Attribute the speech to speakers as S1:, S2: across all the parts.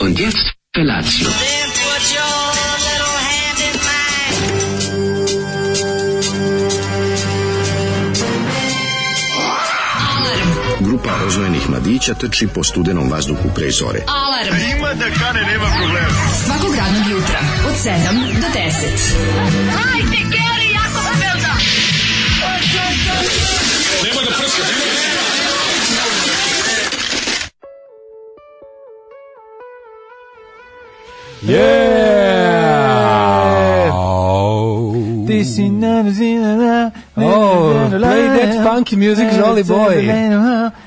S1: Und jetzt Felatio.
S2: Then put your little hand in mine.
S3: Grupa rozvojenih mladića trči po studenom vazduhu pre zore.
S4: Alarm. A ima da kane, nema problema. Svakog radnog jutra, od 7 do 10.
S5: Hajde, Geri, jako se velda!
S6: Yeah!
S7: Ti si na na
S6: Oh, play that funky music, Jolly Boy.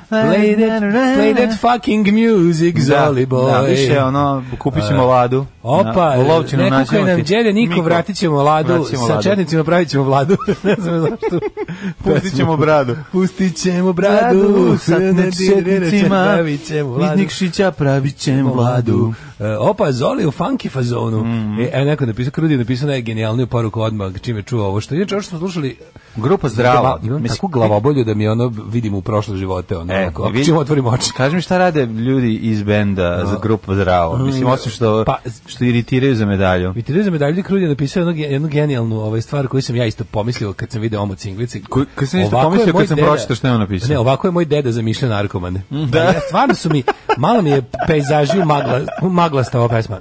S7: Play that, play that fucking music, Jolly Boy.
S6: Da, više ono, kupit ćemo ladu.
S7: Opa,
S6: Na- Volovčinu
S7: neko koji
S6: naćemo
S7: nam
S6: ti.
S7: đede Niko,
S6: Miko.
S7: vratit ćemo Ladu,
S6: Vratit ćemo
S7: sa
S6: Ladu.
S7: četnicima pravit ćemo Vladu. ne znam zašto.
S6: Pustit ćemo bradu.
S7: Pustit ćemo bradu,
S6: Bradu, sa nečetnicima,
S7: pravit ćemo
S6: iz
S7: Vladu.
S6: Nikšića pravit ćemo
S7: Vladu.
S6: vladu.
S7: E, opa, Zoli u funky fazonu. E, evo neko je napisao, Krudi je napisao najgenijalniju poruku odmah čim je čuo ovo što. Inače, ovo što smo slušali,
S6: Grupa zdrava.
S7: Glava- imam
S6: Mislim,
S7: takvu glavobolju da mi ono vidim u prošle živote, ono,
S6: E,
S7: ako, ako
S6: vidi-
S7: čim otvorim oči.
S6: Kaži mi šta rade ljudi iz benda za grupu zdravo. Mislim, osim što,
S7: Pa-
S6: što iritiraju za medalju.
S7: Vitalizam za medalje Krudi je napisao jednu, jednu genijalnu ovaj, stvar koju sam ja isto pomislio kad sam video omot cinglici.
S6: Ko- kad sam isto
S7: Ovako je
S6: pomislio
S7: moj
S6: kad sam
S7: deda-
S6: pročitao šta je on napisao. Mhm.
S7: Ne, ovako je moj deda zamišljao narkomane. Da. Ja, stvarno su mi, malo mi je pejzaži u magla, u maglasta ova pesma.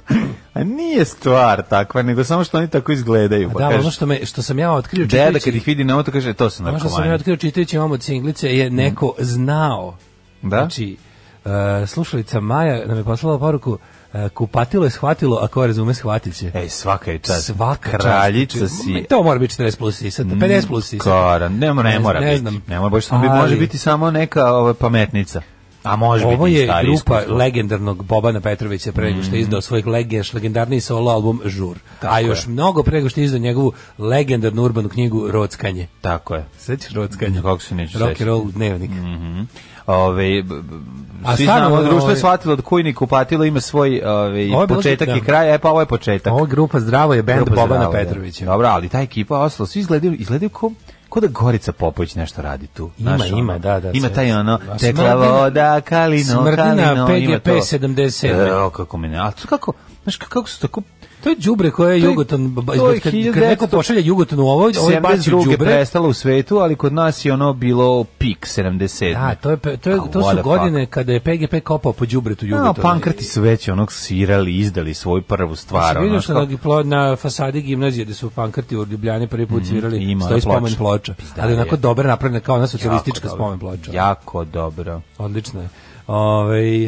S6: A nije stvar takva, nego samo što oni tako izgledaju. Pa
S7: Da,
S6: kažeš,
S7: ono što, me, što sam ja otkrio
S6: deda
S7: čitajući-
S6: kad ih vidi na ovo, to kaže, "E, to su
S7: Ono što sam ja
S6: narkomani.
S7: otkrio čitajući omot cinglice je neko znao.
S6: Da?
S7: Znači, e, slušalica Maja nam je poslala poruku e, kupatilo je shvatilo, a ko razume shvatit će.
S6: Ej, svaka je čast.
S7: Svaka čast.
S6: E, Kraljica
S7: Znači,
S6: si.
S7: To mora biti 40 plus i sad, 50 plus i sad.
S6: Kara, ne, ne, mora
S7: ne
S6: biti.
S7: znam.
S6: Ne mora, baš samo bi,
S7: Ali-
S6: može biti samo neka ova, pametnica. A može
S7: Ovo
S6: biti i
S7: je
S6: stari
S7: grupa
S6: iskustvo. Mm.
S7: legendarnog Bobana Petrovića pre nego što je izdao svoj legeš, legendarni solo album Žur. A još mnogo pre nego što je izdao njegovu legendarnu urbanu knjigu Rockanje.
S6: Tako je.
S7: Sećaš Rockanje?
S6: Kako se Mm. neću
S7: Rock
S6: sećati.
S7: and roll dnevnik.
S6: Ove, b- b-
S7: A
S6: svi
S7: stvarno,
S6: znamo,
S7: ono,
S6: društvo
S7: ovaj-
S6: je shvatilo da kujni kupatilo ima svoj
S7: Ovo je
S6: ove,
S7: bilo
S6: početak
S7: što-
S6: i
S7: da.
S6: kraj, e pa ovo je početak.
S7: Ovo grupa Zdravo je bend
S6: Grupa
S7: Bobana
S6: Zdravo, da.
S7: Petrovića.
S6: Dobro, ali ta ekipa ostalo, svi izgledaju, izgledaju ko, ko da Gorica Popović nešto radi tu.
S7: Ima,
S6: ono,
S7: ima, da, da,
S6: Ima
S7: sve.
S6: taj ono,
S7: A
S6: tekla
S7: Smrdina-
S6: voda, kalino,
S7: Smrdina,
S6: kalino, ima
S7: PGP
S6: to.
S7: 77.
S6: E, o, kako me ne, ali to kako, znaš kako su tako,
S7: To je đubre koje je
S6: To je-
S7: Jugoton
S6: to je
S7: izgled- kad, kad
S6: 1900
S7: neko pošalje Jugoton u ovo, ovo je bacio
S6: 72.
S7: đubre.
S6: prestala u svetu, ali kod nas je ono bilo pik 70.
S7: Da, to je pe- to je
S6: A,
S7: to
S6: what
S7: su
S6: the
S7: godine kada je PGP kopao po đubretu
S6: fuck.
S7: Jugotona.
S6: No, pankrati su već onog svirali, izdali svoju prvu stvar.
S7: Vidio
S6: Ono,
S7: sam
S6: što-
S7: na, giplo- na fasadi gimnazije gde su pankrti u Ljubljani prvi put svirali,
S6: Mhm, ima ona
S7: stoji spomen
S6: ploča.
S7: ploča.
S6: Pizdarija.
S7: Ali onako dobro napravljena kao ona
S6: Jako
S7: socijalistička
S6: dobro.
S7: spomen ploča.
S6: Jako dobro.
S7: Odlično je. Ovaj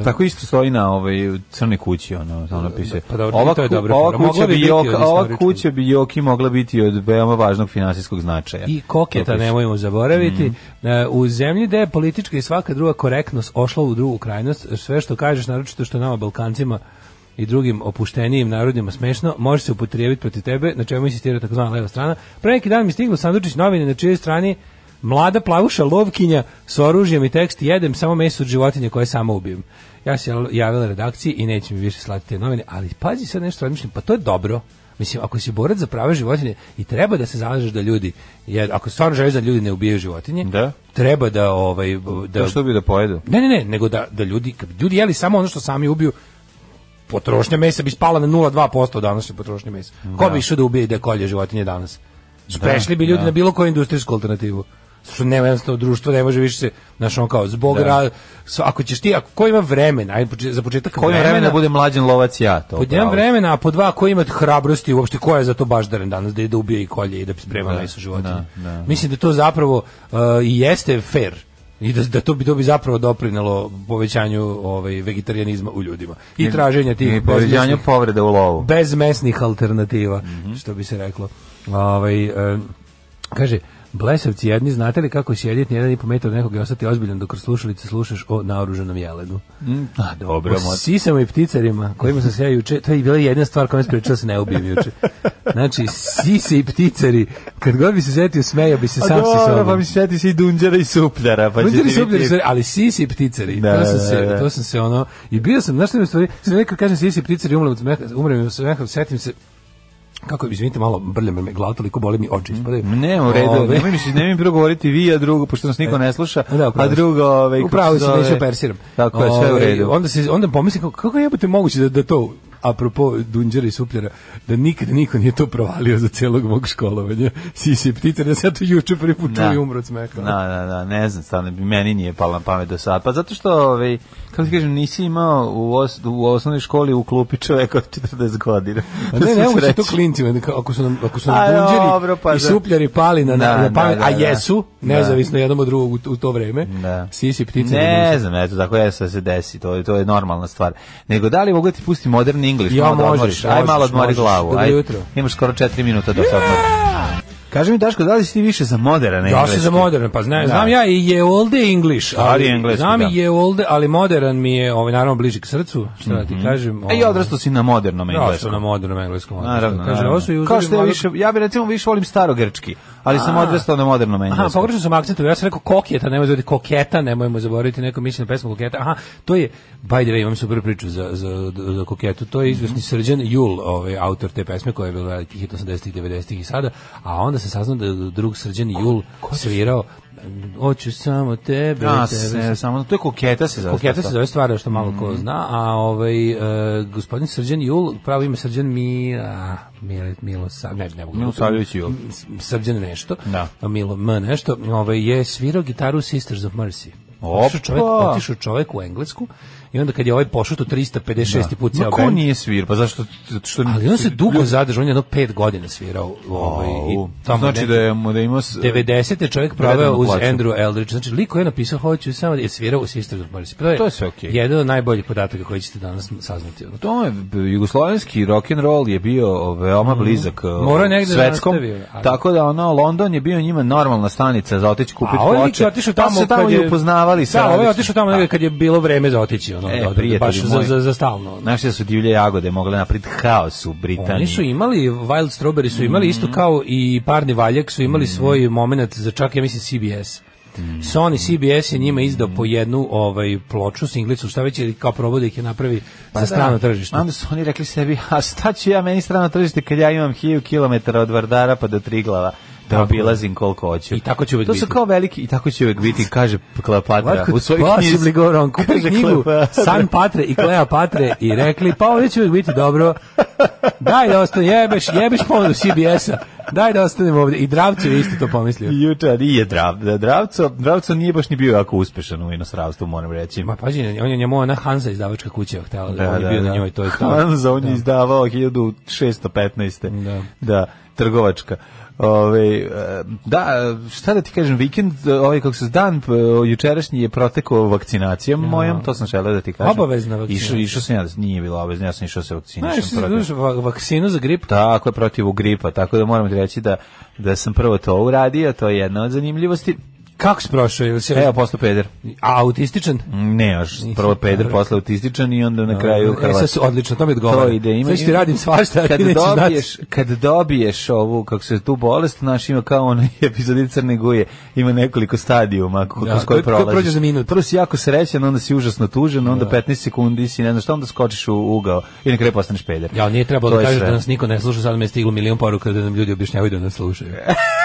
S7: e,
S6: Tako isto stoji na ovaj crne kući ono ono piše.
S7: Pa dobro, i to je dobra
S6: ova
S7: fora. Mogla
S6: kuća
S7: bi
S6: bi
S7: biti
S6: Joki-
S7: od
S6: ova
S7: istoričke.
S6: kuća bi Joki mogla biti od veoma važnog finansijskog značaja.
S7: I koketa,
S6: To piše.
S7: nemojmo zaboraviti. E, U zemlji gde je politička i svaka druga korektnost ošla u drugu krajnost, sve što kažeš, naročito što je nama Balkancima i drugim opuštenijim narodima smešno, može se upotrijebiti protiv tebe, na čemu insistira takozvana leva strana. Pre neki dan mi stiglo Sandučić novine na čijoj strani mlada plavuša lovkinja s oružjem i tekst jedem samo meso od životinje koje samo ubijem. Ja se javila redakciji i neće mi više slati te novine, ali pazi sad nešto razmišljam, pa to je dobro. Mislim, ako si borac za prava životinje i treba da se zalažeš da ljudi, jer ako stvarno želiš da ljudi ne ubijaju životinje,
S6: Da.
S7: treba da ovaj da
S6: To što bi da pojedu.
S7: Ne, ne, ne, nego da da ljudi kad bi ljudi jeli samo ono što sami ubiju potrošnja mesa bi spala na 0,2% današnje potrošnje mesa. Ko bi išao da ubije i da kolje životinje danas? Znači, Prešli bi ljudi na bilo koju industrijsku alternativu. Što nema jednostavno društvo, ne može više se, znaš, ono kao, zbog ra- s- ako ćeš ti, ako ko ima vremena, ajde, poče- za početak
S6: Ko ima vremena da bude mlađan lovac ja to.
S7: pod jedan
S6: pravo.
S7: Pa vremena, a po dva ko ima hrabrosti uopšte ko je za to baždaren danas da ide da ubije i kolje i da sprema meso životinje.
S6: da, da.
S7: Mislim da to zapravo uh, i jeste fair i da, da to bi to bi zapravo doprinelo povećanju ovaj vegetarijanizma u ljudima i traženja tih
S6: I povećanju Mhm.
S7: bezmesnih-
S6: povrede u lovu.
S7: bez mesnih alternativa, što bi se reklo. Ovaj, e, kaže, blesavci jedni, znate li kako sjediti jedan i po metar od nekog i ostati ozbiljan dok kroz slušalice slušaš o naoruženom jelenu?
S6: A, dobro,
S7: O
S6: mo-
S7: sisama i pticarima, kojima sam se ja juče, to je bila jedna stvar koja me sprečila da se ne ubijem juče. Znači, sise i pticari, kad god bi se setio, smejao bi se
S6: A
S7: sam sa
S6: dobro, pa
S7: sobom.
S6: mi se sjeti se i dunđara i supljara. Pa će
S7: Pticari
S6: ti
S7: su ubljeni
S6: biti-
S7: stvari, ali sisi i pticari,
S6: Da,
S7: to, sam
S6: da,
S7: se,
S6: da.
S7: to sam se ono, i bio sam, znaš što mi u stvari, sve nekad kažem sisi i pticari, umrem od smeha, umrem od smeha, setim se, kako izvinite malo brljam jer me glava toliko boli mi oči ispadaju.
S6: Mm. Ne, u redu,
S7: Ove, E,
S6: nemoj mi se, nemoj mi prvo govoriti vi, a drugo, pošto nas niko ne sluša,
S7: Da, upravo
S6: a
S7: si.
S6: drugo, ovaj, kako
S7: upravo
S6: se
S7: si
S6: zove-
S7: neću persiram.
S6: Tako je, sve u
S7: Ovaj,
S6: redu.
S7: Onda se onda pomislim kako, kako jebote moguće da da to apropo Dunđera i Supljera, da nikad niko nije to provalio za celog mog školovanja. Sisi ptice, da sam ja to juče prvi put čuo i umro od smeka.
S6: Da, da, da, ne znam, stvarno, meni nije palo na pamet do sad. Pa zato što, ovaj, kako ti kažem, nisi imao u, os, u osnovnoj školi u klupi čoveka od 40 godina.
S7: A ne,
S6: Što
S7: ne
S6: se
S7: moguće
S6: reče.
S7: to klincima, da ka- ako su nam, ako su nam
S6: A,
S7: dunđeri
S6: dobro, pa
S7: i
S6: da.
S7: supljari pali na,
S6: Da,
S7: na, na pamet,
S6: da, da,
S7: a
S6: da.
S7: jesu, nezavisno jednom od drugog u, to- u to vreme,
S6: Da.
S7: sisi ptice.
S6: Ne
S7: dunđeri.
S6: znam, eto, tako je, sve se desi, to je, to je normalna stvar. Nego, da li mogu da ti pusti modern English?
S7: Ja,
S6: malo da
S7: možeš,
S6: odmoriš? Aj
S7: možeš,
S6: malo odmori
S7: možeš.
S6: glavu.
S7: Dobro
S6: aj,
S7: jutro.
S6: Imaš skoro 4 minuta da se odmoriš. Kaži mi, Daško, da li si ti više za modern engleski?
S7: Ja sam za modern, pa znam,
S6: Da.
S7: znam ja i je olde English,
S6: Ali engleski,
S7: znam
S6: da.
S7: i je olde, ali modern mi je, ovaj, naravno, bliži k srcu, što da ti kažem.
S6: E, i odrastao si na modernom
S7: Ja sam
S6: engleskom.
S7: na modernom engleskom. ono, odrastao.
S6: Naravno,
S7: Kaže,
S6: naravno.
S7: ovo su i
S6: Kao što je
S7: uzori
S6: više, ja bih recimo više volim starogrčki, ali sam odrastao na modernom
S7: Aha,
S6: engleskom.
S7: pogrešno sam akcentovao. Ja sam rekao koketa, nemoj zvati koketa, nemojmo zaboraviti neko mišljenje na pesmu koketa. Aha, to je by the way, imam super priču za, za, za koketu. To
S6: Mhm.
S7: je izvesni Srđan Jul, ovaj autor te pesme koja je bila veliki hit 80-ih, 90-ih i sada, a onda se saznao da je drug Srđan Jul svirao Oću samo tebe,
S6: Ja,
S7: tebe,
S6: se, samo, to je koketa se zove.
S7: Koketa se
S6: stvar.
S7: zove stvar što malo
S6: Mhm.
S7: ko zna, a ovaj e, gospodin Srđan Jul, pravo ime Srđan Mi, a, Mil, Milo Sa, ne, ne mogu.
S6: Milosavljević Jul.
S7: S- Srđan nešto.
S6: Da.
S7: a Milo M nešto, ovaj je svirao gitaru u Sisters of Mercy.
S6: Opa!
S7: Otišao čovjek, otišao čovjek u Englesku i onda kad je ovaj pošuto 356. put
S6: Ma
S7: ceo
S6: ko
S7: band,
S6: nije svir? Pa zašto? zato Što,
S7: ali on se dugo zadržao, on je jedno pet godina svirao. Ovaj, i
S6: Au,
S7: tamo
S6: znači
S7: neki-
S6: da je, da je imao... s-
S7: 90. je čovjek proveo
S6: Predano
S7: uz
S6: plaću.
S7: Andrew Eldridge. Znači, liko je napisao hoću samo da je svirao u Sisters of Mercy. Pa
S6: To je sve okej.
S7: Jedan od najboljih podataka koji ćete danas saznati. Ono.
S6: To je jugoslovenski rock and roll je bio veoma blizak mm.
S7: Morao je negde da
S6: svetskom.
S7: nastavi, ali-
S6: Tako da ono London je bio njima normalna stanica za otići kupiti
S7: A ovaj lik
S6: ploče.
S7: je otišao
S6: Pa
S7: tamo
S6: su se tamo
S7: kad
S6: i
S7: je-
S6: upoznavali sa
S7: Da, ovaj je
S6: različitim-
S7: otišao tamo negde kad je bilo vreme za otići. Ono,
S6: E,
S7: da, da,
S6: prijatelji
S7: baš za,
S6: moji.
S7: za, za stalno. ono.
S6: Znaš da su divlje jagode mogle napriti haos u Britaniji.
S7: Oni su imali, Wild Strawberry su imali
S6: Mhm.
S7: isto kao i Parni Valjak su imali svoj moment za čak, ja mislim, CBS.
S6: Mhm.
S7: Sony CBS je njima izdao po jednu ovaj ploču, singlicu, šta već je kao probao da ih je napravi
S6: Pa
S7: za strano tržište.
S6: Onda su oni rekli sebi, a šta ću ja meni strano tržište kad ja imam 1000 km od Vardara pa do Triglava da obilazim koliko hoću.
S7: I tako će uvek
S6: to
S7: biti.
S6: su kao veliki, i tako će uvek biti, kaže Kleopatra
S7: What
S6: u
S7: could
S6: svojoj knjizi.
S7: possibly go wrong? Kupili
S6: Kaže
S7: knjigu
S6: Kleopatra.
S7: San Patre i Kleopatre i rekli, pa ovdje će uvijek biti dobro. Daj da ostane, jebeš, jebeš ponudu CBS-a. Daj da ostanem ovdje. I Dravcu je isto to pomislio.
S6: I Juče nije drav, da, Dravco, Dravco nije baš ni bio jako uspešan u inostranstvu, moram reći.
S7: Ma pađi, on je njemu ona Hansa izdavačka kuća htela, da,
S6: Pa
S7: on je bio na njoj, to je to.
S6: Hanza, on je izdavao 1615.
S7: Da.
S6: da trgovačka. Ove, e, da, šta da ti kažem, vikend, e, ovaj kako se dan e, jučerašnji je protekao vakcinacijom mojom, to sam želeo da ti kažem.
S7: Obavezna vakcinacija.
S6: Išao, išao sam ja, nije bila obavezna, ja sam išao se
S7: Znaš,
S6: vakcinišem. protiv-
S7: znaš, va- vaksinu za grip,
S6: Tako je protiv gripa, tako da moram ti reći da, da sam prvo to uradio, to je jedna od zanimljivosti.
S7: kako si prošao? Jel si
S6: Evo, posle peder.
S7: a, autističan?
S6: Ne, još
S7: Nisam
S6: prvo peder,
S7: dobro.
S6: posle autističan i onda na kraju
S7: E,
S6: Hrvat.
S7: sad su odlično, to mi odgovara.
S6: To ide, ima.
S7: Sad ću ti radim svašta, a
S6: kad
S7: ti nećeš
S6: dobiješ,
S7: znati.
S6: kad dobiješ ovu kako se tu bolest, znaš, ima kao onaj epizodi Crne guje, ima nekoliko stadijuma ko-
S7: Da,
S6: kroz
S7: koje- koje
S6: koje prolaziš.
S7: prođeš za minut.
S6: Prvo si jako srećan, onda si užasno tužan, onda 15 sekundi si ne znaš šta, onda skočiš u ugao i na kraju postaneš peder.
S7: Ja, nije trebalo
S6: To
S7: da
S6: je
S7: kaže
S6: sve.
S7: da nas niko ne sluša, sad mi je stiglo milion poruka da nam ljudi objašnjavaju da nas slušaju.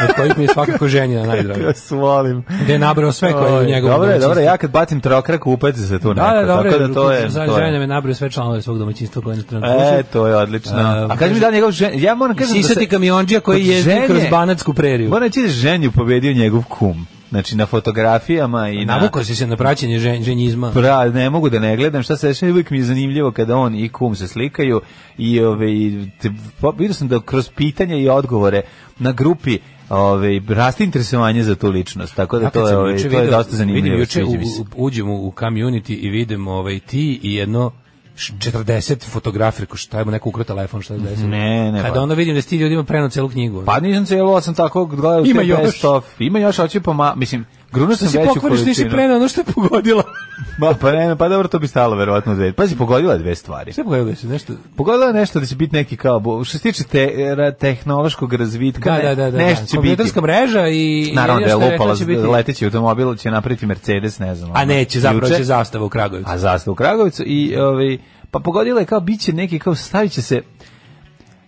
S7: Od kojih mi je svakako ženjena najdraga.
S6: Ja vas volim.
S7: Gde je nabrao sve koje je u
S6: Oj,
S7: njegovom
S6: Dobro je, dobro je,
S7: domaćinstvu.
S6: ja kad batim trokrak, upaci se tu
S7: Da, da, dobro
S6: tako da to je,
S7: Za
S6: to je.
S7: žene me nabrao sve članove svog domaćinstva koje nas trenutno slušaju.
S6: E, to je odlično.
S7: A,
S6: A kaži mi da njegov žen... Ja moram kažem da
S7: Sisati
S6: se...
S7: kamionđija koji
S6: Kod
S7: je
S6: žene-
S7: kroz Banatsku preriju.
S6: Moram reći da je ženju pobedio njegov kum. Znači, na fotografijama i na...
S7: Navukao si se na praćenje žen, ženjizma.
S6: Pra, ne mogu da ne gledam šta se dešava, uvijek mi je zanimljivo kada on i kum se slikaju i ove, i te, po- vidio sam da kroz pitanja i odgovore na grupi ove, raste interesovanje za tu ličnost, tako da
S7: A kad
S6: to je,
S7: sam
S6: ove,
S7: juče
S6: to je
S7: video-
S6: dosta zanimljivo.
S7: Vidim juče
S6: sviđa
S7: u,
S6: mi se.
S7: u, uđem u, u community i vidim ovaj, ti i jedno š- 40 fotografija, ko šta je mu neko ukrao telefon, šta je desilo.
S6: Ne, ne,
S7: Kada
S6: pa-
S7: onda vidim da si ti ljudima prenao celu knjigu.
S6: Pa nisam celo, sam tako gledao
S7: Ima
S6: te
S7: još.
S6: best of. Ima još, hoću pa ma, mislim, gruno
S7: Šta
S6: sam
S7: si
S6: veću
S7: pokvariš, nisi
S6: količinu.
S7: prenao ono što je pogodilo.
S6: Ma, pa ne, pa dobro, to bi stalo verovatno dve. Pazi, pogodila je dve stvari.
S7: Šta je pogodilo se, nešto?
S6: Pogodila je nešto da će biti neki kao, bo- što se tiče te, ra- tehnološkog razvitka,
S7: Da,
S6: ne-
S7: da, da, da.
S6: nešto
S7: da.
S6: će biti.
S7: Kompjuterska mreža i...
S6: Naravno
S7: i
S6: da je
S7: nešto rekla
S6: lupala,
S7: će biti-
S6: leteći automobil će napraviti Mercedes, ne znam.
S7: A
S6: ono,
S7: neće, zapravo
S6: juče.
S7: će zastava u Kragujevcu.
S6: A zastavu u Kragovicu i ovaj pa pogodila je kao biće neki kao stavit će se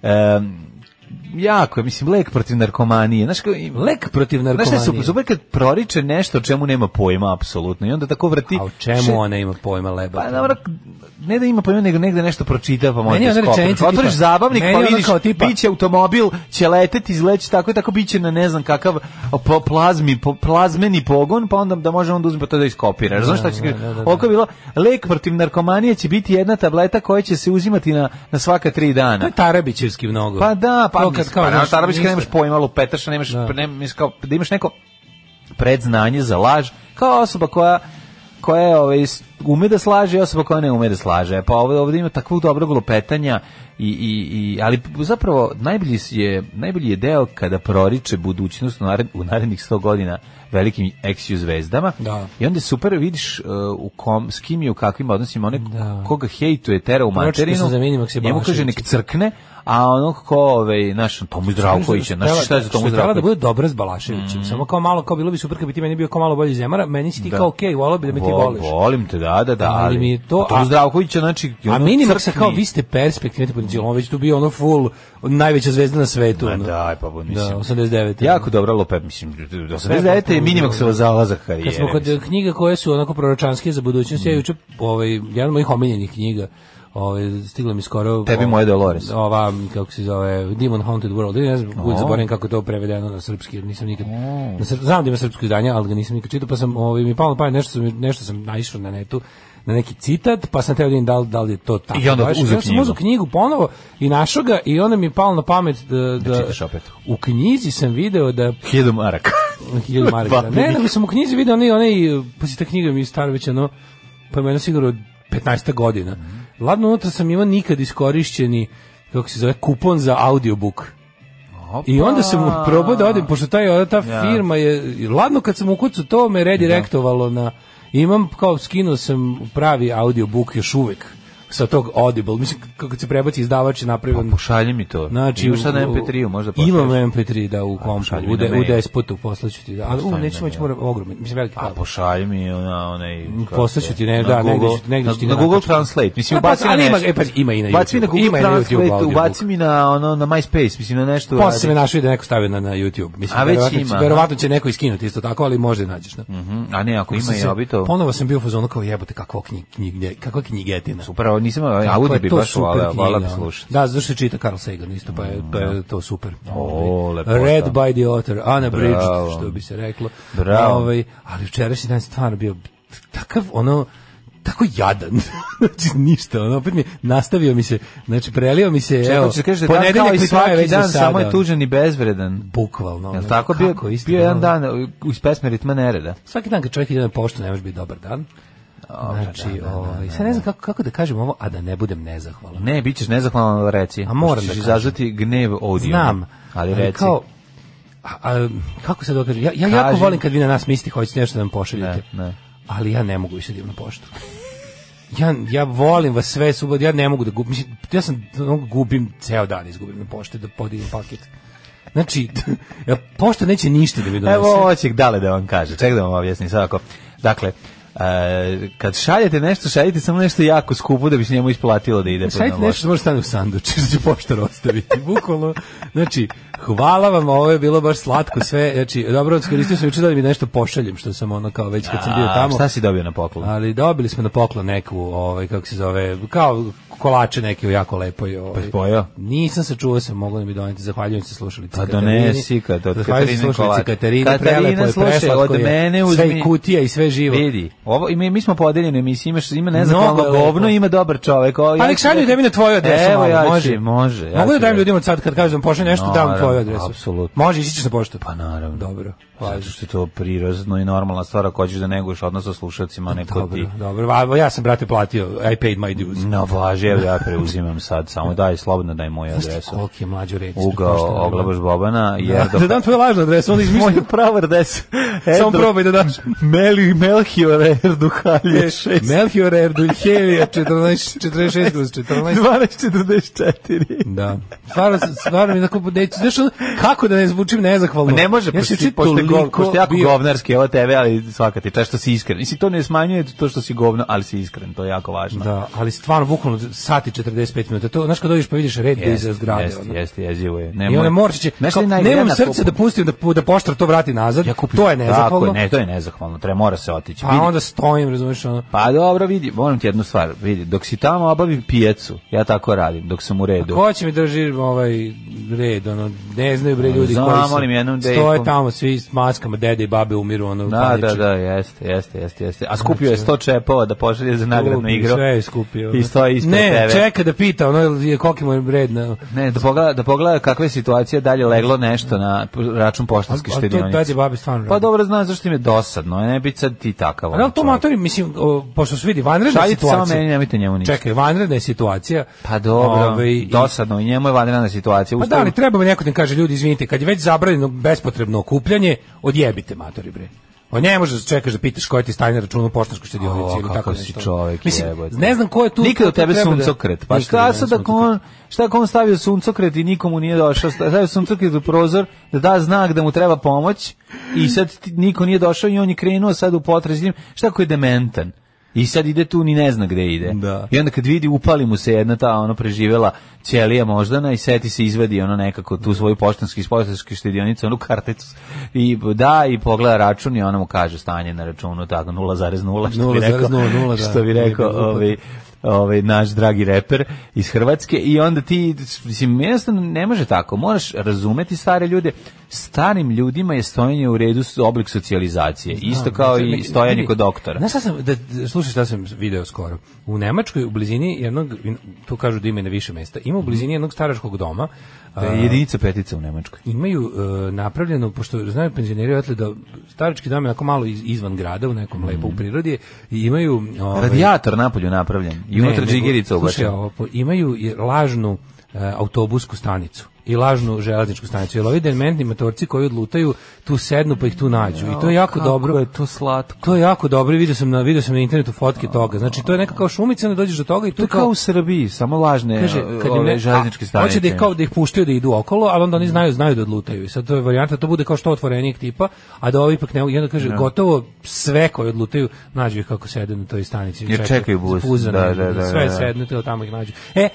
S6: em, jako, je, mislim, lek protiv narkomanije. Znaš, kao, i-
S7: Lek protiv
S6: Znaš šta
S7: narkomanije.
S6: je super, super kad proriče nešto o čemu nema pojma, apsolutno, i onda tako vrti...
S7: A o čemu
S6: Še-
S7: ona ima pojma leba?
S6: Pa dobro, ne da ima pojma, nego negde nešto pročita, pa
S7: Meni je
S6: možda
S7: ona
S6: skopi.
S7: rečenica
S6: Otvoriš
S7: tipa-
S6: zabavnik,
S7: meni
S6: pa
S7: je ona
S6: vidiš,
S7: kao tipa-
S6: biće automobil, će leteti, izleći tako i tako, biće na ne znam kakav po, plazmi, po, plazmeni pogon, pa onda da može onda uzme pa to da iskopira. Razumiješ šta će
S7: da,
S6: da,
S7: da, da, da.
S6: Oko je bilo, lek protiv narkomanije će biti jedna tableta koja će se uzimati na, na svaka tri dana.
S7: To je Tarabićevski mnogo.
S6: Pa da, pa
S7: To
S6: kad kao, pa,
S7: znaš,
S6: znaš, Tarabić kad
S7: ništa.
S6: nemaš pojma, lupetaš, nemaš,
S7: Da.
S6: ne, mislim, kao, da imaš neko predznanje za laž, kao osoba koja koja je, ovaj, s- ume da slaže i osoba koja ne ume da slaže. Pa ovdje, ovdje ima takvog dobrog lupetanja, i, i, i, ali zapravo najbolji s- je, najbolji je deo kada proriče budućnost u, nared, u narednih 100 godina velikim eksiju zvezdama.
S7: Da.
S6: I onda je super vidiš uh, u kom, s kim je u kakvim odnosima, one
S7: Da.
S6: koga hejtuje, tera u
S7: Pročitao sam
S6: materinu,
S7: za Mini Maksimovića.
S6: njemu kaže nek crkne, a ono ko, ovaj, naš, Tomu Zdravkovića,
S7: Što je
S6: znaš šta je za Tomu
S7: što trebala da
S6: Zdravkovića?
S7: bude dobra s Balaševićem. Samo kao malo, kao bilo bi super kad bi ti meni bio kao malo bolji iz Zemara, meni si ti
S6: Da.
S7: kao okej, okay, volao bi Mm. da me ti
S6: Vo-
S7: voliš.
S6: Volim te, da, da, pa da.
S7: Ali mi je to-
S6: a Tomu
S7: a-
S6: Zdravkovića, znači...
S7: A
S6: ono,
S7: Minimax je
S6: crkni.
S7: kao, vi ste perspektivni, imate potencijal, on već tu bio ono full, najveća zvezda na svetu.
S6: Ma
S7: ono.
S6: daj, pa bo, mislim.
S7: Da, 89.
S6: Jako dobro lope, mislim, 89. je minimaksova zalazak karijere.
S7: Kad smo
S6: mislim.
S7: kod knjiga koje su onako proročanske za budućnost,
S6: Mm.
S7: ja juče, ovaj, jedan od mojih omiljenih knjiga, ovaj, stigla mi skoro...
S6: Tebi
S7: ova-
S6: moje Dolores.
S7: Ova, kako se zove, Demon Haunted World, ja ne znam, uvijek
S6: O. Mm.
S7: zaboravim kako je to prevedeno na srpski, jer nisam nikad... Na srp, znam da ima srpsko izdanje, ali ga nisam nikad čitao, pa sam, ovaj, mi je palo na pamet, nešto sam, nešto sam naišao na netu, na neki citat, pa sam teo da vidim da li, da li je to tako.
S6: I onda
S7: baš.
S6: uzeo
S7: Ja sam
S6: knjigu.
S7: uzeo knjigu ponovo i našao ga i onda mi je palo na pamet da... da
S6: čitaš opet.
S7: U knjizi sam video da
S6: Hiljadu maraka.
S7: hiljadu maraka. da. Ne,
S6: Babi.
S7: nego sam u knjizi vidio onaj, onaj, pa si ta knjiga mi je stara već ono, pa ima jedno sigurno 15 godina. Ladno unutra sam imao nikad iskorišćeni, kako se zove, kupon za audiobook. I onda sam mu probao da odem, pošto taj, ta
S6: Pa. Ja.
S7: firma je, ladno kad sam u kucu, to me redirektovalo na, imam, kao skinuo sam pravi audiobook još uvek sa tog Audible, mislim kako se prebaci izdavač je
S6: Pa
S7: napravio
S6: Pošalji mi to.
S7: Znači,
S6: Imaš sad na
S7: u-
S6: MP3-u, možda
S7: Imam
S6: pošalješ.
S7: MP3 da u kompu,
S6: pošalji
S7: u, de,
S6: mi na
S7: u
S6: mail.
S7: despotu poslaću ti da. Ali u,
S6: Pošalji
S7: neću
S6: na
S7: moći
S6: mail.
S7: moram ogroman, mislim veliki
S6: A
S7: problem.
S6: Pa pošalji mi ona, onaj... kako
S7: Mm, Poslaću
S6: je,
S7: ti, ne,
S6: na
S7: da,
S6: Google-
S7: negdje ću- negdje
S6: na-
S7: ću ti
S6: Na
S7: ga
S6: Google
S7: nakačiti.
S6: Translate, mislim,
S7: A, pa,
S6: ubaci na
S7: ali ima
S6: nešto.
S7: ga- e, pazi, ima i na
S6: Baci mi na
S7: YouTube,
S6: Google
S7: ima i na YouTube
S6: Translate,
S7: audiobook.
S6: ubaci mi na, ono, na MySpace, mislim, na nešto.
S7: Posle
S6: uradi.
S7: sam je našao i da je neko stavio na, na YouTube. Mislim,
S6: A, već
S7: verovatno će-
S6: ima, aha.
S7: Verovatno će neko iskinuti isto tako, ali možda i nađeš. Ne?
S6: Mhm, A ne, ako ima
S7: Sam
S6: i
S7: se-
S6: obito.
S7: Ponovo sam bio u fazonu kao jebote, kakva knjig, knjig, kakva knjigetina.
S6: Super, ovo nisam, a
S7: Kako
S6: Pa Audi
S7: je
S6: bi
S7: to
S6: baš
S7: super
S6: volao,
S7: knjiga,
S6: volao bi
S7: ono.
S6: slušati. Mm,
S7: Da, zato što čita Carl Sagan isto, pa je, pa je to super.
S6: O,
S7: Ovaj,
S6: lepota.
S7: Read by the author, unabridged,
S6: Bravo.
S7: što bi se reklo.
S6: Bravo.
S7: Ovaj, ali včerašnji dan je stvarno bio takav, ono, tako jadan. znači, ništa, ono, opet mi je- nastavio mi se, znači, prelio mi se,
S6: Evo,
S7: evo,
S6: hoćeš da kažeš da je dan kao i
S7: mi traje
S6: svaki
S7: već za
S6: dan,
S7: sada,
S6: samo je
S7: ono.
S6: tužan i bezvredan.
S7: Bukvalno.
S6: Jel
S7: ono,
S6: tako bio,
S7: kako, isto,
S6: bio jedan
S7: ono.
S6: dan u- iz pesme Ritma nereda.
S7: Svaki dan kad čovjek ide na poštu ne može biti dobar dan. Znači,
S6: da, da, da,
S7: ovaj, sad ne znam kako, kako da kažem ovo, a da ne budem nezahvalan.
S6: Ne, bit ćeš nezahvalan, ali reci.
S7: A moram
S6: Pošto
S7: da
S6: ćeš
S7: kažem.
S6: izazvati gnev audio.
S7: Znam.
S6: Ali reci.
S7: Kao, a, a, kako se dokaže? Ja, ja jako
S6: Kaži.
S7: volim kad vi na nas mislite hoćete nešto da nam pošaljete.
S6: Ne, ne.
S7: Ali ja ne mogu više da idem na poštu. Ja, ja volim vas sve subod, ja ne mogu da gubim, mislim, ja sam ono, gubim ceo dan izgubim na pošti da podignem paket. Znači, ja, pošta neće ništa da mi donese.
S6: Evo ovo će dale da vam kaže. Ček da vam objasnim sad ako. Dakle, e, kad šaljete nešto, šaljite samo nešto jako skupo da bi se njemu isplatilo da ide. pod
S7: Šaljite
S6: novost.
S7: nešto što može stane u sanduč, što će poštar ostaviti. Bukvalno. Znači, hvala vam, ovo je bilo baš slatko sve. Znači, dobro, skoristio sam juče da mi nešto pošaljem, što sam ono kao već kad sam bio
S6: A,
S7: tamo.
S6: Šta si dobio na poklon?
S7: Ali dobili smo na poklon neku, ovaj, kako se zove, kao kolače neke u jako lepoj. Ovaj.
S6: Pa si pojeo?
S7: Nisam se čuo sam, mogla da mi doneti. Zahvaljujem se slušalici
S6: Pa
S7: Katarini.
S6: donesi, kad od
S7: Zahvaljujem se
S6: Katarine
S7: slušalici
S6: kolač.
S7: Katarini.
S6: Katarina,
S7: prelepo je,
S6: slušaj,
S7: preslatko
S6: od
S7: je.
S6: mene
S7: Sve
S6: uzmi-
S7: i kutija i sve živo.
S6: Vidi, ovo i mi, mi smo podeljeni emisije, imaš ima nezahvalno
S7: Mnogo je
S6: govno,
S7: lepo.
S6: ima dobar čovjek. O,
S7: Pa
S6: ja
S7: nek
S6: ću
S7: šalju
S6: da-
S7: da mi na tvoju adresu
S6: Evo,
S7: malo,
S6: ja ću,
S7: može.
S6: može. ja
S7: Mogu da
S6: ću
S7: dajem
S6: da-
S7: ljudima sad kad kažem pošalje nešto, dam
S6: Naravno,
S7: tvoju adresu.
S6: apsolutno.
S7: Može, ići ćeš na poštu.
S6: Pa naravno.
S7: Dobro, hvala.
S6: Zato što je to prirodno i normalna stvar ako hoćeš da neguješ odnos sa slušalcima, neko ti... Mm,
S7: Dobro, dobro. Va- Ja sam, brate, platio. I paid my dues.
S6: Na važi, evo ja preuzimam sad, samo daj, slobodno daj moju
S7: Znaš ti
S6: adresu.
S7: koliki je mlađo reći?
S6: Ugao, oglabaš Bobana, jer pa-
S7: Da, da dam tvoju lažnu adresu, onda izmišljam.
S6: Moju pravu adresu.
S7: Samo probaj da daš.
S6: Meli, Melchior Erduhalje 6.
S7: Melchior Erduljhelija 14 46 kroz 14.
S6: 12.44.
S7: Da. Stvarno, stvarno mi tako, neću, znaš znaš, ono, kako da ne zvučim nezahvalno?
S6: Pa ne
S7: ja
S6: može,
S7: sam
S6: pošto,
S7: juče
S6: si- pošto, je gov,
S7: toliko
S6: pošto je jako
S7: bio-
S6: govnarski ovo tebe, ali svaka ti čast što si iskren. Mislim, to ne smanjuje to što si govno, ali si iskren, to je jako važno.
S7: Da, ali stvarno bukvalno sati 45 minuta. To znaš kad dođeš pa vidiš red yes, iza zgrade.
S6: Jeste,
S7: ono.
S6: jeste, jezivo je.
S7: I one morčiće,
S6: Znaš šta
S7: kao,
S6: je najgore?
S7: nemam
S6: Ja na
S7: srce
S6: to-
S7: da pustim da, pu- da poštar to vrati nazad,
S6: Ja kupim-
S7: to je
S6: Tako
S7: nezahvalno,
S6: je, ne, to je nezahvalno, treba, mora se otići.
S7: pa
S6: Vidi,
S7: onda stojim, razumiješ, ono,
S6: Pa dobro, vidi, moram ti jednu stvar, vidi, dok si tamo obavi pijecu, ja tako radim, dok sam u redu.
S7: ko će mi drži ovaj red, ono, ne znaju bre ljudi
S6: Znam,
S7: koji
S6: molim, jednom
S7: su,
S6: dejkom.
S7: stoje tamo svi s maskama, dede i babe umiru, ono,
S6: Da, da, da, jeste, jeste, jeste, jeste. A skupio je 100 čepova da pošalje za nagradnu igru.
S7: Znači- Sve je skupio. ono.
S6: I stoji ispred
S7: ne,
S6: tebe.
S7: čeka da pita, ono, jel je koliki mu je red, na,
S6: Ne, da pogleda, da pogleda kakva je situacija, dalje leglo nešto na račun poštanske
S7: ali to
S6: štedionice.
S7: dede i babe stvarno
S6: Pa
S7: rade.
S6: dobro, znam zašto im je dosadno, ne biti sad ti takav. ono
S7: A da li to matori, mislim, o, pošto se vidi vanredna
S6: Šaljite
S7: situacija.
S6: samo meni, nemojte njemu ništa.
S7: Čekaj, vanredna je situacija.
S6: Pa dobro,
S7: Ovaj, i-
S6: dosadno, i njemu je vanredna situacija.
S7: Pa da, ali treba mi neko da im kaže, ljudi, izvinite, kad je već zabranjeno bespotrebno okupljanje, odjebite matori, bre. O ne možeš da čekaš da pitaš ko je ti stanje računa u poštanskoj štedionici
S6: O,
S7: ili
S6: kako
S7: tako
S6: si
S7: nešto.
S6: čovjek,
S7: Mislim,
S6: jebote.
S7: ne znam ko je tu.
S6: Nikad
S7: ko
S6: u
S7: tu
S6: tebe
S7: treba da-
S6: suncokret. Pa
S7: Nikad
S6: šta
S7: meni
S6: sad ako
S7: suncokret.
S6: on, šta ako on stavio suncokret i nikomu nije došao, sta- stavio suncokret u prozor da da znak da mu treba pomoć i sad ti- niko nije došao i on je krenuo sad u potrazi za njim. Šta ako je dementan? I sad ide tu ni ne zna gde ide.
S7: Da.
S6: I onda kad vidi upali mu se jedna ta ono preživela ćelija moždana i seti se izvadi ono nekako tu svoju poštanski poštanski štedionicu onu karticu i da i pogleda račun i ona mu kaže stanje na računu tako 0,0 što bi rekao
S7: 0,00, da.
S6: što bi rekao
S7: Nije bilo upada.
S6: ovaj ovaj naš dragi reper iz Hrvatske i onda ti mislim jednostavno ne može tako moraš razumeti stare ljude starim ljudima je stojanje u redu s- oblik socijalizacije isto kao i
S7: Neki-
S6: stojanje
S7: vidi,
S6: kod doktora
S7: znači, Znaš šta sam, da, da- slušaj šta sam video skoro. U Nemačkoj, u blizini jednog, tu kažu da ima i na više mesta, ima u blizini jednog staračkog doma,
S6: da je jedinica petica u Nemačkoj
S7: imaju e, napravljeno, pošto znaju penzioneri odatle da starački dom je onako malo iz- izvan grada, u nekom lepo
S6: Mhm.
S7: u prirodi, i imaju... ovaj,
S6: radijator napolju napravljen i
S7: ne,
S6: unutra
S7: nego-
S6: džigerica
S7: Slušaj,
S6: ubačena
S7: ovo, po- imaju i lažnu e, autobusku stanicu i lažnu železničku stanicu. Jer ovi dementni motorci koji odlutaju tu sednu pa ih tu nađu. I to je jako dobro.
S6: je to slatko
S7: To je jako dobro, i vidio sam na video sam na internetu fotke toga. Znači to je neka kao šumica, onda dođeš do toga i
S6: to
S7: tu
S6: je kao u Srbiji samo lažne
S7: kaže kad im ne,
S6: ove železničke
S7: a,
S6: stanice
S7: Hoće da ih kao da ih puštaju da idu okolo, ali onda oni znaju znaju da odlutaju. I sad to je varijanta da to bude kao što otvorenijeg tipa, a da ovi ipak ne, i onda kaže gotovo sve koji odlutaju nađu ih kako sede na toj stanici.
S6: Jer čekaju bus,
S7: zapuzano,
S6: da, da, da,
S7: sve
S6: da.
S7: sednu te tamo ih nađu. E,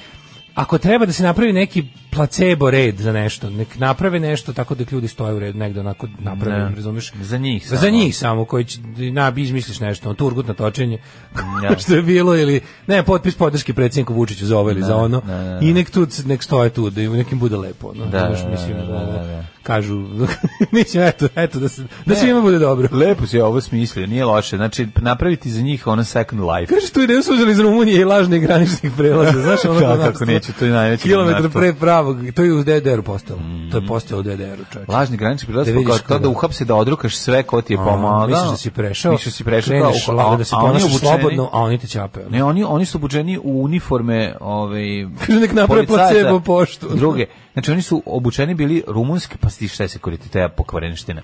S7: Ako treba da se napravi neki placebo red za nešto, nek naprave nešto tako da ljudi stoje u redu negde onako naprave,
S6: Ne.
S7: razumeš?
S6: Za njih
S7: Pa Za
S6: samo.
S7: njih samo koji će, na, izmisliš nešto, on turgut na točenje,
S6: Ja.
S7: što je bilo, ili, ne, potpis podrške predsjedniku Vučiću za ovo ili za ono,
S6: ne, ne,
S7: i nek tu, nek stoje tu, da im nekim bude lepo, ono,
S6: Da,
S7: znaš,
S6: da,
S7: mislim,
S6: da, da,
S7: ono,
S6: da, da.
S7: kažu, mislim, eto, eto, da, se, da svima bude dobro.
S6: Lepo si ovo smislio, nije loše. Znači, napraviti za njih ono second life.
S7: Kaže tu ideju su uzeli iz Rumunije i lažnih graničnih prelaza, znaš, ono
S6: Da,
S7: kao
S6: kako
S7: narstvo.
S6: neću, to je najveće
S7: Kilometar
S6: narstvo.
S7: pre pravog, to je u DDR-u postalo,
S6: Mm.
S7: to je postalo u DDR-u, čovječe.
S6: Lažni granični prilaz,
S7: Da
S6: pa
S7: vidiš
S6: kao to
S7: kada-
S6: da uhapse da odrukaš sve ko ti je
S7: A,
S6: pomagao.
S7: Misliš da si prešao,
S6: Misliš da si prešao.
S7: kreneš
S6: kao,
S7: lagano da se
S6: a oni
S7: ponašaš
S6: obučeni-
S7: slobodno, a oni te ćape. ono.
S6: Ne, oni, oni su obučeni u uniforme ovaj,
S7: Kaže, nek naprave
S6: policajaca,
S7: placebo poštu.
S6: Druge. Znači, oni su obučeni bili rumunski, pa sti šta se koriti, te pokvarenština.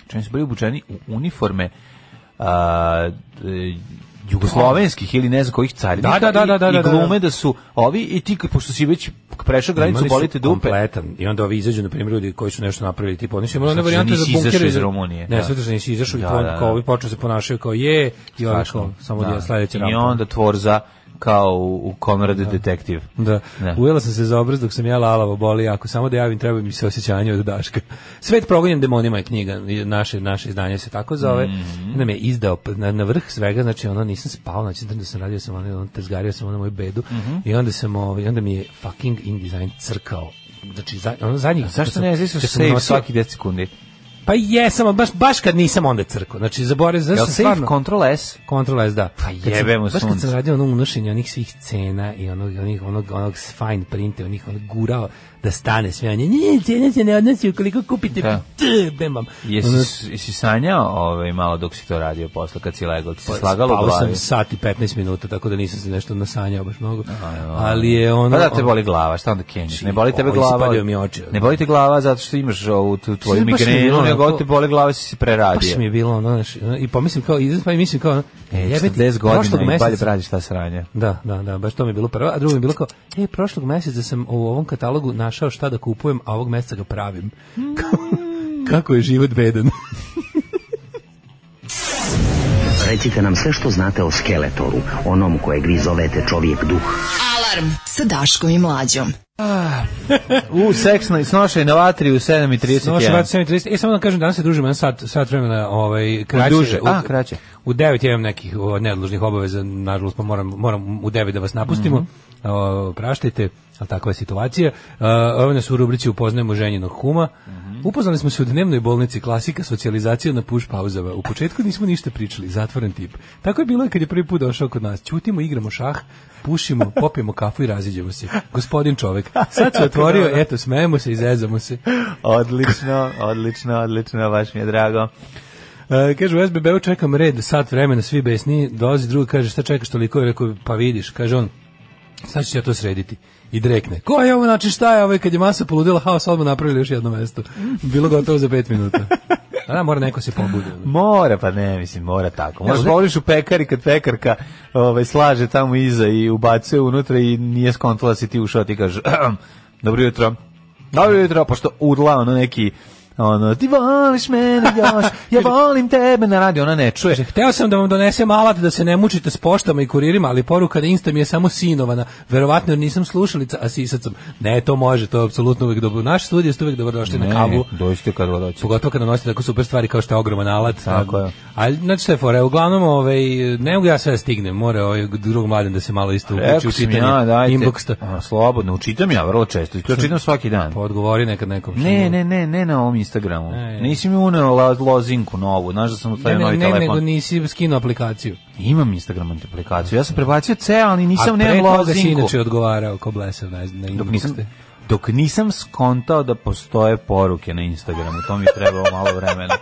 S6: Znači, oni su bili obučeni u uniforme a, d- jugoslovenskih ili ne znam kojih
S7: Da,
S6: carinika
S7: da, da, da, da,
S6: i,
S7: da,
S6: i
S7: da.
S6: glume da su ovi i ti, kad- pošto si već prešao granicu,
S7: Imali su
S6: bolite dupe.
S7: Kompletan. I onda ovi izađu, na primjer, ljudi koji su nešto napravili, tipa, oni su imali one
S6: Znači,
S7: varijante za
S6: nisi
S7: bunkere.
S6: izašao iz Rumunije,
S7: Ne,
S6: da.
S7: sve da nisi izašao i
S6: Da,
S7: kao,
S6: da, da.
S7: kao ovi počeo se ponašaju kao je, i ovi
S6: Strašno.
S7: kao, ono, samo da, sledeći
S6: I onda Tvorza kao u, u Konrad detektiv.
S7: Da.
S6: Da.
S7: Ujela sam se za obraz dok sam jela alavo boli, ako samo da javim treba mi se osjećanje od Daška. Svet progonjen demonima je knjiga, i naše, naše izdanje se tako zove.
S6: Mhm.
S7: Nam je izdao p- na, na vrh svega, znači ono nisam spao, znači da sam radio sam ono, ono tezgario sam ono moju bedu
S6: Mhm.
S7: i onda sam ovaj, onda mi je fucking InDesign crkao. Znači, za, ono zadnjih... kad
S6: Zašto
S7: sam-
S6: ne izlisaš
S7: kad sam
S6: save
S7: nosio-
S6: svaki 10 sekundi?
S7: Pa jesam, ali baš, baš kad nisam onda je crko. Znači, zaboravio,
S6: Jel
S7: zašto sam
S6: save
S7: stvarno...
S6: control S?
S7: Kontrola S, da. Pa
S6: jebe mu
S7: Baš kad sam
S6: sunce.
S7: radio ono unošenje onih svih cena i onog, onih, onog, onog fine printa, onih onog gurao da stane sve. Nije, nije, cena se ne odnosi ukoliko kupite.
S6: Da.
S7: Da. Bem vam. Ono,
S6: Jesi, jesi sanjao ovaj, malo dok si to radio posle kad si legao? Ti si slagalo
S7: Pa,
S6: u
S7: Spavao
S6: glavi?
S7: sam sat i 15 minuta, tako da nisam se nešto nasanjao baš mnogo. Ali je ono...
S6: Pa da te boli glava, šta onda kenjiš? Ne boli tebe
S7: Oj,
S6: glava.
S7: ispadio mi oči.
S6: Ne boli te glava zato što imaš ovu tu tvoju
S7: Baš mi je
S6: migrenu,
S7: bilo
S6: nego
S7: onako-
S6: te boli glava si se preradio.
S7: Baš mi je bilo ono, znaš, ono, i pomislim kao, izraz, pa i mislim kao, ono,
S6: E,
S7: jebe ti,
S6: 40
S7: prošlog
S6: godina i
S7: meseca-
S6: balje bradiš ta sranja.
S7: Da, da, da, baš to mi je bilo prvo, a drugo mi je bilo kao, e, prošlog meseca sam u ovom katalogu na, našao šta da kupujem, a ovog meseca ga pravim. Kako je život bedan.
S1: Recite nam sve što znate o Skeletoru, onom kojeg vi zovete čovjek duh.
S4: Alarm sa Daškom i Mlađom.
S6: U seksnoj snošaj na vatri u 7.31.
S7: Noš vrat 7.30. E, samo da kažem, danas se družimo jedan sat, sat vremena ovaj, kraće.
S6: Duže, a, kraće.
S7: U 9 ja imam nekih o, neodlužnih obaveza, nažalost, pa moram, moram u 9 da vas napustimo. Mm -hmm. o, praštajte, ali takva je situacija. O, ovo nas u rubrici upoznajemo ženjinog kuma. Mm -hmm. Upoznali smo se u dnevnoj bolnici klasika socijalizacija na puš pauzama. U početku nismo ništa pričali, zatvoren tip. Tako je bilo i kad je prvi put došao kod nas. Ćutimo, igramo šah, pušimo, popijemo kafu i raziđemo se. Gospodin čovek. Sad se otvorio, eto, smejemo se i zezamo se.
S6: Odlično, odlično, odlično, baš mi je drago.
S7: E, kaže u SBB-u čekam red sat vremena, svi besni, dolazi drugi, kaže šta čekaš toliko, je rekao pa vidiš, kaže on, sad ću ja to srediti. I drekne. Ko je ovo, znači šta je ovo, I kad je masa poludila, haos odmah napravili još jedno mesto. Bilo gotovo za pet minuta. A da, mora neko se pobudi. ono.
S6: Mora, pa ne, mislim, mora tako. Možeš
S7: ovdje-
S6: povoliš u pekari kad pekarka ovaj, slaže tamo iza i ubacuje unutra i nije skontala si ti ušao, ti kaže, dobro jutro, dobro jutro, pošto udla ono neki ono, ti voliš mene još, ja volim tebe na radio, ona ne čuje.
S7: Hteo sam da vam donesem alat da se ne mučite s poštama i kuririma, ali poruka na Insta mi je samo sinovana. Verovatno jer nisam slušalica, a sisac sam. Ne, to može, to je apsolutno uvek dobro. Naš studij ste uvek dobrodošli na kavu.
S6: dođite kad god hoćete.
S7: Pogotovo kada nosite tako super stvari kao što je ogroman alat.
S6: Tako je.
S7: A znači šta je fora, uglavnom ovaj, ne mogu ja sve da stignem, mora ovaj drug mladen da se malo isto uključi
S6: Rekao
S7: u
S6: sam
S7: čitanje
S6: ja, dajte.
S7: inboxa.
S6: A, slobodno, učitam ja vrlo često, i to čitam svaki dan.
S7: Pa odgovori nekad nekom. što
S6: Ne,
S7: mu-
S6: ne, ne, ne na ovom Instagramu.
S7: E.
S6: Nisi mi uneo la- lozinku novu, znaš da sam
S7: Ne,
S6: otvorio
S7: ne,
S6: novi
S7: ne, nego
S6: telefon.
S7: nisi skinuo aplikaciju.
S6: Imam Instagram aplikaciju. Ja sam prebacio ceo, ali
S7: a
S6: nisam
S7: pre
S6: nemam
S7: toga si
S6: lozinku.
S7: inače odgovarao ko blesav na, na
S6: Dok
S7: inbox.
S6: nisam, dok nisam skontao da postoje poruke na Instagramu, to mi je trebalo malo vremena.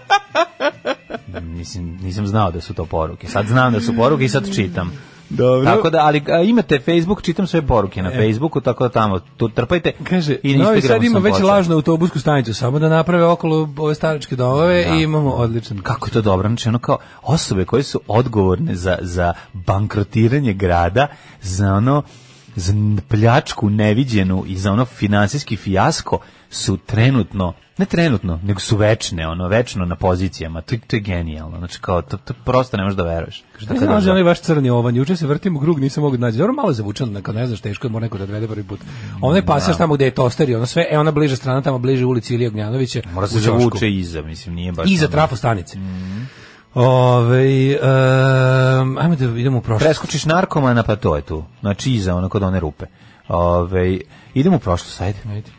S6: Mislim, nisam znao da su to poruke. Sad znam da su poruke i sad čitam.
S7: Dobro. E.
S6: Tako da, ali a, imate Facebook, čitam sve poruke na Facebooku, tako da tamo, tu trpajte
S7: Kaže,
S6: i na
S7: Novi
S6: Instagramu
S7: Sad ima
S6: sam
S7: već
S6: počeo.
S7: lažnu autobusku stanicu, samo da naprave okolo ove staračke domove i imamo odličan.
S6: kako je to dobro, znači ono kao osobe koje su odgovorne za, za bankrotiranje grada, za ono za n- pljačku neviđenu i za ono finansijski fijasko su trenutno, ne trenutno, nego su večne, ono, večno na pozicijama. To, je- to je genijalno, znači kao, to, to prosto ne možeš da veruješ. Šta
S7: Ne znam da li je Pa onaj vaš crni ovan, juče se vrtim u krug, nisam mogu da nađe. Dobro, malo je zavučeno, neka ne znaš, teško je, mora neko da odvede prvi put. Onaj pasaž tamo gde je toster i ono sve, e ona bliža strana, tamo bliže ulici Ilija Gnjanovića.
S6: Mora se Mhm.
S7: u ćošku.
S6: zavuče iza, mislim, nije baš...
S7: Iza
S6: ono-
S7: trafo stanice. Ovaj, em, ajmo da idemo u prošlost.
S6: Preskočiš narkomana, pa to je tu. Znači, iza, ono, kod one rupe. Ove, idemo u prošlost, ajde.
S7: Ajde.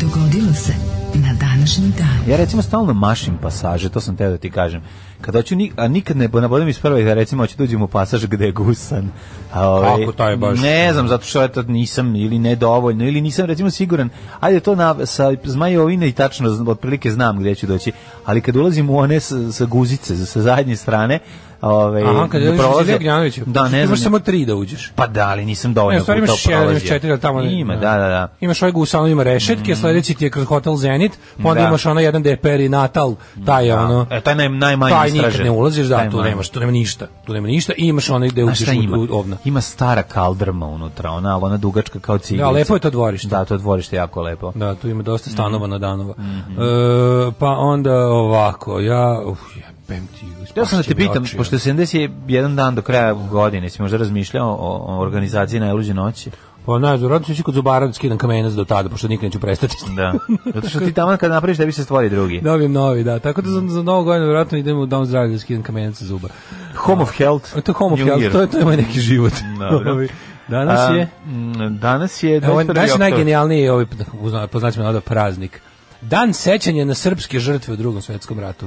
S4: Dogodilo se na današnji dan.
S6: Ja recimo stalno mašim pasaže, to sam teo da ti kažem. Kada hoću ni, a nikad ne nabodem iz prve, da recimo hoću da uđem u pasaž gde je gusan. A, ovaj,
S7: Kako taj baš?
S6: Ne znam, zato što eto nisam ili nedovoljno, ili nisam recimo siguran. Ajde to na, sa zmajovine i tačno z- otprilike znam gdje ću doći. Ali kad ulazim u one sa, sa guzice, sa zadnje strane, ovaj,
S7: Aha, kad je
S6: da prolaze-
S7: Ilija Gnjanovića.
S6: Da, ne znam.
S7: Imaš samo tri da uđeš.
S6: Pa da, ali nisam
S7: Ne,
S6: dovoljno
S7: u stvari
S6: puta
S7: imaš jedan, imaš
S6: prolazio.
S7: četiri, ali tamo ne-
S6: Ima, da, da, da.
S7: Imaš ovaj gusano, ima rešetke, sledeći ti je kroz hotel Zenit, pa onda
S6: Mhm. Da.
S7: imaš onaj jedan gde je perinatal, taj je ono...
S6: E, taj naj, najmanji
S7: Taj nikad
S6: istražen.
S7: ne ulaziš, da,
S6: Taj
S7: tu
S6: manji.
S7: nemaš, tu nema ništa. Tu nema ništa i imaš onaj gde
S6: Znaš
S7: uđeš
S6: šta ima?
S7: u, u ovna.
S6: Ima stara kaldrma unutra, ona, ali ona dugačka kao ciglica.
S7: Da, lepo je to dvorište.
S6: Da, to dvorište je jako lepo.
S7: Da, tu ima dosta stanova na danova. E, pa onda ovako, ja... Uf, jebem ti,
S6: Htio sam da te
S7: ispašće mi
S6: pitam,
S7: oči,
S6: pošto je 71 dan do kraja godine, si možda razmišljao o, o organizaciji najluđe noći?
S7: Pa ne, znam, radno ću ići kod zubara da skidam kamenac do tada, pošto nikad neću prestati.
S6: Da. Zato što ti tamo kada napraviš, tebi se stvori drugi.
S7: Dobijem novi, da. Tako da za, za novu godinu vjerojatno idem u dom zdravlja da skidam kamenac sa zuba.
S6: Home of Health.
S7: To je home of
S6: New
S7: health,
S6: Year.
S7: to je, to je moj neki život.
S6: Dobro.
S7: Ovi, Danas
S6: A,
S7: je,
S6: mm, danas je...
S7: ovo je
S6: 21.
S7: naš
S6: oktobar.
S7: najgenijalniji ovaj, uzna- poznaćemo nada praznik. Dan sećanja na srpske žrtve u drugom svetskom ratu.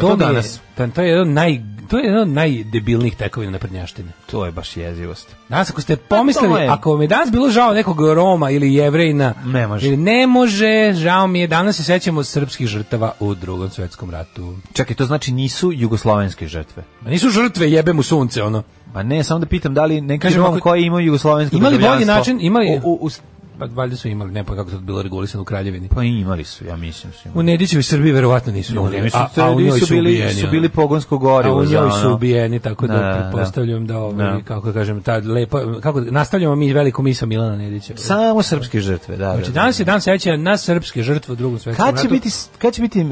S6: to
S7: mi je-
S6: danas?
S7: pa to je jedan od naj, to je jedan od najdebilnijih tekovina naprednjaštine.
S6: To je baš jezivost.
S7: Danas ako ste pomislili,
S6: Pa je.
S7: ako vam je danas bilo žao nekog Roma ili Jevrejna,
S6: Ne može.
S7: ili ne može, žao mi je, danas se sećamo srpskih žrtava u drugom svetskom ratu.
S6: Čekaj, to znači nisu jugoslovenske žrtve.
S7: Ma nisu žrtve, jebe mu sunce, ono.
S6: Pa ne, samo da pitam da li neki
S7: Kažem,
S6: Rom
S7: ako-
S6: koji imaju jugoslovensko
S7: Ima li bolji
S6: državljanstvo
S7: način, ima li-
S6: u, u, u,
S7: Pa valjda su imali, ne pa kako je to bilo regulisano u Kraljevini.
S6: Pa imali su, ja mislim su
S7: U
S6: imali.
S7: Nedićevoj Srbiji verovatno nisu
S6: U
S7: imali,
S6: vreme su,
S7: a, a u njoj su,
S6: bili,
S7: ubijeni.
S6: su
S7: ono.
S6: bili pogonsko
S7: a
S6: gorivo.
S7: u
S6: za
S7: njoj
S6: ono.
S7: su ubijeni, tako da,
S6: Da, da.
S7: pretpostavljam da, ovaj,
S6: Da.
S7: kako kažem, ta lepa, kako, nastavljamo mi veliku misa Milana Nedića.
S6: Samo srpske žrtve, da.
S7: Znači,
S6: da, da.
S7: danas je dan sećanja na srpske žrtve u drugom svetskom
S6: Kad će
S7: ratu.
S6: biti, kad će biti e,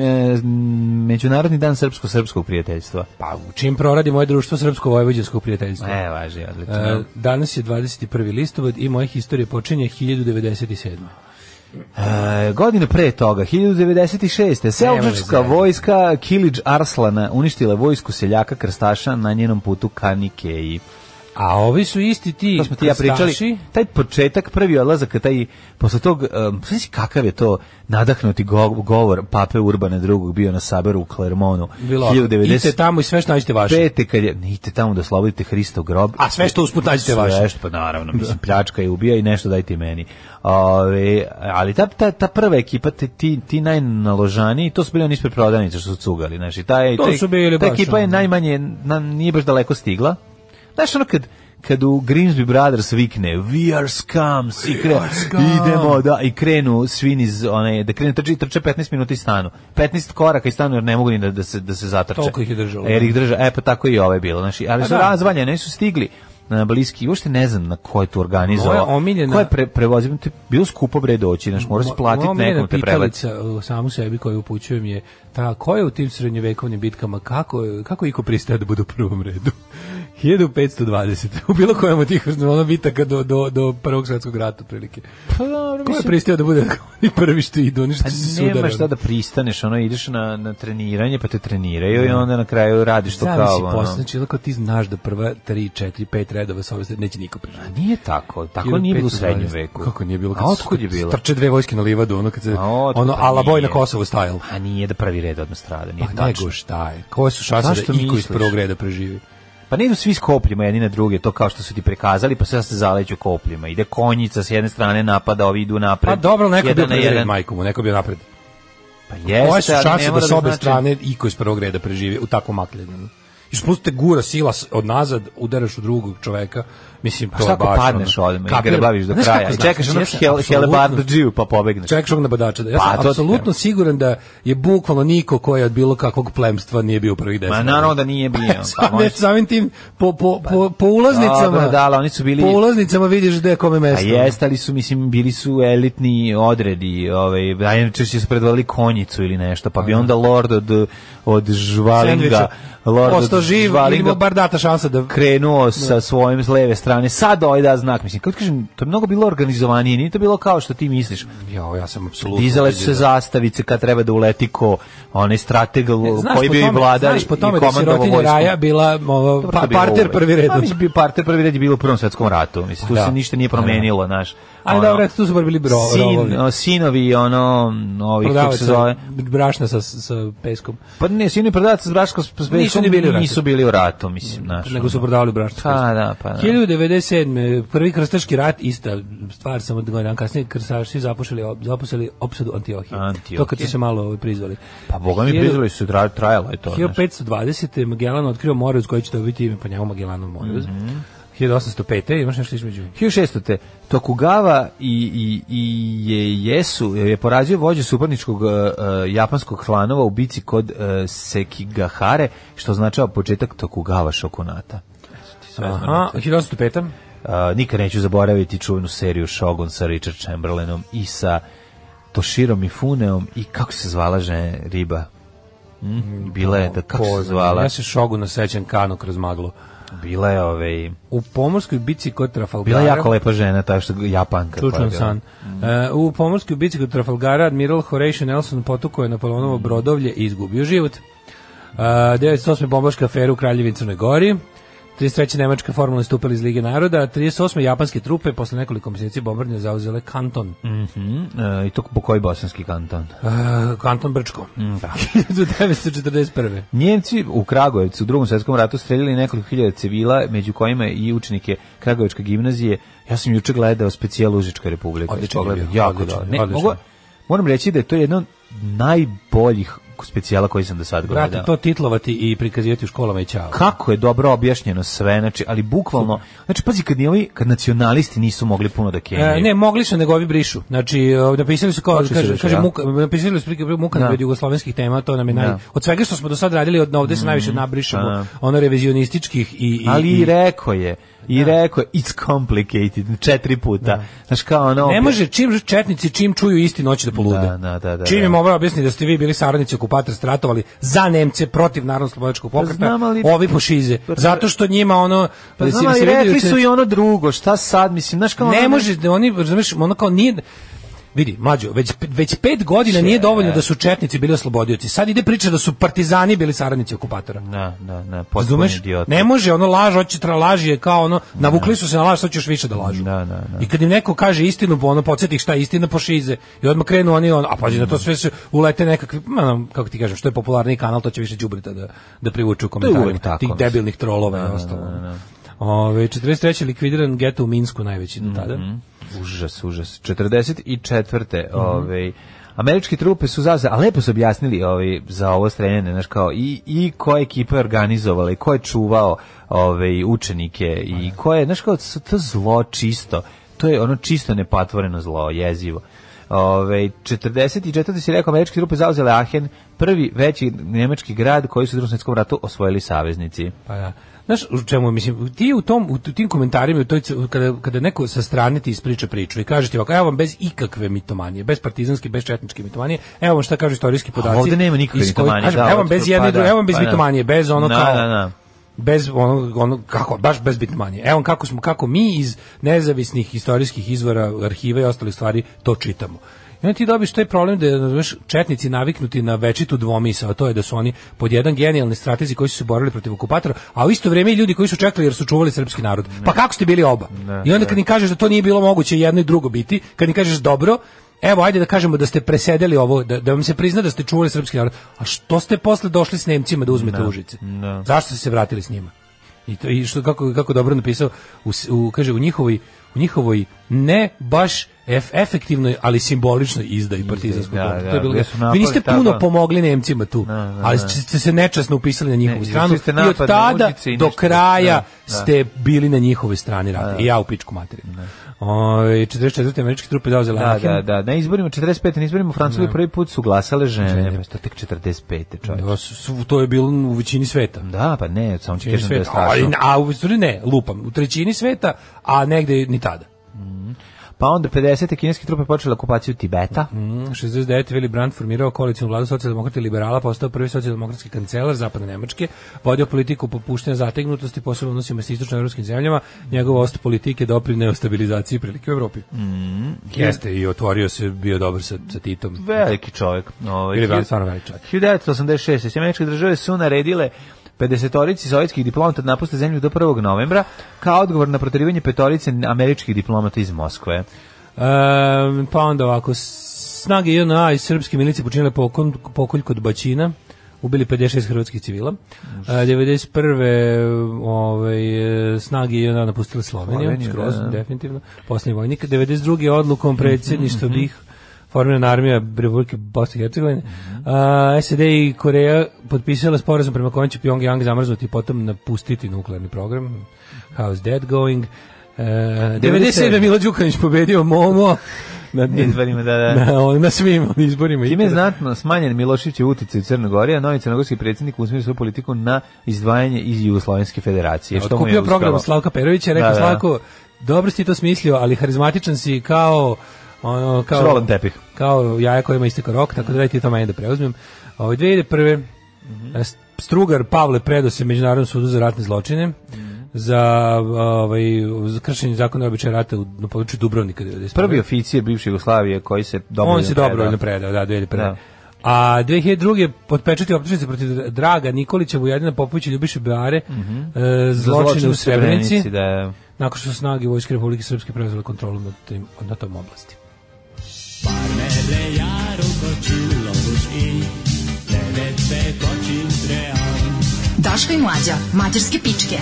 S6: Međunarodni dan srpsko-srpskog prijateljstva?
S7: Pa, u čim proradi moje društvo srpsko-vojvođanskog prijateljstva.
S6: E, važi, odlično.
S7: E, danas je 21. listopad i moja historija počinje 1097.
S6: E, godine pre toga, 1996. Selđačka
S7: zajebati.
S6: vojska Kilić Arslana uništila vojsku seljaka Krstaša na njenom putu ka Nikeji.
S7: A ovi su isti ti,
S6: To smo ti ja
S7: krstaši.
S6: pričali. Taj početak, prvi odlazak, taj, posle tog, um, znaš kakav je to nadahnuti go- govor Pape Urbana II. bio na Saberu u Clermontu.
S7: Bilo, ono, idite tamo i sve što nađete vaše.
S6: Pete kad je, idite tamo da oslobodite Hristov grob.
S7: A sve što usput nađete
S6: Sve
S7: vaše.
S6: što, pa naravno, mislim, pljačka je ubija i nešto dajte i meni. Ove, ali ta, ta, ta prva ekipa, ti, ti, ti najnaložaniji, to su bili oni ispred prodavnice što su cugali. Znači, taj,
S7: To
S6: taj-
S7: su bili
S6: ta
S7: baš
S6: ekipa je
S7: ono.
S6: najmanje, na, nije baš daleko stigla. Znaš, ono kad, kad u Grimsby Brothers vikne We are scums i, kre, idemo da i krenu svin iz one da krenu trči trče 15 minuta iz stanu 15 koraka iz stanu jer ne mogu ni da, da se da se zatrče
S7: Toliko ih je držalo.
S6: jer ih drža e pa tako i ovo je bilo znači ali
S7: Pa
S6: su
S7: da.
S6: razvaljene nisu stigli na bliski uopšte ne znam na ko je tu organizovao
S7: Moja omiljena-
S6: ko je pre, prevozio te bilo skupo bre doći znači moraš
S7: Mo-
S6: platiti
S7: moja omiljena
S6: nekom te prebaci
S7: pitalica, uh, samu sebi koju upućujem je ta koja je u tim srednjevekovnim bitkama kako kako iko pristaje da bude u prvom redu. 1520 u bilo kojem od tih ono bitaka do, do, do prvog svetskog rata otprilike.
S6: pa dobro
S7: Ko je pristao da bude i prvi što idu, oni što
S6: Pa
S7: se
S6: nema
S7: sudaraju.
S6: šta da pristaneš, ono ideš na, na treniranje, pa te treniraju i onda na kraju radiš to
S7: Zamisli
S6: kao
S7: posle,
S6: ono.
S7: znači, ako ti znaš da prva 3, 4, 5 redova sa ove strane neće niko preživjeti.
S6: Nije tako, tako nije bilo u srednjem veku.
S7: Kako nije bilo?
S6: A otkud je bilo?
S7: Trče dve vojske na livadu, ono kad se,
S6: A otkud
S7: ono,
S6: pa
S7: ala boj na
S6: nije.
S7: Kosovo style.
S6: A nije da prvi red odmah strada,
S7: Pa
S6: nije tačno.
S7: nego šta je? Koje su šanse
S6: Zašto
S7: da iko iz
S6: misliš?
S7: prvog reda preživi?
S6: Pa ne idu svi s kopljima jedni na druge, to kao što su ti prikazali, pa sve se zaleću kopljima. Ide konjica s jedne strane napada, ovi idu
S7: Pa
S6: napred.
S7: dobro, neko je bio
S6: jedan na
S7: prvi red,
S6: jedan.
S7: majku mu, neko je bio napred.
S6: Pa
S7: Koje su
S6: jeste, ali ne
S7: šanse da
S6: mora
S7: s
S6: da
S7: obe
S6: znači...
S7: strane iko iz prvog reda preživi u takvom makljenju? I što te gura sila s- od nazad, udaraš u drugog čoveka, mislim, to
S6: Pa šta
S7: je
S6: ako
S7: baš...
S6: padneš
S7: ono,
S6: odmah i
S7: kapiram.
S6: grbaviš do
S7: Znaš
S6: kraja?
S7: kako
S6: I
S7: znaš?
S6: čekaš onog
S7: Jesam,
S6: hel-
S7: apsolutno.
S6: helebardađiju pa pobegneš.
S7: Čekaš onog napadača. da- Ja
S6: Pa,
S7: sam
S6: to ti
S7: apsolutno
S6: kažem.
S7: siguran da je bukvalno niko ko je od bilo kakvog plemstva nije bio u prvih deset.
S6: Ma naravno da nije bio. Pa
S7: Sam, znači- ne,
S6: možda-
S7: samim tim, po, po, po, po ulaznicama,
S6: Dobro, da, ali oni su bili-
S7: po ulaznicama vidiš gde je kome
S6: A
S7: mesto.
S6: Pa jeste, ali su, mislim, bili su elitni odredi, ovaj, a inače su predvodili konjicu ili nešto, pa bi onda lord od, od žvalinga,
S7: Sendviča.
S6: lord
S7: Ostao
S6: od
S7: živ,
S6: žvalinga
S7: vidimo bar data šansa da...
S6: krenuo sa svojim s leve strane, sad ovaj da znak, mislim, kako ti kažem, to je mnogo bilo organizovanije, nije to bilo kao što ti misliš.
S7: Jo, ja sam apsolutno...
S6: Dizale su se
S7: vidio da-
S6: zastavice kad treba da uleti ko onaj strateg
S7: E, znaš
S6: koji
S7: po
S6: bi i
S7: tome-
S6: vladar
S7: znaš po tome
S6: i
S7: da
S6: komandovao
S7: sirotinja
S6: vojskom.
S7: Raja bila ovo,
S6: Dobro,
S7: pa-
S6: to je bilo
S7: parter
S6: uvek.
S7: prvi red.
S6: Pa, mislim, bio parter prvi red je bilo u Prvom svetskom ratu. Mislim, tu
S7: Da.
S6: se ništa nije promenilo, znaš.
S7: Ajde,
S6: Ono,
S7: dobro, tu su bar bili bro, rovovi.
S6: sin, o, sinovi, ono, ovih, kako se
S7: Prodavac
S6: zove.
S7: brašna sa, sa peskom.
S6: Pa ne, sinovi prodavac s Braškom s Peskom
S7: Nisu ni bili u ratu.
S6: nisu bili u ratu, mislim, znaš.
S7: nego su
S6: ono.
S7: prodavali brašno.
S6: Pa da, pa da.
S7: 1097. Prvi krstaški rat, ista stvar, samo dva dana kasnije, krstaši započeli, započeli opsadu Antiohije.
S6: Antiohije.
S7: To kad su se malo ovaj, prizvali.
S6: Pa boga mi
S7: Hiljadu-
S6: prizvali su, tra- trajalo je to, znaš.
S7: 1520. Magellan otkrio more uz koji će dobiti ime po njemu Magellanov more.
S6: Mhm.
S7: Mm 1805. Imaš nešto između?
S6: 1600. te Tokugawa i, i, i je, Jesu je porazio vođu suparničkog e, e, japanskog klanova u bici kod e, Sekigahare, što označava početak Tokugawa šokunata.
S7: Aha, 1805.
S6: Uh, nikad neću zaboraviti čuvenu seriju Shogun sa Richard Chamberlainom i sa Toshirom i Funeom i kako se zvala žene riba? Mm? Bila je, da, kako se
S7: Poznam.
S6: zvala?
S7: Ja se šoguna sećam kano kroz maglu.
S6: Bila je, ovaj,
S7: U pomorskoj bici kod Trafalgara.
S6: bila je jako lepa žena, ta što Japanka. koja je
S7: Čučan
S6: bila.
S7: san. E, u pomorskoj bici kod Trafalgara admiral Horatio Nelson potukao je Napoleonovo brodovlje i izgubio život. E, 908. bombaška afera u Kraljevini Crnoj Gori. 33. nemačka formula istupila iz Lige naroda, a 38. japanske trupe posle nekoliko mjeseci bombardnja zauzele Kanton.
S6: Mhm, e, I to po koji bosanski kanton?
S7: E, kanton Brčko. Da. 1941.
S6: Njemci u Kragujevcu u drugom svjetskom ratu streljali nekoliko hiljada civila, među kojima i učenike Kragujevačke gimnazije. Ja sam juče gledao specijal Užička republika.
S7: Odličan je
S6: Pogledaj,
S7: bio,
S6: jako
S7: odličan,
S6: dobro. Ne,
S7: odličan.
S6: mogu- moram reći da je to jedno od najboljih specijala koji sam do sad gledao.
S7: Brate, to titlovati i prikazivati u školama i čao.
S6: kako je dobro objašnjeno sve, znači, ali bukvalno, znači, pazi, kad, ni ovi, kad nacionalisti nisu mogli puno da kenjaju.
S7: E, ne, mogli su, nego ovi brišu. Znači, e, napisali su kao,
S6: Počeli su
S7: kaže,
S6: više,
S7: kaže
S6: da.
S7: muka, napisali su prike muka
S6: Da.
S7: od jugoslovenskih tema, to nam je naj...
S6: Da. Mhm.
S7: Od svega što smo do sad radili, od ovde se najviše nabrišemo,
S6: da.
S7: ono revizionističkih i... i
S6: ali
S7: i-
S6: i rekao je, i rekao je, it's complicated, četiri puta. Znaš, kao ono...
S7: Ne može čim četnici čim čuju istinu noći da polude.
S6: Da, da, da, da,
S7: čim im
S6: da.
S7: ovo objasni da ste vi bili saradnici okupatora stratovali za Nemce protiv narodno slobodačkog pokreta,
S6: Pa znam, ali-
S7: ovi pošize. Zato što njima ono
S6: Pa
S7: mislim,
S6: znam, ali
S7: se vidi da
S6: rekli
S7: se-
S6: su i ono drugo, šta sad, mislim, znaš, kao
S7: ne
S6: ono-
S7: može, da oni, razumeš, ono kao nije... Vidi, mlađo, već, već pet godina nije dovoljno da su četnici bili oslobodioci. Sad ide priča da su partizani bili saradnici okupatora.
S6: Da, da, da, potpuno
S7: Razumeš?
S6: idiot.
S7: Ne može, ono laž, hoće tra laži je kao ono, navukli su se na laž, sad ćeš više da lažu.
S6: Da, da, da.
S7: I kad im neko kaže istinu, pa ono podsjeti ih šta je istina pošize. I odmah krenu oni on, a pazi na to sve se ulete nekakvi, ma, ono, kako ti kažem, što je popularni kanal, to će više đubrita da da privuču u komentarima
S6: uvek tako,
S7: tih
S6: mislim.
S7: debilnih trolova i ostalo. Ove, 43. likvidiran geto u Minsku najveći
S6: Mhm,
S7: do tada.
S6: Užas, užas. 44.
S7: Mhm.
S6: ovaj Američke trupe su zauzele, a lepo su objasnili ovaj, za ovo streljanje, znaš kao, i, i koja ekipa je organizovala, i ko je čuvao ovaj, učenike, i
S7: Pa
S6: ko je, znaš kao, s- to zlo čisto, to je ono čisto nepatvoreno zlo, jezivo. Ove, 44. si rekao, američke trupe zauzele Ahen, prvi veći nemački grad koji su u drugom svjetskom ratu osvojili saveznici.
S7: Pa da. Znaš, u čemu, mislim, ti u, tom, u tim komentarima, u toj, c- kada, kada neko sa strane ti ispriča priču i kaže ti ovako, evo vam bez ikakve mitomanije, bez partizanske, bez četničke mitomanije, evo vam šta kažu istorijski podaci.
S6: ovde nema nikakve
S7: iz kojih-
S6: mitomanije,
S7: kažem,
S6: da,
S7: evo vam bez
S6: otprilike,
S7: jedne,
S6: pa
S7: i druge,
S6: da,
S7: evo vam bez
S6: pa da.
S7: mitomanije, bez ono
S6: Da,
S7: kao...
S6: da, da.
S7: Bez ono, ono, kako, baš bez bitmanije. Evo vam kako smo, kako mi iz nezavisnih istorijskih izvora, arhiva i ostalih stvari to čitamo. I onda ti dobiš taj problem da je razumeš, četnici naviknuti na večitu dvomisa, a to je da su oni pod jedan genijalni stratezi koji su se borili protiv okupatora, a u isto vrijeme i ljudi koji su čekali jer su čuvali srpski narod. Pa kako ste bili oba? I onda kad im kažeš da to nije bilo moguće jedno i drugo biti, kad im kažeš dobro, Evo, ajde da kažemo da ste presedeli ovo, da, da vam se prizna da ste čuvali srpski narod. A što ste posle došli s Nemcima da uzmete Užice? Zašto ste se vratili s njima? I to i što kako kako dobro napisao u, s- u kaže u njihovoj u njihovoj ne baš ef, efektivnoj ali simboličnoj izdaji partizanskog
S6: da,
S7: fronta.
S6: da,
S7: to je bilo
S6: gde su
S7: vi
S6: napali
S7: niste
S6: tako-
S7: puno pomogli Nemcima tu
S6: da,
S7: ali
S6: da.
S7: ste se nečasno upisali na njihovu
S6: Ne,
S7: stranu
S6: izvršili ste
S7: i od
S6: napad na
S7: tada
S6: Užice i
S7: do
S6: ništa.
S7: kraja
S6: Da, da.
S7: ste bili na njihovoj strani rata i ja u pičku materiju Ovaj 44. američke trupe zauzele
S6: Da,
S7: Anaheim.
S6: da, da. Na izborima 45. na izborima u Francuskoj prvi put su glasale žene. To tek 45. čovječe.
S7: To su- to je bilo u većini sveta
S6: Da, pa ne, samo ću
S7: Većini
S6: kažem da je
S7: sveta. A,
S6: strašno.
S7: a u stvari ne, lupam, u trećini sveta, a negde ni tada.
S6: Pa onda 50. kineske trupe počele okupaciju Tibeta.
S7: Mm, 69. Willy Brandt formirao koalicijnu vladu socijaldemokrata i liberala, postao prvi socijaldemokratski kancelar zapadne Nemačke, vodio politiku popuštene zategnutosti, posebno u odnosima sa istočno-evropskim zemljama, njegov ost politike doprineo stabilizaciji prilike u Evropi.
S6: Mm,
S7: Jeste i otvorio se, bio dobar sa, sa Titom.
S6: Veliki čovjek. Ovaj,
S7: Willy Brandt
S6: hiljadu-
S7: stvarno veliki čovjek.
S6: 1986. Sjedinjene Američke države su naredile 50-orici sovjetskih diplomata da napuste zemlju do 1. novembra kao odgovor na proterivanje petorice američkih diplomata iz Moskve.
S7: Ehm, pa onda ovako, snage JNA i srpske milicije počinile pokolj, pokolj kod Bačina, ubili 56 hrvatskih civila. E, 91. Ovaj, e, snage JNA napustile Sloveniju,
S6: Sloveniju,
S7: skroz,
S6: da.
S7: definitivno, posljednji vojnik. 92. odlukom predsjedništva
S6: Mhm,
S7: BiH formirana armija Republike Bosne i Hercegovine.
S6: Mhm.
S7: A, SED i Koreja potpisala sporazum prema kojem će Pyongyang zamrznuti i potom napustiti nuklearni
S6: Mhm.
S7: program. How's that going? E, 97. Milo Đukanić pobedio Momo na,
S6: Na izborima, da, da.
S7: na, na svim izborima.
S6: Time je znatno smanjen Miloševićev uticaj u Crnoj Gori, a novi crnogorski predsjednik usmjerio svoju politiku na izdvajanje iz Jugoslovenske federacije. Što mu je
S7: Otkupio program
S6: uspelo.
S7: Slavka Perovića, rekao
S6: Da, da.
S7: Slavko, dobro si ti to smislio, ali harizmatičan si kao ono kao
S6: Šrolan tepih.
S7: Kao jaja kojima isteka rok, tako da daj ti to meni da preuzmem. Ovaj 2001.
S6: Mhm.
S7: S- Strugar Pavle predao se Međunarodnom sudu za ratne zločine
S6: Mhm.
S7: za, ovaj, za kršenje zakona i običaja rata u, na području Dubrovnika. 91.
S6: Prvi oficir bivše Jugoslavije koji se dobro
S7: On se dobrovoljno predao, da, 2001.
S6: Da.
S7: A 2002. potpečati optužnice protiv Draga Nikolića, Vujadina Popovića, Ljubiše Beare, e, zločine u Srebrenici,
S6: Da.
S7: nakon što su snage Vojske Republike Srpske preuzele kontrolu nad tim, na tom oblasti.
S4: Daško i mlađa, mađarske pičke.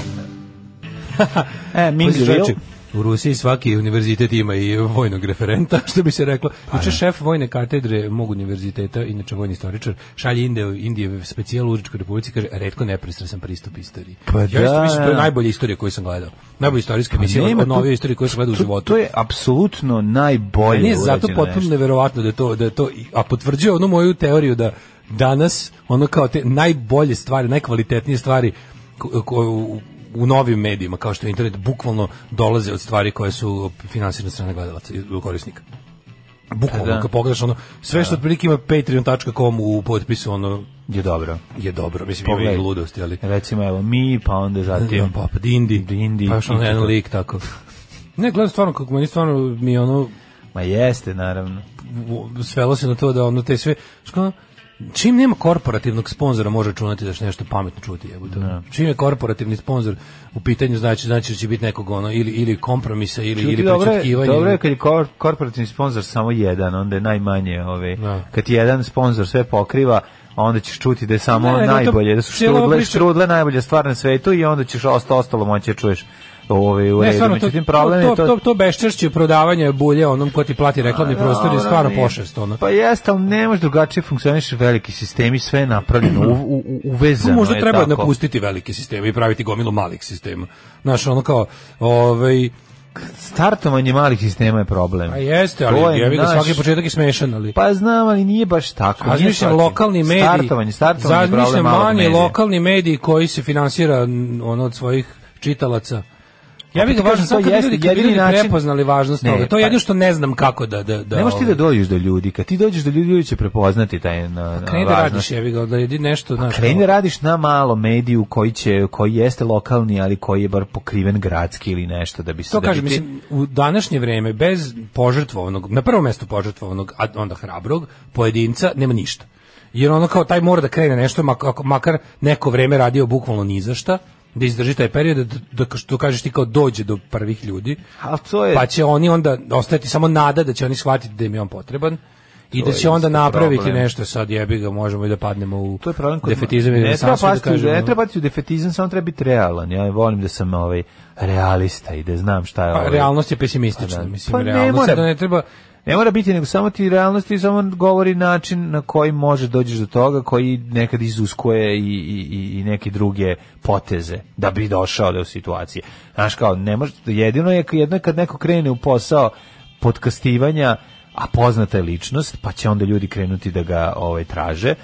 S6: E, Mindy
S7: Pazi, čoveče,
S6: Will,
S7: U Rusiji svaki univerzitet ima i vojnog referenta, što bi se reklo.
S6: Pa
S7: Juče šef vojne katedre mog univerziteta, inače vojni istoričar, šalje Indije, Indije specijal u Uričkoj republici, kaže, redko nepristrasan pristup istoriji.
S6: Pa
S7: ja mislim
S6: da. Pa
S7: mislim, to je najbolja istorija koju sam gledao. Najbolja istorijska emisija,
S6: nema
S7: od
S6: tu-
S7: novije istorije koju sam gledao u
S6: To-
S7: životu.
S6: To je apsolutno najbolje.
S7: Meni je zato
S6: urađeno
S7: potpuno
S6: nešto.
S7: neverovatno da je to da je to a potvrđuje onu moju teoriju da danas ono kao te najbolje stvari, najkvalitetnije stvari ko- ko- u, u novim medijima kao što je internet bukvalno dolaze od stvari koje su finansirane od strane gledalaca i korisnika. Bukvalno,
S6: Pa Da.
S7: kad pogledaš ono, sve što otprilike ima patreon.com u potpisu, ono,
S6: je dobro.
S7: je dobro, mislim, ima
S6: Pogledaj.
S7: i ludosti, ali...
S6: Recimo, evo, mi, pa onda
S7: Tim
S6: zatim...
S7: Papa Dindi.
S6: Dindi.
S7: Pa još ono jedan lik tako. Ne, gledam stvarno, kako meni stvarno mi je ono,
S6: Ma jeste, naravno.
S7: u- svelo se na to da ono te sve znaš kao, čim nema korporativnog sponzora može računati da će nešto pametno čuti jebote. Čim je korporativni sponzor u pitanju znači znači da će biti nekog ono ili ili kompromisa ili ili
S6: Čuti, dobro, je,
S7: prećutkivanja.
S6: dobro je
S7: ili-
S6: kad je kor, korporativni sponsor samo jedan, onda je najmanje ove.
S7: Da.
S6: Kad ti jedan sponsor sve pokriva, onda ćeš čuti da je samo
S7: Ne, ne, to-
S6: najbolje, da su
S7: cijela ova
S6: štrudle,
S7: priča-
S6: štrudle najbolja stvar na svetu i onda ćeš osta ostalo moći da čuješ ove, u
S7: Ne,
S6: redu.
S7: stvarno, to,
S6: Međutim,
S7: to,
S6: problem je
S7: to, to, to beščešće prodavanja bulje onom ko ti plati reklamni prostor je
S6: Dobro,
S7: stvarno
S6: nije.
S7: pošest. Ono.
S6: Pa jeste, ali ne može drugačije funkcioniš veliki sistemi, sve je napravljeno, u, u, u- uvezano
S7: Pa, možda
S6: je
S7: treba
S6: tako.
S7: napustiti velike sisteme i praviti gomilu malih sistema. Znaš, ono kao, ovaj,
S6: Startovanje malih sistema je problem.
S7: a jeste,
S6: To
S7: ali
S6: je
S7: ja bih
S6: naš-
S7: svaki početak je smešan, ali...
S6: Pa znam, ali nije baš tako. nije
S7: Razmišljam
S6: svaki.
S7: lokalni mediji.
S6: Startovanje, startovanje je problem
S7: Razmišljam
S6: malog
S7: manji
S6: medija.
S7: lokalni mediji koji se finansira n, ono od svojih čitalaca. Ja bih
S6: Opet
S7: ga
S6: pa kažem,
S7: važno
S6: to
S7: samo kad bi
S6: jeste
S7: ljudi, kad bi
S6: jedini
S7: ljudi
S6: način-
S7: prepoznali važnost
S6: Ne,
S7: toga. To je
S6: pa-
S7: jedno što ne znam kako da... da, da
S6: Ne možeš ti da
S7: ovaj,
S6: dođeš do ljudi. Kad ti dođeš do ljudi, ljudi će prepoznati taj na, na
S7: Kreni da
S6: važnost. Pa
S7: radiš, jevi ga, da jedi nešto... znaš,
S6: Kreni da
S7: ono.
S6: radiš na malom mediju koji će koji jeste lokalni, ali koji je bar pokriven gradski ili nešto da bi se
S7: To
S6: da bi
S7: kažem,
S6: ti-
S7: mislim, u današnje vreme, bez požrtvovanog, na prvo mesto požrtvovanog, a onda hrabrog, pojedinca, nema ništa. Jer ono kao taj mora da krene nešto, mak- ako- makar neko vreme radio bukvalno ni za šta, da izdrži taj period, da, da, da što kažeš ti kao dođe do prvih ljudi,
S6: Ali to je
S7: pa će oni onda ostati samo nada da će oni shvatiti da im je on potreban i da će onda
S6: isto
S7: napraviti
S6: problem.
S7: nešto sad jebi ga možemo i da padnemo u
S6: to je problem kod
S7: defetizam i
S6: ne treba
S7: renesansu i da
S6: pasti,
S7: kažemo,
S6: ne treba pasti u defetizam, samo treba biti realan. Ja volim da sam ovaj realista i da znam šta je
S7: pa,
S6: ovaj.
S7: realnost je pesimistična
S6: Pa da.
S7: mislim
S6: Pa ne
S7: realnost je
S6: mora.
S7: da ne treba
S6: Ne mora biti, nego samo ti realnost i samo govori način na koji može dođeš do toga, koji nekad izuskuje i, i, i- i neke druge poteze da bi došao do situacije. Znaš kao, ne može, jedino je, jedno je kad neko krene u posao podkastivanja, a poznata je ličnost, pa će onda ljudi krenuti da ga ovaj, traže,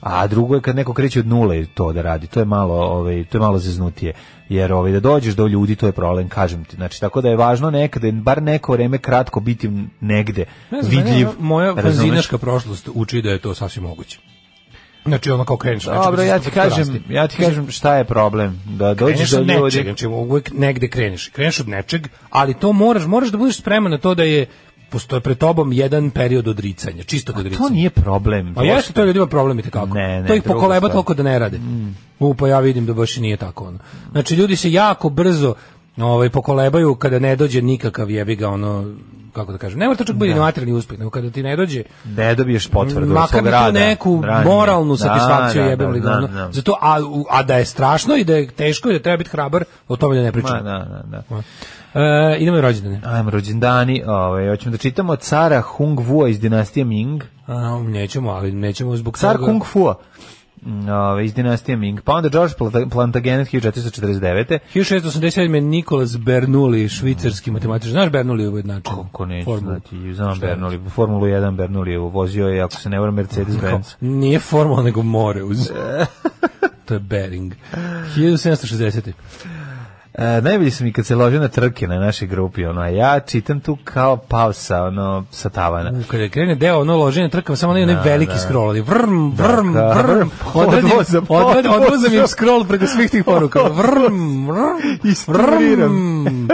S6: a drugo je kad neko kreće od nule to da radi, to je malo, ovaj, to je malo zeznutije. Jer ovaj, da dođeš do ljudi, to je problem, kažem ti. Znači, tako da je važno nekada, bar neko vreme kratko biti negde
S7: Ne znam, meni
S6: vidljiv.
S7: ono, moja
S6: razumeš?
S7: fanzinaška prošlost uči da je to sasvim moguće. Znači ono kao kreneš. nečega,
S6: Dobro,
S7: znači,
S6: ja ti
S7: kako
S6: kažem,
S7: rasti.
S6: ja ti kažem šta je problem, da
S7: Kreneš
S6: dođeš do
S7: od nečeg,
S6: ljudi.
S7: znači uvek negde kreneš. Kreneš od nečeg, ali to moraš, moraš da budeš spreman na to da je postoje pred tobom jedan period odricanja, čistog odricanja.
S6: To nije problem.
S7: Pa jeste to je ljudima problem i kako.
S6: Ne, ne,
S7: to ih
S6: druga
S7: pokoleba
S6: stvar. Mm.
S7: toliko da ne rade. U pa ja vidim da baš i nije tako ono. Znači ljudi se jako brzo ovaj pokolebaju kada ne dođe nikakav jebi ga ono kako da kažem. Ne mora to čak biti materijalni uspeh, nego kada ti ne dođe
S6: Ne dobiješ potvrdu od
S7: makar
S6: svog
S7: bi
S6: rada.
S7: tu neku
S6: ranije.
S7: moralnu
S6: Da,
S7: satisfakciju
S6: da,
S7: jebem li ga
S6: da,
S7: ono.
S6: da.
S7: Zato a, u- a da je strašno i da je teško i da treba biti hrabar, o tome da ne
S6: Ma,
S7: pričam.
S6: da, da, da.
S7: E, idemo na rođendane.
S6: Ajmo, rođendani, ovaj, hoćemo da čitamo cara Hung Vua iz dinastije Ming.
S7: A, nećemo, ali nećemo zbog
S6: Car
S7: toga.
S6: Kung Fu ove, iz dinastije Ming. Pa onda George Plata- Plantagenet 1449.
S7: 1687 je Nikolas Bernoulli, švicarski matematičar. Znaš Bernoulli ujednačen?
S6: Kako neću
S7: formulu?
S6: znati, znam Bernoulli, Formulu 1 Bernoulli je vozio je, ako se ne vora, Mercedes-Benz.
S7: Nije formula, nego more uz. to je Bering. 1760.
S6: E, najbolji sam i kad se ložio na trke na našoj grupi, ono, a ja čitam tu kao pao sa, ono, sa tavana.
S7: U, Kada je krene deo ono loženje trkam, samo onaj onaj veliki
S6: da.
S7: scroll, ali vrm, vrm,
S6: Da, da,
S7: vrm,
S6: vrm.
S7: odvadim,
S6: Odvozam,
S7: odvadim,
S6: odvozam.
S7: odvozam im scroll preko svih tih poruka, vrm, vrm,
S6: Isturiram.
S7: vrm.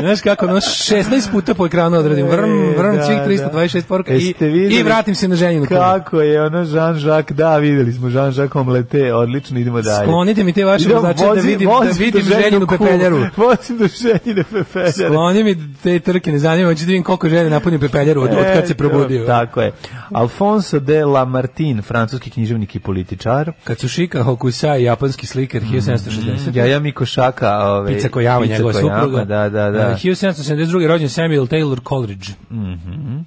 S7: Znaš kako, ono 16 puta po ekranu odradim, vrm,
S6: E,
S7: vrm,
S6: da,
S7: svih
S6: da.
S7: 326 poruka i,
S6: Jeste videli
S7: i vratim se na ženjinu.
S6: Kako je ono Jean-Jacques, da, videli smo Jean-Jacques Omelete, odlično, idemo dalje.
S7: Sklonite mi te vaše
S6: Idemo,
S7: vozače znači da
S6: vozi-
S7: vidim, da
S6: vozi
S7: vidim
S6: tu ženu
S7: ženjinu
S6: kulu,
S7: pepeljaru.
S6: Vosim do šeljine pepeljaru.
S7: Skloni mi te trke, ne zanima, hoću da vidim koliko žene napuni pepeljaru od, od
S6: E,
S7: kad se probudio.
S6: Tako je. Alfonso de Lamartine, francuski književnik i političar.
S7: Katsushika Hokusai, japanski
S6: Mhm.
S7: slikar, 1760.
S6: Jaja Mikošaka, ovaj
S7: Pica Kojama,
S6: Pica
S7: njegova
S6: Kojama,
S7: supruga.
S6: Da, da, da.
S7: Uh, 1772. rođen Samuel Taylor Coleridge. Mm
S6: Mhm.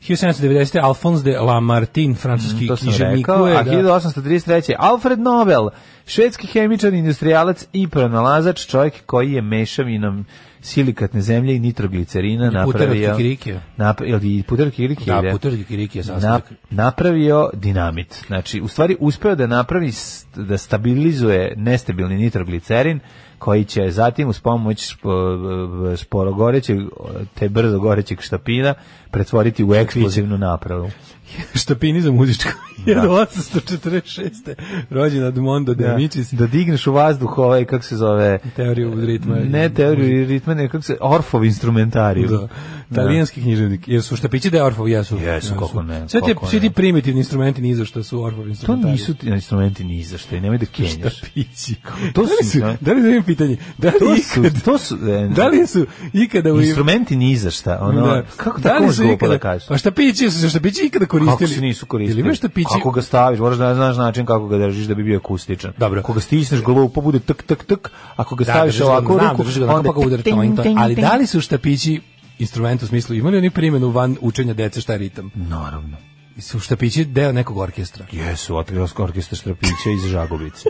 S7: 1790. Alphonse de Lamartine, francuski
S6: Mhm, To sam
S7: književnik.
S6: rekao,
S7: je,
S6: a
S7: da.
S6: 1833. Alfred Nobel, švedski hemičar, industrialac i pronalazač, čovjek koji je mešavinom silikatne zemlje i nitroglicerina
S7: puterak
S6: napravio...
S7: kikirikija.
S6: Napravio, i puterak kikirikija,
S7: Da,
S6: ide?
S7: puterak kikirikija,
S6: Na,
S7: sastavak.
S6: napravio dinamit. Znači, u stvari uspeo da napravi, st- da stabilizuje nestabilni nitroglicerin, koji će zatim uz pomoć spo- sporo gorećeg, uh, te brzo gorećeg štapina pretvoriti u eksplozivnu napravu.
S7: Štapini za muzičko. 1846. rođen Admondo de Amicis.
S6: da digneš u vazduh ovaj, kako se zove...
S7: Teoriju ritma.
S6: Ne teoriju ritma, nego kako se... Orfov instrumentariju.
S7: Da. Italijanski književnik. Jer su štapići da je orfov, jesu.
S6: Jesu, kako ne,
S7: Sve ti,
S6: kako
S7: svi ti
S6: ne.
S7: primitivni instrumenti ni za što su orfov
S6: To
S7: instrumenti.
S6: nisu ti instrumenti ni za što, i nemoj da kenjaš.
S7: štapići. da
S6: To
S7: li
S6: su-
S7: su, da li da imam pitanje, da li,
S6: To su,
S7: ikad,
S6: to su, e,
S7: da li su ikada u
S6: instrumenti ni za šta, ono,
S7: Da.
S6: kako
S7: Da
S6: tako
S7: li
S6: možeš
S7: su
S6: glupo
S7: ikada-
S6: da kažeš?
S7: Pa štapići su se štapići ikada koristili?
S6: Kako se nisu koristili?
S7: Ili imaš štapići?
S6: Kako ga staviš, moraš da znaš način kako ga držiš da bi bio akustičan.
S7: Dobro.
S6: Ako ga stisneš glupo, bude tuk, tuk, tuk, ako ga
S7: Da,
S6: staviš
S7: držiš ga,
S6: ovako u
S7: znam,
S6: ruku,
S7: držiš ga onako,
S6: onda
S7: pa ga udari
S6: ting,
S7: toin, toin.
S6: ting,
S7: Ali
S6: ting.
S7: da li su štapići instrument u smislu imali oni primjenu van učenja dece šta je ritam?
S6: Naravno.
S7: Su štapići deo nekog orkestra?
S6: Jesu, Atrios orkestar Štrapića iz Žagovice.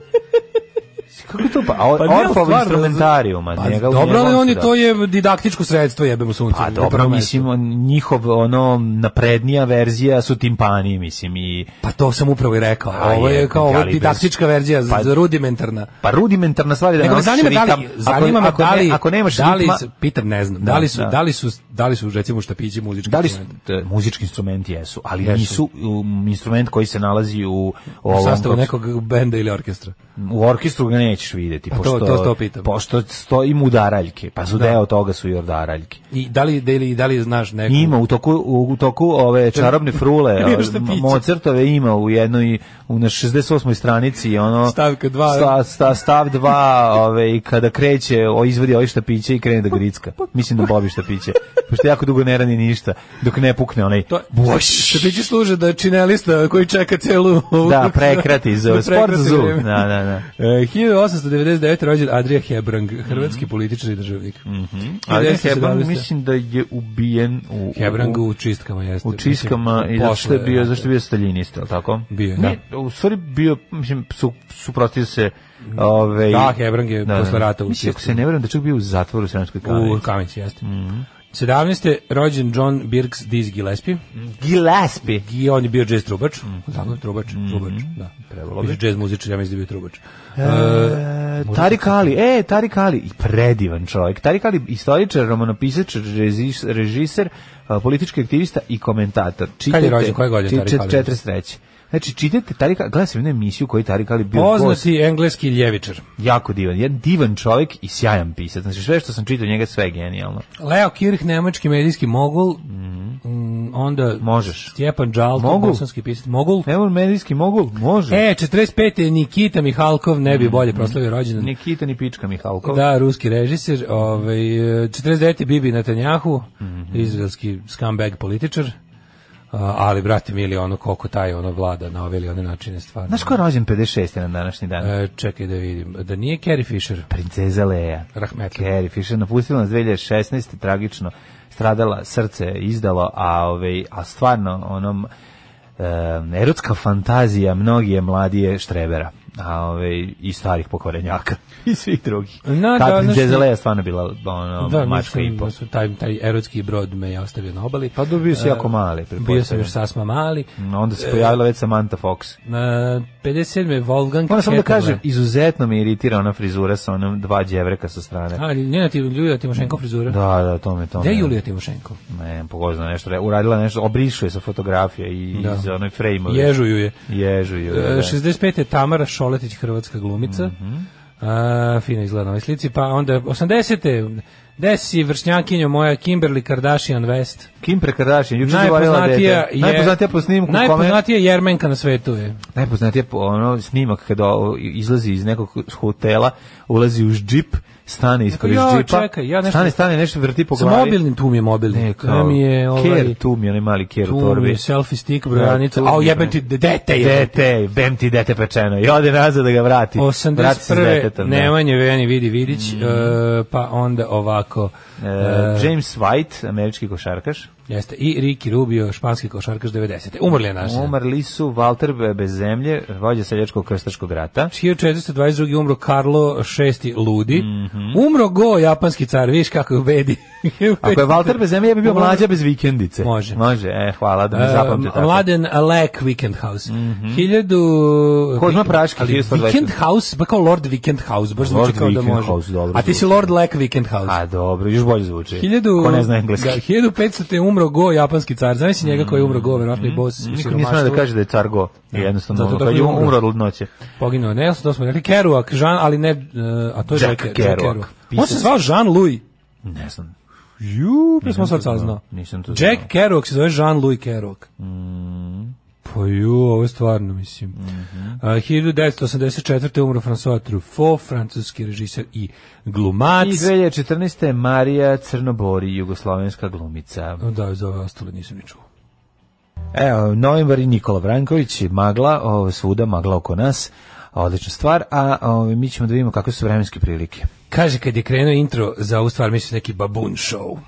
S6: Kako je to pa? A,
S7: ne,
S6: Orfov
S7: stvarno,
S6: instrumentarijuma.
S7: Pa,
S6: njega-
S7: dobro,
S6: njega
S7: ali
S6: on
S7: oni
S6: se da-
S7: to je didaktičko sredstvo jebemo sunce.
S6: Pa
S7: na
S6: dobro,
S7: prvo mesto.
S6: mislim, on- njihov ono naprednija verzija su timpani, mislim, i
S7: Pa to sam upravo i rekao.
S6: A
S7: Ovo je
S6: je,
S7: kao ovo je
S6: ali bez-
S7: didaktička verzija,
S6: Pa-
S7: za rudimentarna.
S6: pa rudimentarna stvar je da
S7: Nego me
S6: naučiš
S7: zanima da
S6: ritam.
S7: li, zanima me
S6: ako,
S7: da
S6: ako,
S7: li,
S6: ne, ako nemaš
S7: da li,
S6: ritma,
S7: pitam, ne znam, da,
S6: Da,
S7: li su, da.
S6: da.
S7: li su, da li su, recimo, štapići muzički
S6: Da li su,
S7: instrument?
S6: e, muzički instrumenti jesu, ali
S7: Jesu.
S6: nisu um, instrument koji se nalazi u,
S7: u
S6: ovom,
S7: sastavu nekog benda ili orkestra.
S6: u orkestru ga nećeš vidjeti,
S7: Pa to-
S6: pošto,
S7: to- to pitam.
S6: pošto stoji mu udaraljke, pa su deo toga su i udaraljke.
S7: I da li, da li, da li znaš neku...
S6: Ima u toku u, u toku ove čarobne frule,
S7: Ima
S6: ove,
S7: štapića.
S6: Mozartove ima u jednoj u na 68. stranici ono
S7: Stavka dva.
S6: sta, sta, stav 2, ove i kada kreće, o izvadi ovi štapiće i krene da gricka. Mislim da bobi štapiće. Pošto jako dugo ne radi ništa dok ne pukne onaj.
S7: To, štapići služe da čine lista koji čeka celu... ovu-
S6: Da, prekrati za
S7: da
S6: sport
S7: prekrati
S6: za zub.
S7: vreme.
S6: Da, da, da.
S7: E, 1899. rođen Adrija Hebrang, hrvatski političar i državnik.
S6: Ali
S7: 1917.
S6: Mhm. Hebrang mislim da je ubijen u,
S7: Hebrang
S6: u,
S7: u čistkama jeste.
S6: u čistkama i zato što je bio, zašto je bio staljinist, je li tako?
S7: Bio je,
S6: Ne, u stvari bio, mislim, su, suprotio se ovaj, ove...
S7: Da, Hebrang je posle rata u
S6: Mislim, ako se
S7: čistkama.
S6: ne verujem da je čak bio u zatvoru u Sremskoj
S7: U
S6: kamenici. Mhm.
S7: Kamenici, jeste. 17. rođen John Birks Diz Gillespie.
S6: Mhm. Gillespie.
S7: I on je bio jazz trubač. Tako je, trubač, trubač, da.
S6: Mhm. Trebalo
S7: Mislim, jazz muzičar, ja mislim da je bio trubač.
S6: E, Tarik Ali, e, Tarik Ali, i predivan čovjek. Tarik Ali, istoričar, romanopisač, režis, režiser, a, politički aktivista i komentator. Čitajte,
S7: rođen? Koje godine
S6: čit-
S7: Tarik Ali?
S6: 43. Znači, čitajte Tarik Ali, gledaj sam jednu emisiju koju je Tarik Ali bio gost,
S7: Poznati engleski ljevičar.
S6: jako divan, jedan divan čovjek i sjajan pisac. Znači, sve što sam čitao njega, sve je genijalno.
S7: Leo Kirch, nemački medijski mogul. Mm, onda
S6: Mhm. Možeš.
S7: Stjepan Đalto,
S6: Mogul. E.
S7: bosanski pisac. Mogul.
S6: Evo, medijski mogul, može.
S7: E, 45. je Nikita Mihalkov, ne
S6: Mhm.
S7: bi bolje proslavio rođendan.
S6: Nikita ni pička Mihalkov.
S7: Da, ruski režiser, ovaj, e, 49. Bibi Netanjahu,
S6: Mhm.
S7: izraelski scumbag političar, a, ali, brate mili, ono koliko taj ono vlada na ove ili one načine stvarno.
S6: Znaš ko je rođen 56. na današnji dan?
S7: E, čekaj da vidim, da nije Carrie Fisher,
S6: Princeza Leia.
S7: rahmetli.
S6: Carrie Fisher napustila nas 2016. tragično stradala, srce je izdalo, a ovaj a stvarno onom em, erotska fantazija mnogi je mladije štrebera a ovaj i starih pokvarenjaka i svih drugih.
S7: Na
S6: Ta
S7: današnji-
S6: princeza Leia stvarno bila ono,
S7: Da,
S6: mačka i
S7: mislim
S6: po.
S7: da su taj, taj erotski brod me je ostavio na obali.
S6: Pa dobio si
S7: E,
S6: jako mali,
S7: Bio sam još E.
S6: pretpostavljam. Mhm. Mm,
S7: sasma mali.
S6: Onda se pojavila već Samantha Fox.
S7: E, 57. je Wolfgang
S6: Moram samo da
S7: Heterle.
S6: kažem, izuzetno me iritira ona frizura sa onom dva đevreka sa strane.
S7: A, njena ti Julija Timošenko frizura.
S6: Da, da, to me to.
S7: Gde je
S6: me-
S7: Julija Timošenko?
S6: Ne, pogodno nešto, re- uradila nešto, obrišuje sa fotografije i
S7: Da.
S6: iz onoj frame-ove.
S7: Ježu ju je.
S6: Ježu, ju, da, Mhm.
S7: E,
S6: da.
S7: 65. je Tamara Šoletić, hrvatska glumica. A, fina izgleda na ovoj slici. Pa onda 80. Desi vršnjakinjo moja Kimberly Kardashian West.
S6: Kim Kardashian, juče govorila da
S7: Najpoznatija
S6: je
S7: je...
S6: najpoznatija po snimku kome
S7: Najpoznatija jermenka na svetu je.
S6: najpoznatija po ono snimak kada o- izlazi iz nekog hotela, ulazi u džip stane ispred
S7: Rekao, "Joj,
S6: džipa,
S7: čekaj, ja nešto-
S6: stane, stane, nešto vrti po
S7: Sa
S6: glavi.
S7: mobilnim, tu mi je mobilni.
S6: Ne,
S7: Ne,
S6: kao,
S7: mi je ovaj...
S6: Ker, tu mi je onaj mali ker u
S7: tu mi
S6: torbi.
S7: je selfie stick, brojanica.
S6: Da, tu
S7: A,
S6: mi je,
S7: jebem ti,
S6: bre.
S7: dete je.
S6: Dete, bem ti dete pečeno. I ode nazad da ga vrati. Vrati se s
S7: 81.
S6: detetom, da. Mhm.
S7: Nemanje Veni vidi vidić, e, pa onda ovako.
S6: E,
S7: e,
S6: James White, američki košarkaš.
S7: jeste, I Ricky Rubio, španski košarkaš 90. Umrli je naš.
S6: Umrli su Walter Be- bez zemlje, vođa seljačkog krstaškog rata.
S7: 1422. umro Karlo VI Ludi. Umro Go, japanski car, viš kako je u bedi.
S6: Ako je Walter bez zemlje, ja bi bio mlađa bez vikendice.
S7: Može.
S6: Može, e, hvala da me zapamte
S7: Uh,
S6: tako.
S7: Mladen Alek Weekend House. Mm -hmm. 1000
S6: Kozma Praški,
S7: ali
S6: 1120.
S7: Weekend House, pa kao Lord Weekend House, baš
S6: Lord
S7: zvuči kao da
S6: Weekend
S7: može.
S6: House, dobro
S7: A ti si
S6: zvuči.
S7: Lord Lek Weekend House.
S6: A Pa dobro, još bolje zvuči.
S7: 1000
S6: Ko ne zna engleski.
S7: Da, 1500 je umro Go, japanski car. Znaš njega koji je umro Go, verovatno
S6: Mhm.
S7: i boss. u
S6: Niko nije
S7: siromaštvu.
S6: smeo da kaže da je car go. Jednostavno,
S7: Zato
S6: ono,
S7: tako
S6: kad
S7: i
S6: je
S7: umro.
S6: umro od noće.
S7: Poginuo je Nelson, to smo rekli. Kerouac, Jean, ali ne, e, a to je
S6: Jack
S7: Jack
S6: Kerouac,
S7: Kerouac. On
S6: pisac.
S7: se zvao Jean Louis.
S6: Ne znam.
S7: Ju, pre smo
S6: Nisam
S7: sad
S6: to znao.
S7: saznao.
S6: Nisam to Mm.
S7: Jack
S6: znao.
S7: Kerouac se zove Jean Louis Kerouac. Pa ju, ovo je stvarno, mislim.
S6: Mhm.
S7: A, 1984. umro François Truffaut, francuski režiser i glumac.
S6: I 2014. je Marija Crnobori, jugoslovenska glumica.
S7: Da, za ove ostale nisam ni čuo.
S6: Evo, novembar i Nikola Vranković, magla, ovo, svuda, magla oko nas. Odlična stvar, a ovo, mi ćemo da vidimo kakve su vremenske prilike.
S7: Kaže, kad je krenuo intro za ovu stvar, mislim neki babun show.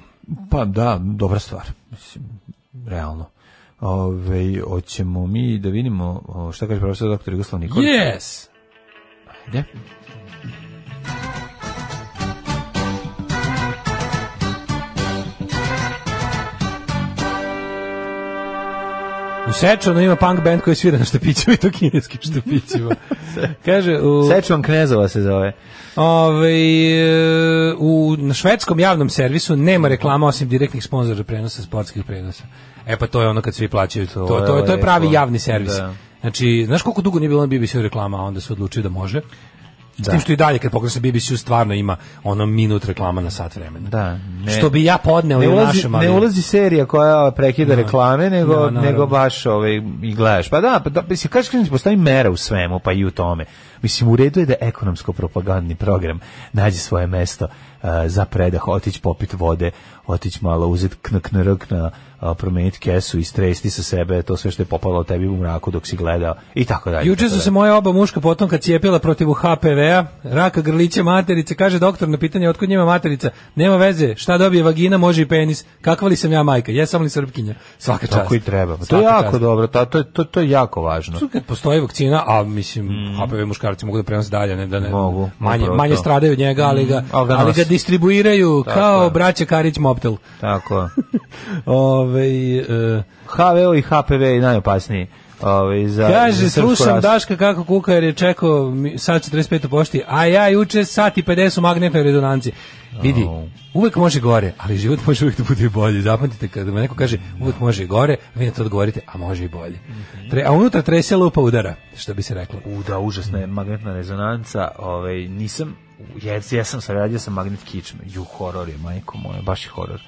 S6: Pa da, dobra stvar. Mislim, realno. Ove, hoćemo mi da vidimo o, šta kaže profesor doktor Jugoslav Nikolić.
S7: Yes!
S6: Ajde.
S7: U Sečanu ima punk band koji svira na štapićima i to kineskim štapićima. Kaže, u...
S6: Sečvan Knezova se zove.
S7: Ove, e, u na švedskom javnom servisu nema reklama osim direktnih sponzora prenosa sportskih prenosa. E pa to je ono kad svi plaćaju to. To,
S6: je
S7: to, je, to je pravi
S6: lepo.
S7: javni servis.
S6: Da.
S7: Znači, znaš koliko dugo nije bilo na BBC-u reklama, a onda se odlučio da može? S tim što i dalje kad pogledam sa BBC-u stvarno ima ono minut reklama na sat vremena.
S6: Da, ne.
S7: Što bi ja podneo i
S6: Ne
S7: u
S6: ulazi,
S7: našem, ali...
S6: ne ulazi serija koja prekida reklame, nego,
S7: No, naravno.
S6: nego baš ovaj, i gledaš. Pa da, pa da mislim, kažeš kažeš, postoji mera u svemu, pa i u tome. Mislim, u redu je da ekonomsko-propagandni program nađe svoje mesto eh, za predah, otići popit vode, otići malo uzeti knak na rk na a, promeniti kesu i stresti sa sebe to sve što je popalo tebi u mraku dok si gledao i tako dalje.
S7: Juče
S6: tako
S7: su se
S6: dalje.
S7: moja oba muška potomka cijepila protiv HPV-a, raka grlića materice, kaže doktor na pitanje otkud njima materica, nema veze, šta dobije vagina, može i penis, kakva li sam ja majka, jesam li srpkinja, svaka čast.
S6: Tako i treba. Pa To je
S7: Svaka
S6: jako
S7: čast.
S6: dobro, ta- to, je- to, to je jako važno.
S7: Tu Kad postoji vakcina, a mislim HPV muškarci mogu da prenose dalje, ne da ne
S6: Mm. Mogu,
S7: manje
S6: upravo
S7: manje
S6: to. Mm,
S7: stradaju od njega, ali ga
S6: ali ga
S7: ali ga
S6: nose.
S7: distribuiraju
S6: Tako
S7: kao
S6: je.
S7: braća Karić Moptel.
S6: Tako.
S7: Ovaj e,
S6: HVO i HPV je najopasniji. Ove, za,
S7: Kaže,
S6: Pa, za srpsku
S7: slušam
S6: rasu.
S7: Daška kako kuka jer je čekao mi- sat 45 u pošti, a ja juče sat i 50 u magnetnoj redonanci. Vidi, uvek može gore, ali život može uvek da bude i bolje. Zapamtite kada me neko kaže uvek može i gore, vi na to odgovorite, a može i bolje. Tre, a unutra trese lupa udara, što bi se reklo.
S6: U, da, užasna je magnetna rezonanca. Ove, nisam, jec, jesam sam radio sam magnet kičme. Ju, horor je, majko moja, baš je horor.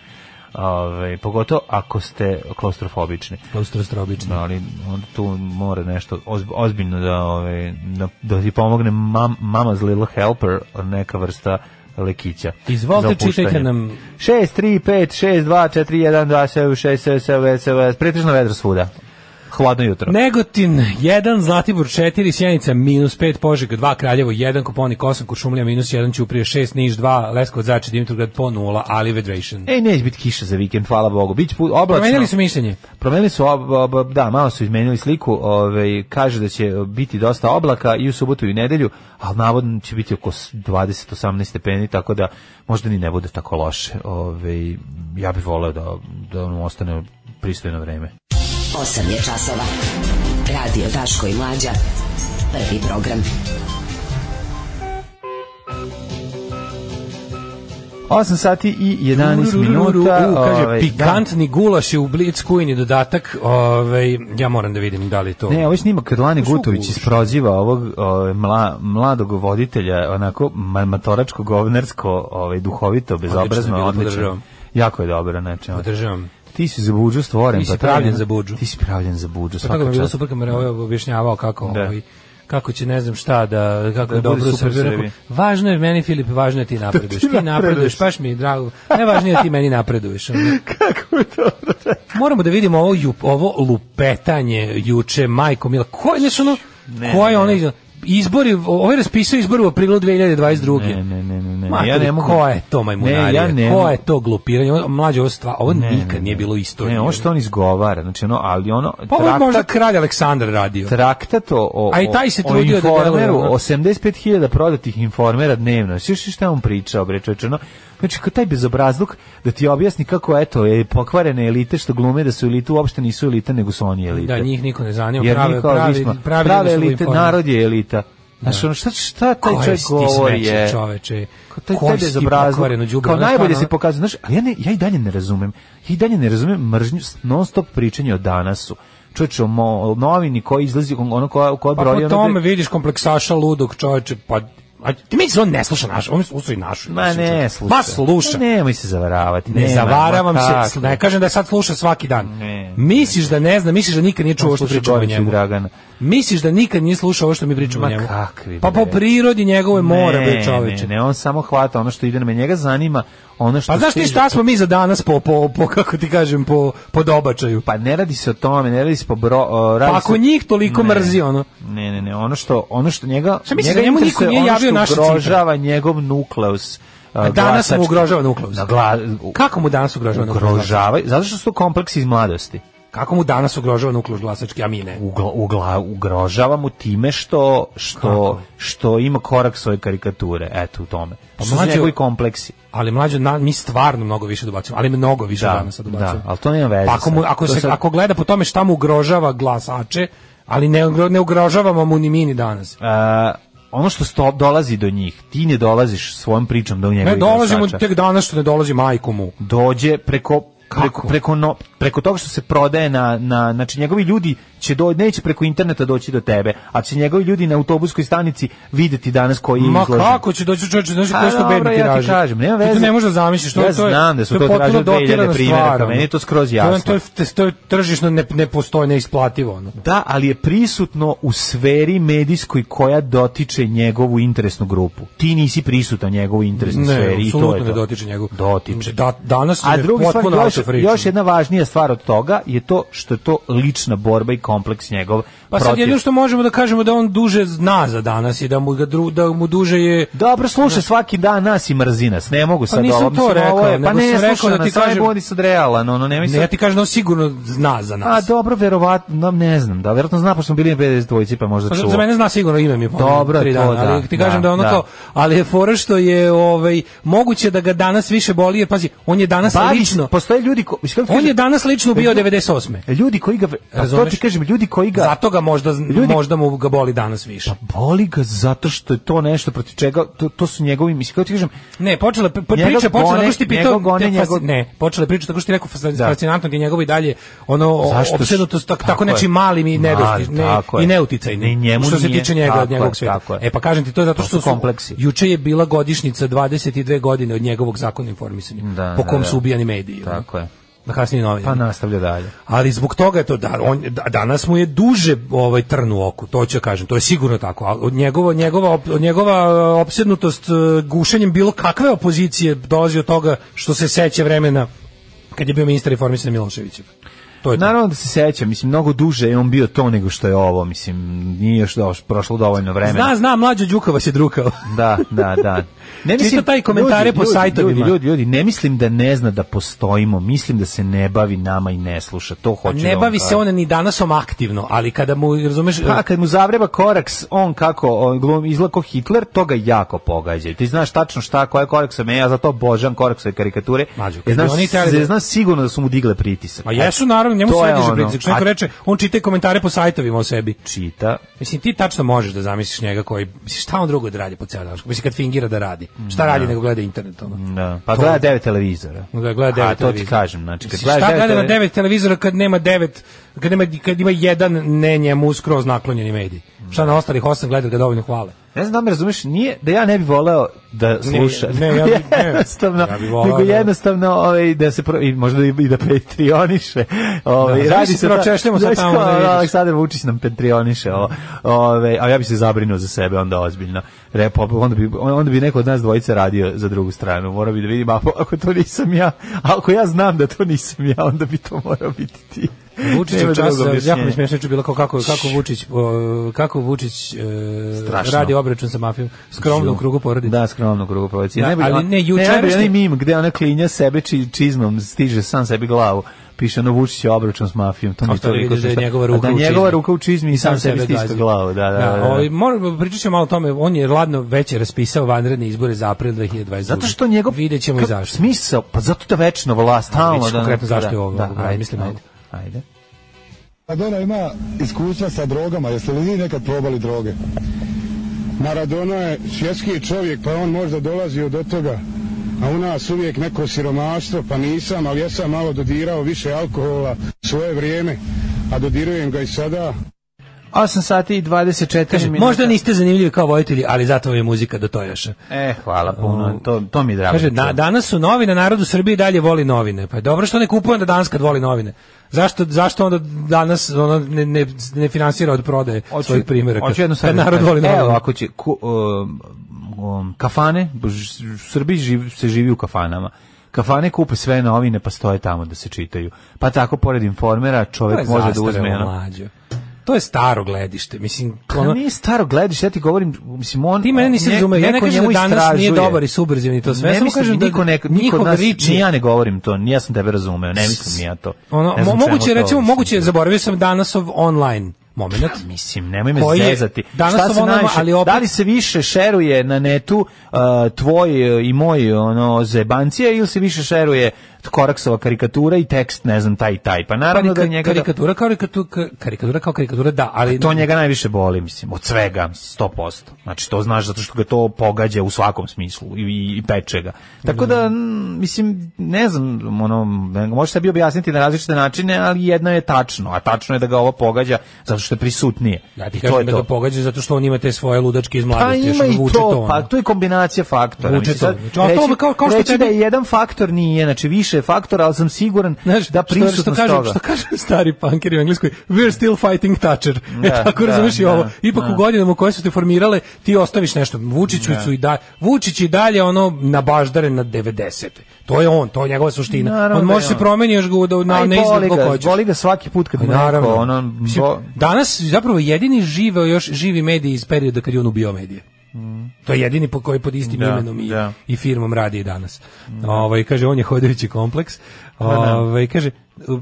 S6: Ove, pogotovo ako ste klaustrofobični.
S7: Klaustrofobično.
S6: Da, ali onda tu mora nešto ozb- ozbiljno da, ove, da, da ti pomogne mam, Mama's Little Helper, neka vrsta lekića.
S7: Izvolite,
S6: za opuštanje.
S7: čitajte nam.
S6: 6, 3, 5, 6, 2, 4, 1, 2, 7, 6, 7, 7, 7, pretežno vedro svuda. Hladno jutro.
S7: Negotin 1, Zlatibor 4, Sjenica minus 5, Požeg 2, Kraljevo 1, Koponik 8, Kuršumlija minus 1, Ćuprije 6, Niš 2, Leskovac Zače, Dimitrovgrad po 0, Ali Vedration.
S6: Ej, neće biti kiša za vikend, hvala Bogu. Biće put oblačno.
S7: Promenili su mišljenje.
S6: Promenili su ob, ob- da, malo su izmenili sliku. Ovaj kaže da će biti dosta oblaka i u subotu i u nedelju, ali navodno će biti oko s- 20-18 stepeni, tako da možda ni ne bude tako loše. Ovaj ja bih voleo da da ono ostane pristojno vreme.
S4: 8 je časova. Radio Daško i Mlađa. Prvi program.
S6: 8 sati i 11
S7: U,
S6: minuta.
S7: kaže,
S6: ovaj, da.
S7: pikantni gulaš je u Blitz Kujni dodatak. Ovaj, ja moram da vidim da li je to...
S6: Ne, ovaj snimak kad Lani
S7: su
S6: Gutović
S7: guši?
S6: isproziva ovog ovaj, mla, mladog voditelja, onako ma- matoračko, govnersko, ovaj, duhovito, bezobrazno,
S7: bilo, Pa
S6: odlično.
S7: podržavam.
S6: Jako je dobro, znači. ono.
S7: Podržavam.
S6: Ti si za buđu stvoren.
S7: Ti si
S6: pa to je-
S7: pravljen za budžu.
S6: Ti si pravljen za buđu,
S7: Pa tako mi
S6: svaka
S7: je bilo
S6: čast.
S7: super kad me je ovaj objašnjavao kako,
S6: Da.
S7: ovaj, kako će ne znam šta da kako
S6: Da
S7: da
S6: bude
S7: dobro
S6: super
S7: Srbiju. Rekao,
S6: Srbiji.
S7: Važno je meni Filip, važno je ti napreduješ. ti napreduješ, baš mi je drago. Najvažnije je ti meni napreduješ. Ono.
S6: Kako je to?
S7: Moramo da vidimo ovo ju, ovo lupetanje juče Majko Mila. Ko je znaš, ono
S6: Ne,
S7: ko je
S6: ne,
S7: onaj izbori, ovaj raspisao izbore u aprilu 2022.
S6: Ne, ne, ne, ne, ne.
S7: Mater,
S6: Ja ne mogu-
S7: Ko je to majmunarija?
S6: Ne, ja ne
S7: ko
S6: mogu-
S7: je to glupiranje? Ovo, mlađe, ovo, stva, ovo nikad nije bilo isto.
S6: Ne, ono što on izgovara, znači ono, ali ono,
S7: Pa ovo je možda
S6: traktat,
S7: kralj Aleksandar radio.
S6: traktat o, o,
S7: A i taj se
S6: o
S7: trudio da deluje,
S6: informeru,
S7: ono.
S6: 85.000 prodatih informera dnevno. Sviš šta je on pričao, bre, čoveče, ono, znači, kao taj bezobrazluk da ti objasni kako, eto, je pokvarene elite što glume da su elite, uopšte nisu elite, nego su oni elite.
S7: Da, njih niko ne zanima.
S6: Jer
S7: prave,
S6: mi kao
S7: pravi,
S6: nismo-
S7: pravi,
S6: prave
S7: ljudi su
S6: elite,
S7: informisani.
S6: narod je elita. Znaš, ono, šta, šta taj
S7: Koje
S6: čovjek
S7: si ti
S6: govori
S7: smeće,
S6: je...
S7: čoveče?
S6: Ko taj
S7: Koje
S6: taj
S7: si ti
S6: bezobrazluk.
S7: pokvareno đubre,
S6: Kao
S7: ono,
S6: najbolje se
S7: stvarno,
S6: pokazuje, znaš, ali ja, ne, ja i dalje ne razumem. Ja i dalje ne razumem mržnju, non stop pričanje o danasu. Čoveče, o mo- o novini koji izlazi, ono koja, koja
S7: Pa
S6: broji...
S7: po
S6: ono
S7: tome
S6: bre-
S7: vidiš kompleksaša ludog čoveče, pa a ti misliš da on ne sluša našu, on sluša i našu.
S6: Ma
S7: našu,
S6: ne,
S7: čoveče.
S6: slušaj.
S7: Ma sluša.
S6: Ma nemoj se zavaravati.
S7: Ne
S6: nema,
S7: zavaravam
S6: ma
S7: se,
S6: tako.
S7: ne kažem da sad sluša svaki dan.
S6: Ne.
S7: misliš da ne zna, misliš da nikad nije čuo
S6: On
S7: što
S6: sluša
S7: pričamo o
S6: Goricu i
S7: njemu.
S6: Dragana.
S7: Misliš da nikad nije slušao ovo što mi pričamo
S6: Ma
S7: o njemu.
S6: kakvi,
S7: pa po
S6: bre.
S7: prirodi njegove mora biti čoveče.
S6: Ne, ne, on samo hvata ono što ide na me. Njega zanima ono što
S7: Pa znaš ti
S6: stiže.
S7: šta smo mi za danas po, po, po kako ti kažem, po, po dobačaju?
S6: Pa ne radi se o tome, ne radi se po bro, o, radi
S7: Pa ako
S6: se-
S7: njih toliko mrzi, ono.
S6: Ne, ne, ne, ono što ono što njega
S7: Šta misliš,
S6: njega
S7: da njemu niko
S6: interesuje
S7: nije
S6: ono
S7: javio
S6: što
S7: naše cifre?
S6: ugrožava njegov nukleus. e,
S7: A danas mu ugrožava nukleus.
S6: Na gla- u-
S7: Kako mu danas ugrožava nukleus?
S6: ugrožava, zato što su to kompleksi iz mladosti.
S7: Kako mu danas ugrožava nukleus glasački, a mi ne?
S6: Ugla, ugla, ugrožava mu time što što
S7: Kako?
S6: što ima korak svoje karikature, eto u tome. Pa su
S7: mlađe-
S6: njegovi kompleksi.
S7: Ali mlađe, na, mi stvarno mnogo više dobacimo, ali mnogo više
S6: Da,
S7: danas sad
S6: da,
S7: dobacimo.
S6: ali to nema veze.
S7: Pa ako, mu,
S6: sad.
S7: ako,
S6: To
S7: se,
S6: sad-
S7: ako gleda po tome šta mu ugrožava glasače, ali ne, ugro- ne ugrožavamo mu ni mi ni danas.
S6: A, ono što sto, dolazi do njih, ti ne dolaziš svojom pričom do njegovih
S7: Ne dolazimo
S6: glasača.
S7: tek danas što ne dolazi majku mu.
S6: dođe preko preko
S7: Kako?
S6: preko, no, preko toga što se prodaje na na znači njegovi ljudi će do neće preko interneta doći do tebe, a će njegovi ljudi na autobuskoj stanici videti danas koji je
S7: Ma
S6: izložen.
S7: kako će doći čovječe, znaš
S6: A,
S7: koje su to
S6: Pa dobro,
S7: bedni
S6: ja ti
S7: tiraži.
S6: kažem, nema
S7: Ti to
S6: veze.
S7: ne možeš da zamisliš, to,
S6: Ja
S7: to je,
S6: znam da su to
S7: je potpuno
S6: tražili 2000
S7: dotirana
S6: primjeraka,
S7: stvar, ono.
S6: meni je to skroz
S7: je-
S6: jasno.
S7: To je, to je, tržišno ne, ne postoje, neisplativo. Ono.
S6: Da, ali je prisutno u sferi medijskoj koja dotiče njegovu interesnu grupu. Ti nisi prisutan njegovu interesnu sferi i to
S7: apsolutno
S6: je
S7: ne
S6: to.
S7: dotiče njegov.
S6: Dotiče.
S7: Da, danas
S6: A
S7: je
S6: drugi stvar,
S7: potpuno
S6: još,
S7: out of reach.
S6: još jedna važnija stvar od toga je to što je to lična borba i kompleks njegov
S7: Pa sad
S6: protiv-
S7: jedino što možemo da kažemo da on duže zna za danas i da mu, ga dru, da mu duže je...
S6: Dobro, sluša svaki dan nas i mrzi nas. Ne mogu sad
S7: Pa nisam to
S6: ovo. mislim, ovo je-
S7: rekao, nego
S6: Pa ne,
S7: sam rekao
S6: sluša
S7: da
S6: nas,
S7: ti
S6: samo je
S7: kažem-
S6: budi sad realan, ono, nemoj
S7: Ne,
S6: sad-
S7: ja ti kažem da on sigurno zna za
S6: A
S7: nas.
S6: dobro, verovatno, ne znam, da, verovatno zna, pošto smo bili na 52 pa možda
S7: Pa za-
S6: čuo.
S7: za mene zna sigurno ime mi je pomenu,
S6: Dobro je
S7: tri
S6: to,
S7: dana,
S6: da,
S7: ali ti
S6: da,
S7: kažem da, ono
S6: da.
S7: kao, ali je fora što je ovaj, moguće da ga danas više boli, jer pazi, on je danas
S6: Bavi se-
S7: lično,
S6: postoje ljudi ko, mislim, kako ti
S7: on je
S6: kažem,
S7: danas lično bio 98.
S6: ljudi koji ga, pa to ti
S7: Razumeš?
S6: kažem, ljudi koji ga,
S7: Zato ga možda, z-
S6: Ljudi-
S7: možda mu ga boli danas više.
S6: boli ga zato što je to nešto protiv čega, to, to su njegovi, mislim, kako ti kažem,
S7: Ne, počela je pri-
S6: Njega
S7: priča, počela
S6: gone-
S7: je ti pitao,
S6: njega gone,
S7: te fas-
S6: njegov-
S7: ne, počela je priča tako što ti rekao fas-
S6: Da.
S7: fascinantno je njegovo i dalje ono o-
S6: Zašto?
S7: opsednutost tako,
S6: Tako
S7: tako
S6: je.
S7: nečim malim i nedostižnim
S6: Mali,
S7: ne,
S6: tako je.
S7: i neuticajnim.
S6: Ni njemu
S7: što se
S6: nije.
S7: tiče njega
S6: Tako
S7: od njegovog
S6: je,
S7: sveta.
S6: tako je.
S7: E pa kažem ti to je zato
S6: To
S7: što
S6: su
S7: su
S6: kompleksi.
S7: Juče je bila godišnjica 22 godine od njegovog zakona o informisanju
S6: Da,
S7: po
S6: da,
S7: kom
S6: da.
S7: su ubijani mediji. ono.
S6: tako je,
S7: Na kasnije novine.
S6: pa nastavlja dalje.
S7: Ali zbog toga je to da on da- danas mu je duže ovaj trn u oku, to ću ja kažem, to je sigurno tako. A od njegova njegova op- od njegova e, opsednutost e, gušenjem bilo kakve opozicije dolazi od toga što se seća vremena kad je bio ministar informisanja Miloševićev. To je to.
S6: Naravno da se seća, mislim, mnogo duže je on bio to nego što je ovo, mislim, nije još doš, prošlo dovoljno vremena.
S7: Zna, zna, mlađo Đukova se drukao.
S6: Da, da, da. Ne
S7: Čita taj komentare po sajtovima.
S6: Ljudi, ljudi, ljudi, ne mislim da ne zna da postojimo, mislim da se ne bavi nama i ne sluša. To hoću Znači, da
S7: Ne
S6: vam
S7: bavi se
S6: kažem.
S7: on ni danasom aktivno, ali kada mu, razumeš, e,
S6: Pa kad mu zavreba koraks, on kako on glum izlako Hitler, to ga jako pogađa. I Ti znaš tačno šta, koja je koraksa me, ja zato obožavam koraksove karikature.
S7: Mlađo,
S6: jer
S7: kad bi
S6: znam,
S7: oni hteli da-
S6: znam sigurno da su mu digle pritisak.
S7: Ma jesu naravno, njemu
S6: To
S7: sve
S6: je
S7: diže
S6: ono.
S7: pritisak. Što neko
S6: A-
S7: reče, on čita i komentare po sajtovima o sebi.
S6: Čita,
S7: Mislim, ti tačno možeš da zamisliš njega koji, mislim, šta on drugo da radi po cijel dan? Mislim, kad fingira da radi. Šta radi nego gleda internet, ono?
S6: da. pa
S7: To-
S6: gleda devet televizora.
S7: Da, gleda
S6: A,
S7: devet
S6: to ti
S7: televizora.
S6: kažem, znači kad
S7: Mislim, šta gleda na
S6: televizora-
S7: devet televizora kad nema devet, kad, nema, kad ima jedan ne njemu skroz naklonjeni medij? Šta na ostalih osam gledaju ga dovoljno hvale.
S6: Ne znam da me razumeš, nije da ja ne bih voleo da sluša.
S7: ne, ja bi- ne.
S6: jednostavno,
S7: Ja bi voleo
S6: nego
S7: da-
S6: jednostavno ovaj, da se, pro, i možda i, i da petrioniše. Ovaj,
S7: Da,
S6: radi
S7: zavisi
S6: se
S7: pročešljamo sad
S6: Znaš
S7: tamo
S6: kao,
S7: da vidiš.
S6: Aleksandar Vučić nam petrioniše. O, ovaj, a ja bi se zabrinuo za sebe onda ozbiljno. Rep, onda bi, onda bi neko od nas dvojice radio za drugu stranu. Morao bi da vidim, ako, ako to nisam ja, a ako ja znam da to nisam ja, onda bi to morao biti ti.
S7: Vučić
S6: Nema
S7: u času,
S6: drugog
S7: jako mi
S6: objašnjenja.
S7: je smiješno juče bilo kao kako, kako Vučić, o, kako Vučić e,
S6: Strašno.
S7: radi obračun sa mafijom, skromno u krugu porodice.
S6: Da, skromno krugu porodice.
S7: Da,
S6: najbolji
S7: ali
S6: on-
S7: ne, jučerašnji-
S6: najbolji onaj mim gde ona klinja sebe či, čizmom stiže sam sebi glavu. Piše ono Vučić je obračun s mafijom. To mi je
S7: Ostavili
S6: toliko
S7: vidiš da je
S6: smešno.
S7: njegova
S6: A
S7: ruka
S6: da
S7: u čizmi.
S6: njegova ruka u čizmi i sam, sebi stiska glavu. Da, da, da.
S7: ovaj, moram- pričat ćemo malo o tome, on je ladno već je raspisao vanredne izbore za april 2022.
S6: Zato što njegov
S7: Vidjet ćemo i
S6: Ka-
S7: zašto.
S6: Smisao, pa zato da večno vlast
S7: vidjet
S6: stalno
S7: ćeš
S6: da
S7: konkretno zašto je ovo,
S6: Da,
S7: ovo,
S6: ajde,
S7: mislim,
S6: ajde. Ajde.
S8: Maradona Pa ima iskustva sa drogama, jeste li vi nekad probali droge? Maradona je svjetski čovjek, pa on možda dolazi od toga. A u nas uvijek neko siromaštvo, pa nisam, ali ja sam malo dodirao više alkohola svoje vrijeme, a dodirujem ga i sada.
S6: 8 sati i 24
S7: Kaže,
S6: minuta.
S7: možda niste zanimljivi kao vojitelji, ali zato vam je muzika do tojaša.
S6: E, hvala puno. To, to mi je drago.
S7: Kaže,
S6: da
S7: na,
S6: čujem.
S7: danas su novine, narod u Srbiji dalje voli novine. Pa je dobro što ne kupuje onda danas kad voli novine. Zašto, zašto onda danas ono ne, ne, ne finansira od prodaje svojih primjeraka?
S6: Hoću jednu
S7: Kad
S6: savjet.
S7: narod voli novine.
S6: Evo, ako će, ku, um, um, kafane, bo ž- u Srbiji živ, se živi u kafanama. Kafane kupe sve novine pa stoje tamo da se čitaju. Pa tako, pored informera,
S7: to je
S6: čovjek može da uzme...
S7: zastarelo,
S6: ono-
S7: mlađo. To je staro gledište. Mislim,
S6: Ono,
S7: ono,
S6: nije staro glediš, ja ti govorim, mislim, on...
S7: ti mene nisi
S6: ne-
S7: razumeo. Ja ne
S6: neko
S7: kažem da
S6: njemu
S7: danas nije
S6: istražuje.
S7: dobar i subverzivan i to sve.
S6: Ne
S7: Samo
S6: mislim,
S7: kažem da
S6: niko, ne, niko od
S7: njihov
S6: nas,
S7: rič
S6: ni
S7: je-
S6: ja ne govorim to, ni ja sam tebe razumeo, ne mislim ja to.
S7: Ono,
S6: Ne znam
S7: mo-
S6: čemu
S7: moguće,
S6: to- Pa
S7: recimo, moguće, zaboravio sam danasov online moment.
S6: Mislim, nemoj me
S7: Koji je
S6: zezati.
S7: danas
S6: Šta
S7: su
S6: se
S7: ono-
S6: najviše,
S7: ali opet-
S6: da li se više šeruje na netu uh, tvoj uh, i moj ono zebancija ili se više šeruje koraksova karikatura i tekst, ne znam, taj i taj. Pa naravno
S7: Karika-
S6: da njega da-
S7: karikatura, kao karikatura, karikatura kao karikatura, da, ali
S6: to njega najviše boli, mislim, od svega, 100%. Znači, to znaš zato što ga to pogađa u svakom smislu i, i, i peče ga. Tako da,
S7: Mhm.
S6: mm, mislim, ne znam, ono, može sebi objasniti na različite načine, ali jedno je tačno, a tačno je da ga ovo pogađa zato što je prisutnije.
S7: Ja
S6: I
S7: ti
S6: to je
S7: kažem da
S6: to.
S7: ga pogađa zato što on ima te svoje ludačke iz
S6: Pa
S7: mladosti. još
S6: ima i
S7: vuče
S6: to,
S7: ono.
S6: pa to je kombinacija faktora.
S7: Vuče
S6: mislim,
S7: to.
S6: sad
S7: Znači, a to kao- kao što
S6: reći da
S7: tebi-
S6: je jedan faktor nije, znači više je faktora, ali sam siguran
S7: Znaš, što,
S6: da prisutnost
S7: što kažu,
S6: toga.
S7: što kažu stari punkeri u Engleskoj, we're still fighting Thatcher. e,
S6: Da,
S7: tako
S6: da,
S7: razumeš i
S6: da,
S7: ovo. Ipak
S6: da.
S7: u godinama koje su te formirale, ti ostaviš nešto. Vučiću su i dalje, Vučić i dalje ono na baždare na 90. To je on, to je njegova suština.
S6: Naravno
S7: on
S6: da
S7: može
S6: je
S7: se
S6: on.
S7: promeni još ga da, na,
S6: A i
S7: ne izgled
S6: boli
S7: kako
S6: ga,
S7: hoćeš.
S6: boli ga svaki put kad
S7: Pa
S6: mu
S7: Naravno.
S6: neko, ono,
S7: Mislim,
S6: bo-
S7: Danas zapravo jedini živeo još živi mediji iz perioda kad je on ubio medije. To je jedini po koji pod istim
S6: Da,
S7: imenom i,
S6: da.
S7: i firmom radi i danas. Ovaj kaže on je hodajući kompleks.
S6: Pa
S7: Ovaj kaže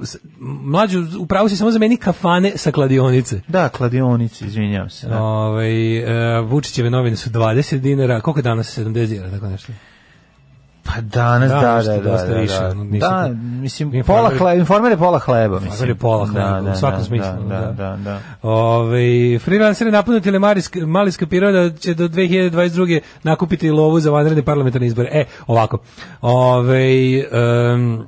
S7: s- mlađu upravo si samo za meni kafane sa kladionice.
S6: Da, kladionici, izvinjavam se. Da.
S7: Ovaj e, Vučićeve novine su 20 dinara, koliko je danas 70 dinara tako nešto.
S6: Pa danas,
S7: Da,
S6: da, da,
S7: nešto
S6: da.
S7: dosta
S6: da,
S7: više,
S6: da.
S7: ono, nisu-
S6: Da, mislim,
S7: Informer-
S6: pola hleba, informer je pola hleba, mislim.
S7: je pola hleba, u svakom smislu,
S6: Da,
S7: da.
S6: da, da. da.
S7: Ove, Ovaj, freelancer je napunut ili mali skapirao da će do 2022. nakupiti lovu za vanredne parlamentarne izbore. E, ovako. Ove, em,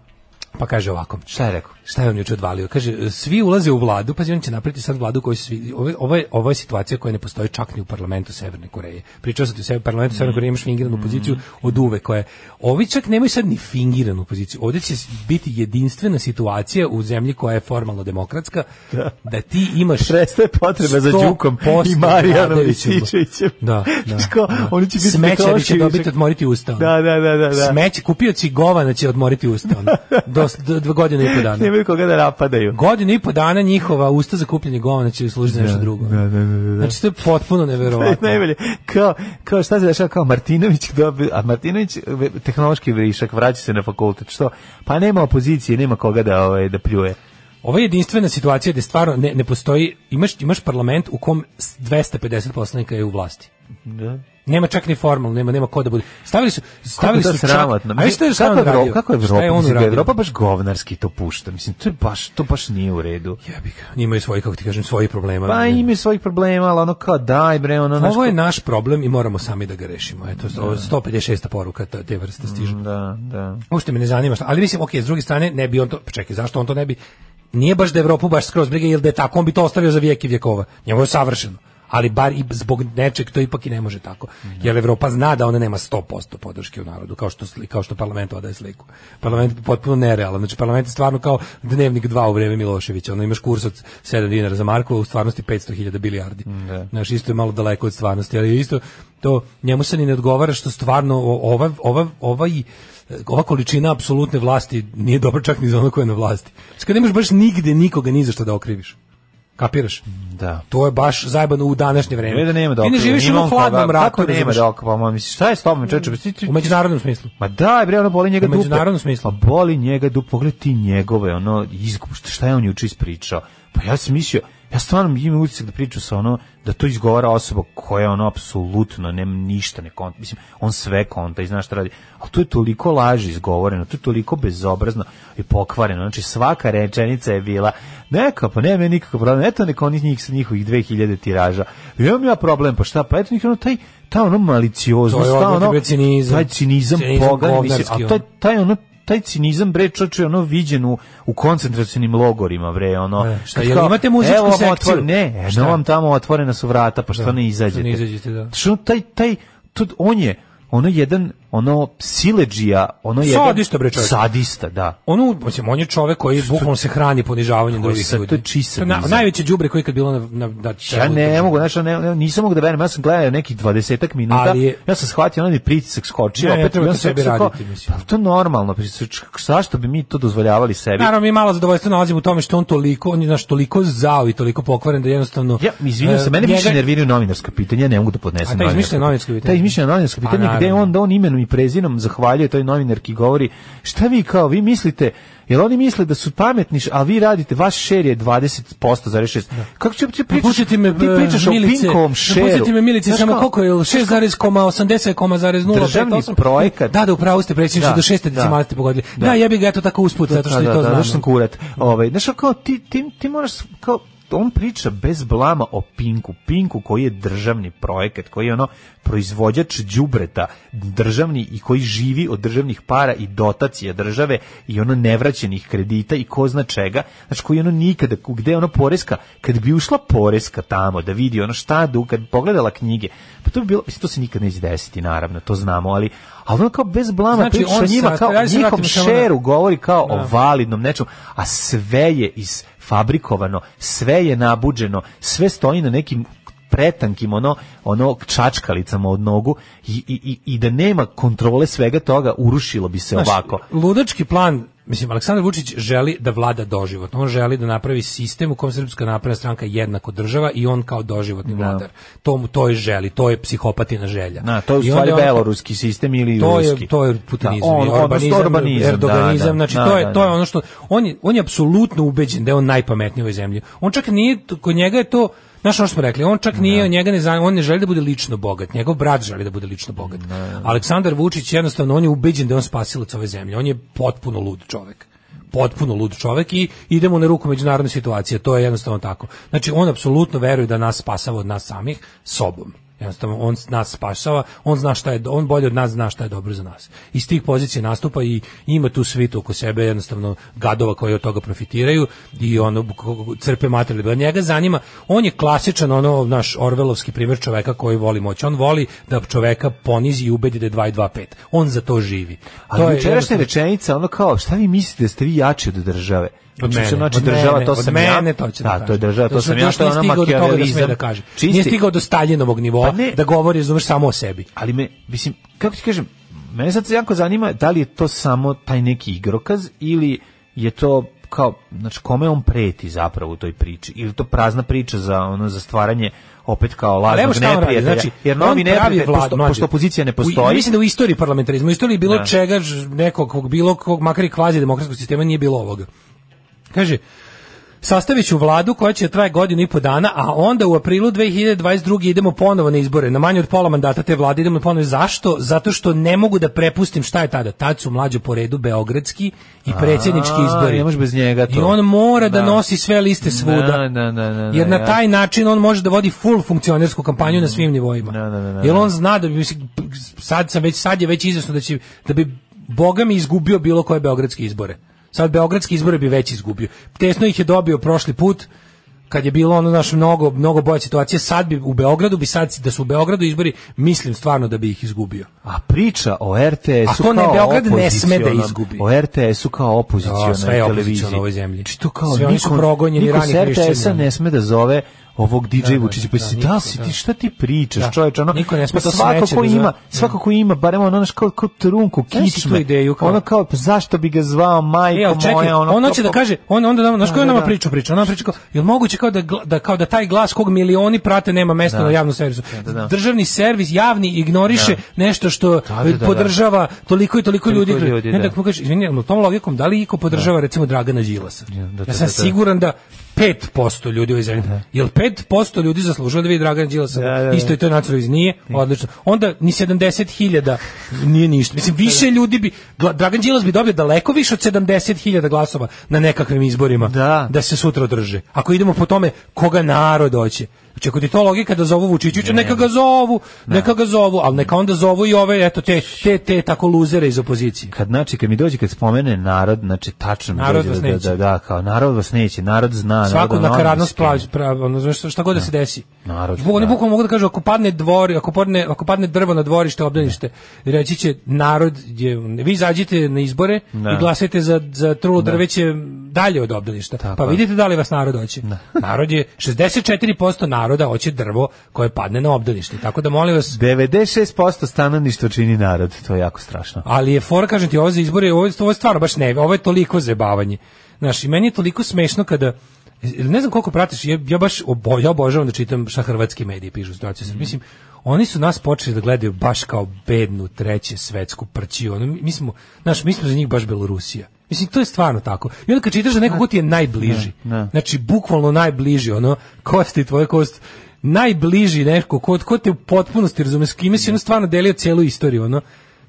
S7: pa kaže ovako.
S6: Šta je rekao?
S7: Šta je on juče odvalio? Kaže, svi ulaze u vladu, pazi, on će napraviti sad vladu koju svi... Ovo, je- ovo, je, ovo je situacija koja ne postoji čak ni u parlamentu Severne Koreje. Pričao sam ti u sebi, parlamentu Severne Koreje imaš fingiranu
S6: Mm.
S7: poziciju od uvek koja je... Ovi čak nemaju sad ni fingiranu poziciju. Ovdje će biti jedinstvena situacija u zemlji koja je formalno demokratska, da, ti imaš...
S6: Prestaje potreba za Đukom i
S7: 100%
S6: Marijanom
S7: vladajućima.
S6: Rističevićem.
S7: Da, da.
S6: Što?
S7: da.
S6: Oni će biti
S7: Smećari će
S6: Milošević.
S7: dobiti odmoriti usta. ono.
S6: Da, da, da, da, da.
S7: Smeć, kupio cigovana će odmoriti usta. ono. Do, do, do godine i po dana.
S6: Nemaju koga da napadaju.
S7: Godinu i po dana njihova usta za kupljenje govana će služiti za nešto drugo.
S6: da, da, da, da.
S7: Znači, to je potpuno neverovatno.
S6: Najbolje, kao, kao šta se dešava, kao Martinović, dobi, a Martinović, ve- tehnološki vrišak, vraća se na fakultet, što? Pa nema opozicije, nema koga da, ovaj, da pljuje.
S7: Ovo je jedinstvena situacija gde stvarno ne, ne postoji, imaš, imaš parlament u kom s- 250 poslanika je u vlasti.
S6: Da.
S7: Nema čak ni formalno, nema, nema ko da bude. Stavili su, stavili
S6: Kako
S7: su
S6: je to
S7: čak...
S6: sramotno.
S7: A viš šta je šta je on
S6: Kako je Evropa-
S7: radio?
S6: Kako je Evropa?
S7: Šta je on
S6: mislim,
S7: uradio?
S6: Evropa baš govnarski to pušta. Mislim, to, je baš, to baš nije u redu.
S7: Jebi ga, Imaju svoji, kako ti kažem, svoji problema.
S6: Pa
S7: Ne-
S6: imaju svojih problema, ali ono kao daj bre, ono... znaš,
S7: Ovo je
S6: ko-
S7: naš problem i moramo sami da ga rešimo. Eto, ovo je 156. poruka ta- te vrste stiže.
S6: Da, da.
S7: Uopšte me ne zanima šta. Ali mislim, ok, s druge strane, ne bi on to... Pa čekaj, zašto on to ne bi... Nije baš da Evropu baš skroz briga, jer da je tako, on bi to ostavio za vijek i vjekova. Njemu je savršeno. ali bar i zbog nečeg to ipak i ne može tako. Jer Evropa zna da ona nema 100% podrške u narodu, kao što, sli- kao što parlament odaje sliku. Parlament je potpuno nerealan. Znači, parlament je stvarno kao dnevnik dva u vreme Miloševića. Ono, imaš kurs od 7 dinara za Markova, u stvarnosti 500.000 bilijardi. Znaš, isto je malo daleko od stvarnosti, ali isto to njemu se ni ne odgovara što stvarno o- ova, ova, ovaj ova količina apsolutne vlasti nije dobra čak ni za ono koja je na vlasti. Znači, kad nemaš baš nigde nikoga ni za što da okriviš. Kapiraš?
S6: Da.
S7: To je baš zajebano u današnje vreme.
S6: Ne da nema da
S7: Ti ne
S6: okriva,
S7: živiš u
S6: imam
S7: onom hladnom
S6: koga-
S7: ratu,
S6: Kako nema
S7: razumeš?
S6: da okriva, ma misliš, šta je s tobom, čoveče? Pa ti- ti-
S7: U međunarodnom smislu.
S6: Ma da, bre, ono boli njega
S7: U
S6: dupe.
S7: međunarodnom smislu.
S6: Pa boli njega dupe, pogledaj ti njegove, ono, izgup, šta- šta je on juče ispričao? Pa ja sam mislio, ja stvarno imam utisak da priča sa ono, da to izgovara osoba koja ono, apsolutno, nema ništa, ne konta, mislim, on sve konta i zna šta radi, ali to je toliko laži izgovoreno, to je toliko bezobrazno i pokvareno, znači svaka rečenica je bila, neka, pa nema ja nikakav problem, eto neka oni njih sa njihovih 2000 tiraža, imam ja problem, pa šta, pa eto njih ono, taj, ta ono malicioznost,
S7: To je
S6: ta
S7: odvratno bio cinizam.
S6: taj cinizam,
S7: Cinizam
S6: pogan, mislim,
S7: govnarski,
S6: a taj,
S7: ono.
S6: taj ono taj cinizam bre čoče ono viđen u, u koncentracionim logorima bre ono
S7: E, šta,
S6: Kad
S7: jel
S6: kao,
S7: imate muzičku
S6: evo vam
S7: sekciju?
S6: otvor- ne
S7: Šta?
S6: no vam tamo otvorena su vrata pa što
S7: Da,
S6: ne izađete
S7: što ne izađete, da.
S6: što ono, taj taj to, on je ono jedan ono sileđija ono jedan
S7: Sadista, bre, čovjek.
S6: sadista da
S7: Ono, mislim, on je čovek koji bukvalno se hrani ponižavanjem
S6: To je
S7: drugih
S6: sad-
S7: ljudi.
S6: to je čist
S7: na,
S6: sadizam.
S7: najveće đubre koji je kad bilo na, na da
S6: Ja
S7: čelu
S6: ne
S7: države.
S6: mogu, znači ne, ne, nisam mogu da verujem, ja sam gledao nekih 20 minuta.
S7: Ali je-
S6: ja sam shvatio onaj pritisak skočio,
S7: Ne, ne
S6: opet
S7: treba
S6: ja
S7: to
S6: sam
S7: sebi
S6: rekao,
S7: raditi, mislim.
S6: pa to je normalno, pa zašto bi mi to dozvoljavali sebi?
S7: Naravno, mi malo zadovoljstvo nalazimo u tome što on toliko, on je znaš, toliko zao i toliko pokvaren da jednostavno...
S6: Ja, izvinjam se,
S7: e,
S6: mene više
S7: njega-
S6: nerviraju novinarska pitanja, ja ne mogu da podnesem
S7: A ta izmišljena novinarska pitanja?
S6: Ta izmišljena novinarska
S7: Pa,
S6: pitanja gde
S7: naravno.
S6: on da on imenom i prezinom zahvaljuje toj novinarki i govori šta vi kao, vi mislite, jel oni misle da su pametni, š- a vi radite, vaš šer je 20% za 6. Kako će ti pričaš?
S7: Napustite me,
S6: ti pričaš
S7: e,
S6: o
S7: Milice,
S6: Pinkovom šeru.
S7: Napustite me, Milice,
S6: Znaš
S7: samo
S6: kao,
S7: koliko je, 6,80,058?
S6: Državni projekat.
S7: Da, da, upravo ste predsjedniče,
S6: Da,
S7: do šeste
S6: da.
S7: decimale ste pogodili.
S6: Da.
S7: Da, jebi ga, eto tako usput, zato što
S6: da,
S7: i
S6: da,
S7: to
S6: da,
S7: znam.
S6: zato što sam kurat. Ovaj, znaš, kao, ti, ti, ti moraš, kao, on priča bez blama o Pinku. Pinku koji je državni projekat, koji je ono proizvođač đubreta državni i koji živi od državnih para i dotacija države i ono nevraćenih kredita i ko zna čega. Znači koji ono nikada, gde je ono poreska, kad bi ušla poreska tamo da vidi ono šta du, kad bi pogledala knjige, pa to bi bilo, mislim, to se nikad neće desiti naravno, to znamo, ali, ali ono kao bez blama
S7: Znači,
S6: priča
S7: on
S6: o njima,
S7: sad-
S6: kao
S7: ajde se vratimo
S6: njihom
S7: samo na-
S6: šeru, govori kao o validnom nečemu, a sve je isfabrikovano, sve je nabuđeno, sve stoji na nekim pretankim ono ono čačkalicama od nogu i, i, i- i da nema kontrole svega toga urušilo bi se ovako
S7: Ludački plan, mislim, Aleksandar Vučić želi da vlada doživotno. On želi da napravi sistem u kom Srpska napredna stranka je jednako država i on kao doživotni vladar. To mu to je želi, to je psihopatina želja.
S6: na to je u
S7: I onda
S6: stvari
S7: on kao-
S6: beloruski sistem ili
S7: to
S6: ruski
S7: je to je putinizam,
S6: Da,
S7: da,
S6: on- odnosno
S7: urbanizam,
S6: urbanizam, da,
S7: erdoganizam,
S6: da,
S7: znači
S6: da,
S7: to je
S6: da,
S7: to je
S6: da.
S7: ono što on je on je apsolutno ubeđen da je on najpametniji u ovoj zemlji. On čak nije kod njega je to Znaš ono što smo rekli, on čak nije, njega ne zanima, on ne želi da bude lično bogat, njegov brat želi da bude lično bogat. Aleksandar Vučić jednostavno, on je ubeđen da je on spasilac ove zemlje, on je potpuno lud čovek potpuno lud čovek i idemo na ruku međunarodne situacije, to je jednostavno tako. Znači, on apsolutno veruje da nas spasava od nas samih sobom. Jednostavno, on nas spašava, on zna šta je, do- on bolje od nas zna šta je dobro za nas. Iz tih pozicija nastupa i ima tu svitu oko sebe, jednostavno, gadova koji od toga profitiraju i ono, k- crpe materijal. Njega zanima, on je klasičan, ono, naš orvelovski primjer čoveka koji voli moć. On voli da čoveka ponizi i ubedi da je 2 i 2 5. On za to živi. To
S6: ali
S7: je
S6: jučerašnja
S7: jednostavno-
S6: rečenica ono kao šta vi mislite da ste vi jači od države
S7: Od
S6: Znači,
S7: mene,
S6: znači
S7: od
S6: država
S7: mene,
S6: to
S7: od
S6: sam ja
S7: mene, to će da,
S6: da,
S7: kaže.
S6: to je država to
S7: Zato
S6: sam
S7: što
S6: ja
S7: još
S6: što je ono
S7: nije stigao do toga da sme
S6: makijavelizam
S7: da kaže. Nije
S6: Čisti-
S7: stigao do Staljinovog nivoa
S6: Pa ne.
S7: da govori, razumeš, samo o sebi.
S6: ali me, mislim, kako ti kažem, mene sad jako zanima da li je to samo taj neki igrokaz ili je to kao, znači kome on preti zapravo u toj priči, ili je to prazna priča za ono za stvaranje opet kao
S7: evo
S6: lažnog
S7: šta on radi,
S6: neprijatelja,
S7: znači,
S6: jer
S7: on pravi
S6: novi neprijatelj,
S7: vladu,
S6: pošto,
S7: mlađe.
S6: pošto opozicija ne
S7: U-
S6: postoji,
S7: mislim da u istoriji parlamentarizma, u istoriji bilo
S6: Da.
S7: čega ž- nekog, kog bilo kog, makar i kvazi demokratskog sistema nije bilo ovoga. Kaže, sastavit ću vladu koja će traje godinu i po dana, a onda u aprilu 2022. idemo ponovo na izbore. Na manje od pola mandata te vlade idemo ponovo. Zašto? Zato što ne mogu da prepustim šta je tada. Tad su mlađo po redu beogradski i predsjednički
S6: A,
S7: izbori.
S6: ne možeš bez njega to.
S7: I on mora da,
S6: Da.
S7: nosi sve liste svuda.
S6: Da, da, da, da, da,
S7: jer na
S6: ja-
S7: taj način on može da vodi full funkcionersku kampanju na svim nivoima.
S6: Da, da, da, da.
S7: Jer on zna da bi mislim, sad sam već sad je već izvesno da će da bi Boga mi izgubio bilo koje beogradske izbore. Sad beogradske izbore bi već izgubio. Tesno ih je dobio prošli put kad je bilo ono naš mnogo mnogo bolja situacija sad bi u Beogradu bi sad da su u Beogradu izbori mislim stvarno da bi ih izgubio
S6: A priča o RTS-u
S7: A to
S6: kao
S7: ne, Beograd ne sme da
S6: opozicionom-
S7: izgubi.
S6: O RTS-u kao opozicionoj
S7: Ja, sve je opoziciono
S6: televiziji.
S7: u ovoj zemlji.
S6: Znači to kao
S7: Sve oni su
S6: niko-
S7: progonjeni,
S6: niko
S7: rani
S6: s RTS-a
S7: hrišćani.
S6: ne sme da zove ovog DJ
S7: da,
S6: Vučića pa
S7: da,
S6: si
S7: niko,
S6: da li si
S7: da.
S6: ti šta ti pričaš
S7: Da.
S6: čoveče ono
S7: Niko ne sme
S6: pa
S7: to
S6: svako
S7: smeće
S6: ko
S7: da
S6: ima
S7: zove.
S6: svako ko ima barem ono naš kao, kao trunku
S7: Znaš ti tu
S6: kičme
S7: ideju kao-
S6: ono kao pa zašto bi ga zvao
S7: E,
S6: majko
S7: ali čekaj,
S6: moja ono
S7: ono
S6: kao-
S7: će da kaže, on onda nam, znaš
S6: Da,
S7: koju
S6: da,
S7: nama
S6: da.
S7: priču priča, ona priča kao, jel moguće kao da, gla- da, kao da taj glas kog milioni prate nema mesta
S6: Da.
S7: na javnom servisu.
S6: da, da.
S7: Državni servis javni ignoriše nešto što
S6: Da, da, da, da.
S7: podržava toliko i toliko,
S6: Toliko
S7: ljudi.
S6: ljudi,
S7: ne,
S6: da.
S7: da. mu kaže, izvini, ali tom logikom, da li iko podržava recimo Dragana Đilasa?
S6: da, da,
S7: ja sam
S6: da, da.
S7: siguran da 5% ljudi u ovoj zemlji. Jel 5% ljudi zaslužilo da vidi Dragana Đilasa?
S6: Da, da, da.
S7: Isto je to nacionalno iz nije, odlično. Onda ni 70.000 nije ništa. Mislim, više ljudi bi, Gla- Dragan Đilas bi dobio daleko više od 70.000 glasova na nekakvim izborima
S6: Da.
S7: se sutra drže. Ako idemo po tome koga narod hoće. Znači, ako ti je to logika da zovu Vučićića, neka ga zovu, neka ga zovu, ali neka onda zovu i ove, eto, te, te, te tako luzere iz opozicije.
S6: kad znači kad mi dođe kad spomene narod znači tačno mi
S7: Narod
S6: dođe
S7: vas
S6: da, da,
S7: neće.
S6: da, da, kao narod vas neće narod zna
S7: Svaku
S6: narod ono,
S7: nakaradnost
S6: mislim.
S7: plaća, prav, ono, znaš, šta god da se desi.
S6: Narod,
S7: Bukvalno- Oni
S6: da.
S7: bukvalno mogu da kažu, ako padne dvori, ako padne, ako padne drvo na dvorište, obdanište, reći će, narod je, vi izađite na izbore
S6: Da.
S7: i glasajte za, za trulo drveće dalje od obdaništa. pa
S6: je.
S7: vidite da li vas narod hoće. narod je, 64% naroda hoće drvo koje padne na obdanište. Tako da molim vas,
S6: 96% stanovništva čini narod, to je jako strašno.
S7: ali je fora, kažem ti, ovo za izbore, ovo, je- ovo je stvarno baš ne, ovo je toliko zebavanje. Znaš, i meni je toliko smešno kada, ne znam koliko pratiš, ja, ja baš obo, ja obožavam da čitam šta hrvatski mediji pišu u situaciji. Sad, Mislim, oni su nas počeli da gledaju baš kao bednu treće svetsku prćiju. Ono, mi, mi smo, znaš, mi smo za njih baš Belorusija. Mislim, to je stvarno tako. I onda kad čitaš da neko ko ti je najbliži,
S6: ne.
S7: znači, bukvalno najbliži, ono, kost i tvoja kost, najbliži neko, ko, ko te u potpunosti razume, s kime si ono stvarno delio cijelu istoriju, ono,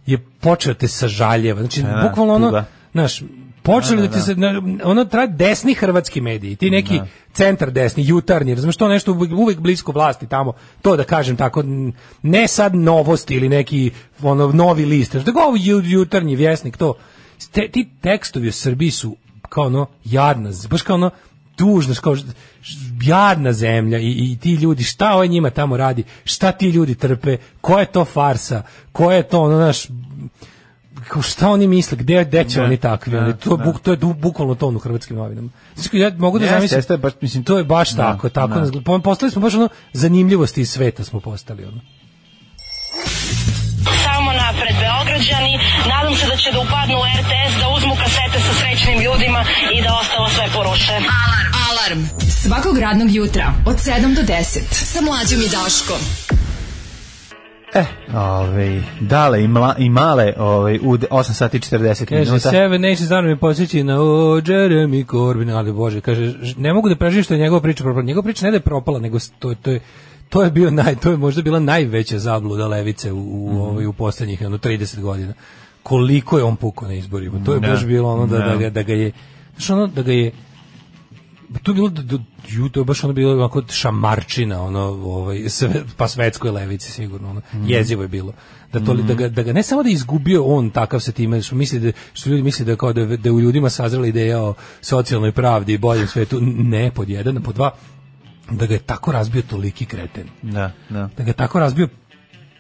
S7: je počeo te sažaljeva. Znači,
S6: da,
S7: bukvalno ono,
S6: tuga.
S7: znaš, počeli da, ti se, na- ono traje desni hrvatski mediji, ti neki centar desni, jutarnji, razumiješ, to nešto uvek, uvek blisko vlasti tamo, to da kažem tako, n- ne sad novosti ili neki ono, novi list, znaš, da go ovo ju- jutarnji vjesnik, to. Ste- ti tekstovi u Srbiji su kao ono, jadna, z- baš kao ono, tužno, kao š- š- jadna zemlja i, i ti ljudi, šta ovaj njima tamo radi, šta ti ljudi trpe, koja je to farsa, koja je to ono, naš, kao šta oni misle, gde, gde će
S6: Da,
S7: oni takvi,
S6: da,
S7: ali to, je buk, to je du- bukvalno ton u hrvatskim novinama. Znači, ja mogu da
S6: Jeste,
S7: zamislim,
S6: jeste, baš, mislim,
S7: to je baš
S6: da,
S7: tako, tako,
S6: da.
S7: nas gl- postali smo baš ono, zanimljivosti iz sveta smo postali, ono.
S5: Samo napred Beograđani, nadam se da će da upadnu u RTS, da uzmu kasete sa srećnim ljudima i da ostalo sve poruše.
S4: Alarm. Alarm. Svakog radnog jutra od 7 do 10 sa mlađom i Daškom.
S6: E, ovaj, dale i, mla, i male ovaj, u de- 8 sati i 40
S7: Kaže,
S6: minuta.
S7: Seven Nation stvarno mi podsjeći na o, Jeremy Corbyn, ali bože, kaže, ž- ne mogu da preživim što je njegova priča propala. Njegova priča ne da je propala, nego s- to, to je to je bio naj to je možda bila najveća zabluda levice u u
S6: Mhm.
S7: ovaj u poslednjih ono 30 godina. Koliko je on pukao na izborima. To je
S6: Da.
S7: baš bilo ono da da
S6: Da.
S7: ga da ga je znaš, ono da ga je to je bilo da, da, ju, to je baš ono bilo onako šamarčina ono ovaj sve, pa svetskoj levici sigurno ono jezivo je bilo da to li, da, ga, da ga ne samo da je izgubio on takav se time što misli da što ljudi misle da je kao da, je- da je u ljudima sazrela ideja o socijalnoj pravdi i boljem svetu ne pod jedan pod dva da ga je tako razbio toliki kreten
S6: Da, da.
S7: da ga je tako razbio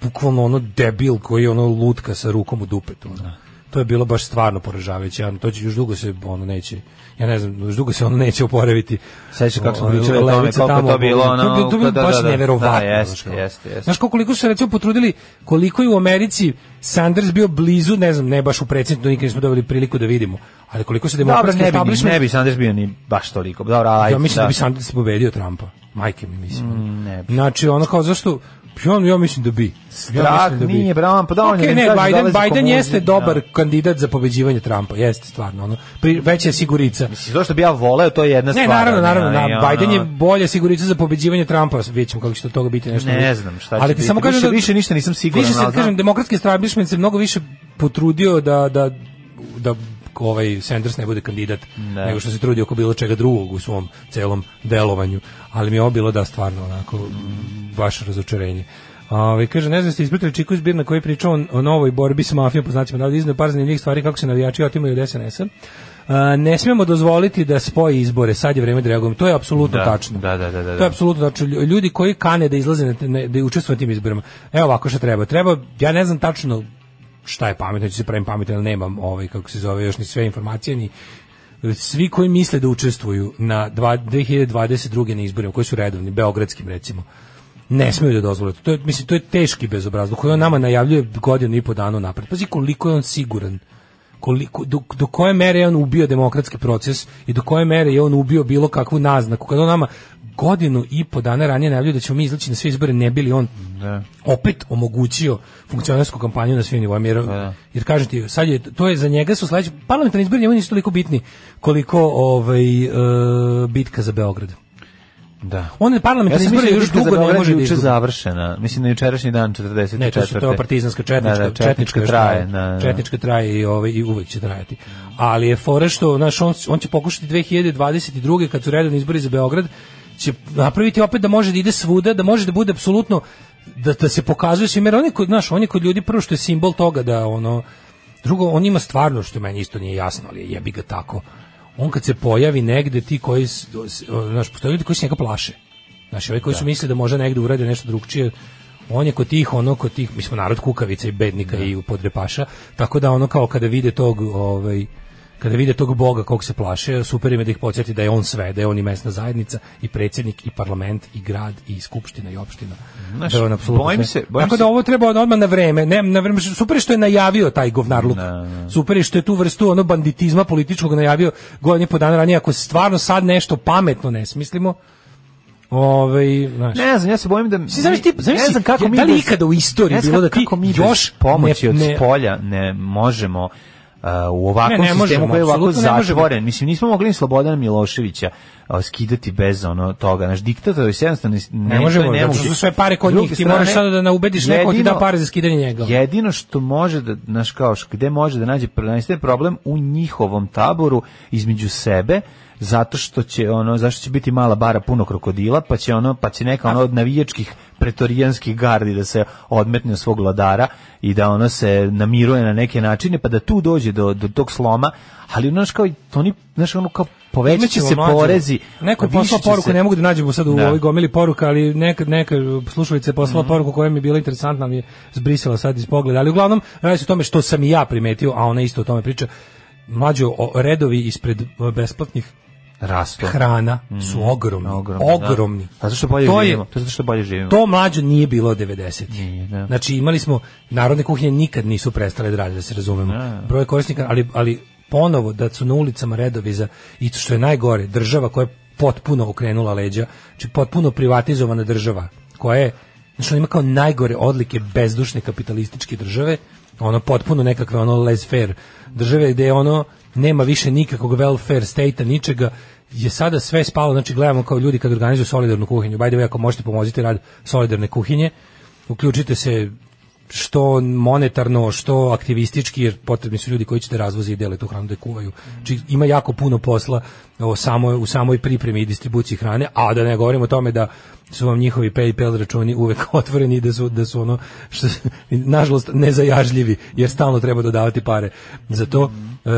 S7: bukvalno ono debil koji je ono lutka sa rukom u dupetu. Ono. To je bilo baš stvarno poražavajuće. Ja, to će još dugo se ono neće. Ja ne znam, još dugo se ono neće oporaviti.
S6: Sećaš kako smo
S7: Ovaj,
S6: pričali o tome,
S7: levica
S6: koliko je
S7: tamo,
S6: to bilo, ono,
S7: To je bilo, to je bilo
S6: da, da,
S7: baš
S6: da.
S7: neverovatno.
S6: Da, jeste,
S7: znaš, kao.
S6: jeste, jeste.
S7: Znaš, Znaš koliko su se recimo potrudili, koliko je u Americi Sanders bio blizu, ne znam, ne baš u predsjednicu, nikad nismo dobili priliku da vidimo, ali koliko se
S6: Dobro,
S7: demokratski
S6: ne bi, ni-
S7: establishment-
S6: ne bi Sanders bio ni baš toliko. Dobro, ajde.
S7: ja mislim da,
S6: da Mm.
S7: bi Sanders pobedio Trumpa. Majke mi mislim.
S6: ne bi.
S7: Znači ono kao zašto Ja, ja mislim da bi.
S6: Strah nije, bravo, pa da, on je,
S7: Okej,
S6: ne
S7: ne,
S6: kaže,
S7: Biden,
S6: dolazi
S7: Biden
S6: komunizam,
S7: jeste
S6: da.
S7: dobar kandidat za pobeđivanje Trumpa, jeste stvarno. Ono, pri, veća je sigurica.
S6: To što bi ja voleo, to je jedna
S7: Ne,
S6: stvar.
S7: naravno,
S6: ali,
S7: naravno,
S6: ali,
S7: da,
S6: ono,
S7: Biden je bolje sigurica za pobeđivanje Trumpa, vidjet ćemo kako će to od toga biti nešto.
S6: Ne
S7: drugo.
S6: znam šta će
S7: Ali ti
S6: biti.
S7: samo kažem
S6: Više-
S7: da-
S6: više ništa nisam siguran,
S7: Više se,
S6: ali znam.
S7: kažem, demokratski establishment se mnogo više potrudio da, da, da ovaj Sanders ne bude kandidat
S6: Da.
S7: nego što se trudi oko bilo čega drugog u svom celom delovanju. Ali mi je ovo bilo da stvarno onako baš razočarenje. Ove, kaže, ne znam ste ispratili Čiku Zbir na koji je pričao o, o novoj borbi sa mafijom po znacima navoda iznao par zanimljivih stvari kako se navijači otimaju od SNS-a. A, ne smemo dozvoliti da spoji izbore, sad je vreme da reagujemo. To je apsolutno
S6: Da,
S7: tačno.
S6: da, da, da, da.
S7: To je apsolutno tačno. Lju- Ljudi koji kane da izlaze na te- ne- da učestvuju na tim izborima. Evo ovako što treba. Treba ja ne znam tačno šta je pametno, ću se pravim pametno, ali nemam ovaj kako se zove još ni sve informacije ni svi koji misle da učestvuju na dva- 2022. na izborima koji su redovni, beogradskim recimo ne smeju da dozvole. To je, mislim, to je teški bezobrazluk koji on nama najavljuje godinu i po dana napred. Pazi koliko je on siguran koliko, do, do koje mere je on ubio demokratski proces i do koje mere je on ubio bilo kakvu naznaku. Kada on nama godinu i po dana ranije najavljuje da ćemo mi izlaći na sve izbore, ne bili on opet omogućio funkcionarsku kampanju na svim nivoima. Jer, jer kažem ti, sad je, to je za njega su sledeći, parlamentarni izbori njemu nisu toliko bitni koliko ovaj, e, bitka za Beograd.
S6: Da.
S7: On je parlamentarni izbor još
S6: bitka za
S7: dugo ne
S6: Beograd
S7: može da
S6: juče
S7: izgubi.
S6: završena. Mislim na jučerašnji dan 44.
S7: Ne, to su to partizanska četnička,
S6: Da, da,
S7: četnička, još
S6: traje. Da, da.
S7: Četnička traje i ovaj i uvek će trajati. Ali je fora što znaš, on on će pokušati 2022. kad su redovni izbori za Beograd će napraviti opet da može da ide svuda, da može da bude apsolutno da, da se pokazuje svim, jer on je kod, znaš, on je kod ljudi prvo što je simbol toga da ono drugo, on ima stvarno što meni isto nije jasno, ali jebi ga tako on kad se pojavi negde ti koji s- s- znaš, postoje ljudi koji se njega plaše Znači, ovi koji su mislili da možda negde urade nešto drugčije, on je kod tih, ono kod tih, mi smo narod kukavica i bednika i podrepaša, tako da ono kao kada vide tog, ovaj, kada vide tog boga kog se plaše, super im je da ih podsjeti da je on sve, da je on i mesna zajednica, i predsjednik, i parlament, i grad, i skupština, i opština.
S6: Znaš,
S7: da je on apsolutno
S6: bojim
S7: sve.
S6: se- bojim
S7: tako
S6: se-
S7: da ovo treba ono odmah na vreme, ne, na vreme, super je što je najavio taj govnarluk, super je što je tu vrstu ono banditizma političkog najavio godinje po dana ranije, ako stvarno sad nešto pametno ne smislimo, ovaj, znaš.
S6: Ne znam, ja se bojim da...
S7: Si znaš ti,
S6: ne
S7: znaš
S6: znam
S7: si,
S6: kako mi...
S7: da li
S6: bez-
S7: ikada u istoriji
S6: ne znam
S7: bilo da ti
S6: kako mi bez
S7: još
S6: pomoći
S7: ne-
S6: od
S7: ne-
S6: spolja ne možemo uh, u
S7: Ne,
S6: ovakvom
S7: ne možemo,
S6: sistemu koji je ovako
S7: apsolutno ne možemo.
S6: zatvoren. Mislim, nismo mogli ni Slobodana Miloševića uh, skidati bez ono toga. Znaš, diktator je jednostavno...
S7: Ne možemo, zato što su sve pare kod njih, ti moraš sada da naubediš nekog da ti da pare za skidanje njega.
S6: Jedino što može da, znaš kao, š- gde može da nađe prvenstveni problem u njihovom taboru između sebe, zato što će ono zašto će biti mala bara puno krokodila pa će ono pa će neka ono od navijačkih pretorijanskih gardi da se odmetne od svog vladara i da ono se namiruje na neke načine pa da tu dođe do, do tog sloma ali ono znaš kao i to oni znaš ono kao povećaće
S7: Imaćemo
S6: se
S7: mlađu.
S6: porezi
S7: Neko je
S6: više
S7: poslao
S6: će
S7: poruku,
S6: se-
S7: ne mogu da nađemo sad u
S6: Da. Mhm.
S7: ovoj gomili poruka, ali neka, neka slušalica je poslala poruku koja mi je bila interesantna, mi je zbrisala sad iz pogleda, ali uglavnom radi se o tome što sam i ja primetio, a ona isto o tome priča. Mlađo, o- redovi ispred e, besplatnih
S6: rastu
S7: hrana su ogromni,
S6: Mhm. Ogromni, da.
S7: ogromni.
S6: Pa zato što bolje
S7: To je-
S6: živimo. To je zato što bolje živimo.
S7: To mlađo nije bilo od 90.
S6: da.
S7: Znači imali smo narodne kuhinje nikad nisu prestale da rade, da se razumemo. Broj korisnika, ali ali ponovo da su na ulicama redovi za i što je najgore, država koja je potpuno okrenula leđa, znači potpuno privatizovana država koja je znači ona ima kao najgore odlike bezdušne kapitalističke države, ono potpuno nekakve ono laissez faire države gde ono nema više nikakvog welfare state-a, ničega, je sada sve spalo, znači gledamo kao ljudi kad organizuju solidarnu kuhinju, by the way, ako možete pomoziti rad solidarne kuhinje, uključite se što monetarno, što aktivistički, jer potrebni su ljudi koji će da razvoze i dele tu hranu da je kuvaju. Znači, ima jako puno posla o samoj, u samoj pripremi i distribuciji hrane, a da ne govorimo o tome da su vam njihovi PayPal računi uvek otvoreni i da su, da su ono, što, nažalost, nezajažljivi, jer stalno treba dodavati pare. Zato, e,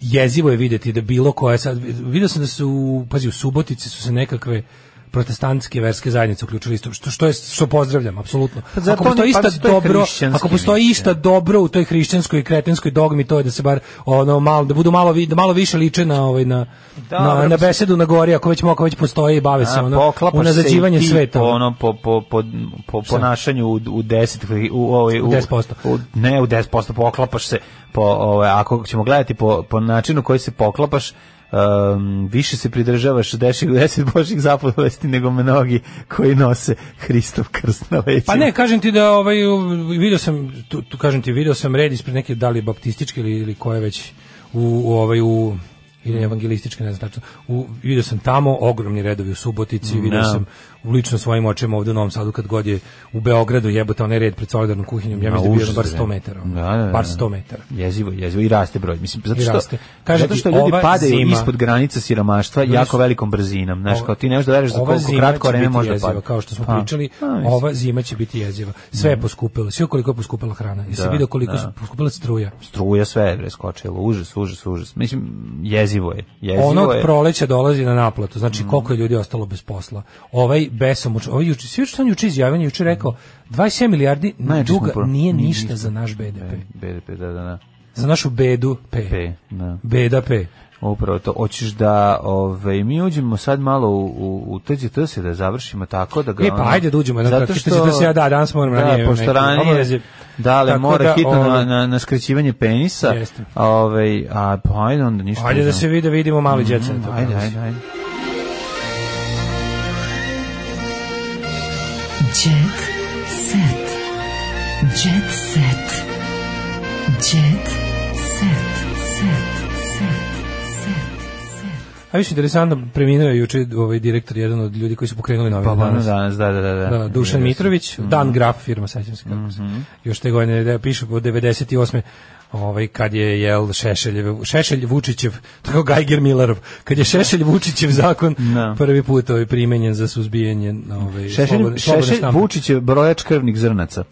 S7: jezivo je vidjeti da bilo koje sad, vidio sam da su, pazi, u Subotici su se nekakve protestantske verske zajednice uključili isto što što je što pozdravljam apsolutno
S6: Pa zato
S7: ako postoji
S6: oni- pa
S7: išta
S6: zato je
S7: dobro,
S6: hrišćanski,
S7: ako postoji
S6: mislim.
S7: išta dobro u toj hrišćanskoj i kretenskoj dogmi, to je da se bar ono malo da budu malo vi- da malo više liče na ovaj na na,
S6: Dobro,
S7: na
S6: mislim-
S7: besedu na gori, ako već mogu, već postoje i bave se
S6: A,
S7: ono
S6: poklapaš
S7: unazađivanje
S6: se i ti
S7: sveta.
S6: Po,
S7: ono.
S6: ono, po, po, po, po ponašanju u, u 10 u, ovaj, u,
S7: U 10%.
S6: u- ne, u 10% poklapaš se po, ovaj, ako ćemo gledati po, po načinu koji se poklapaš em, više se pridržavaš deših 10 božih zapovesti nego mnogi koji nose Hristov krst na leđima.
S7: Pa ne, kažem ti da ovaj u- video sam tu, tu kažem ti video sam red ispred neke da li baptističke ili, ili koje već u, u ovaj u ili evangelističke, ne znam tačno. U, vidio sam tamo ogromni redovi u Subotici, vidio sam u lično svojim očima ovde u Novom Sadu kad god je u Beogradu jebote onaj red pred solidarnom kuhinjom, ja
S6: Ma,
S7: mislim da je bio
S6: užas,
S7: bar
S6: bre.
S7: 100 metara. ono.
S6: Da, da, da.
S7: Bar 100 metara.
S6: Jezivo, jezivo i raste broj. Mislim zato
S7: I
S6: što
S7: raste. Kažem
S6: zato
S7: ti,
S6: što ljudi
S7: ova
S6: padaju
S7: zima-
S6: ispod granica siromaštva
S7: Ljudi
S6: jako
S7: su-
S6: velikom brzinom, znaš,
S7: Ova-
S6: kao ti ne možeš da veruješ za
S7: ova
S6: koliko
S7: zima
S6: kratko
S7: će
S6: vreme
S7: biti
S6: može da
S7: jeziva,
S6: padne.
S7: Kao što smo
S6: Pa,
S7: pričali,
S6: pa, mislim.
S7: ova zima će biti jeziva. Sve je poskupilo, sve koliko je poskupila hrana. Jesi
S6: Da,
S7: vidio koliko
S6: da.
S7: su poskupila struja?
S6: struja sve je bre skočila, užas, užas, užas. Mislim jezivo je, jezivo
S7: ono od
S6: je. Mm.
S7: proleća dolazi na naplatu. Znači koliko je ljudi ostalo bez posla. Ovaj besomuč, ovaj juče, svi što on juče izjavio, on je juče rekao 27 milijardi
S6: Najjači smo
S7: duga
S6: pro-
S7: nije
S6: nije
S7: ništa
S6: ništa.
S7: za naš BDP.
S6: BDP, da, da, da.
S7: Za našu bedu P.
S6: P, da.
S7: Beda P. E,
S6: Upravo to. Hoćeš da ovaj mi uđemo sad malo u u, u TGTS da završimo tako da ga
S7: E pa
S6: ono-
S7: ajde da uđemo jednom
S6: Zato
S7: kratko,
S6: što
S7: TGTS, ja da, danas moram
S6: da,
S7: ranije,
S6: pošto
S7: neke obaveze.
S6: ranije dale
S7: Tako
S6: mora
S7: da,
S6: hitno na,
S7: ovaj-
S6: na, na skraćivanje penisa.
S7: Jeste.
S6: A, Ovaj a pa ajde onda ništa.
S7: Ajde da
S6: uzmemo. Mhm,
S7: se vide, vidimo mali djeca.
S6: Ajde, ajde, ajde.
S4: Jet set. Jet set. Jet set. Set. Set. Set.
S7: A više interesantno, preminuo je juče ovaj direktor, jedan od ljudi koji su pokrenuli novine
S6: Pa
S7: danas.
S6: danas. danas, da, da, da. da. Mhm.
S7: Da, Dušan
S6: Vidio
S7: Mitrović, Dan Graf firma, sećam se kako se. Još te godine da piše od 98. Ovaj kad je jel Šešelj Šešelj Vučićev, tako Geiger Millerov, kad je Šešelj Vučićev zakon
S6: Da.
S7: prvi put ovaj primenjen za suzbijanje ovaj
S6: Šešelj,
S7: slobodne- slobodne
S6: Šešelj
S7: štampe.
S6: Vučić je brojač krvnih zrnaca.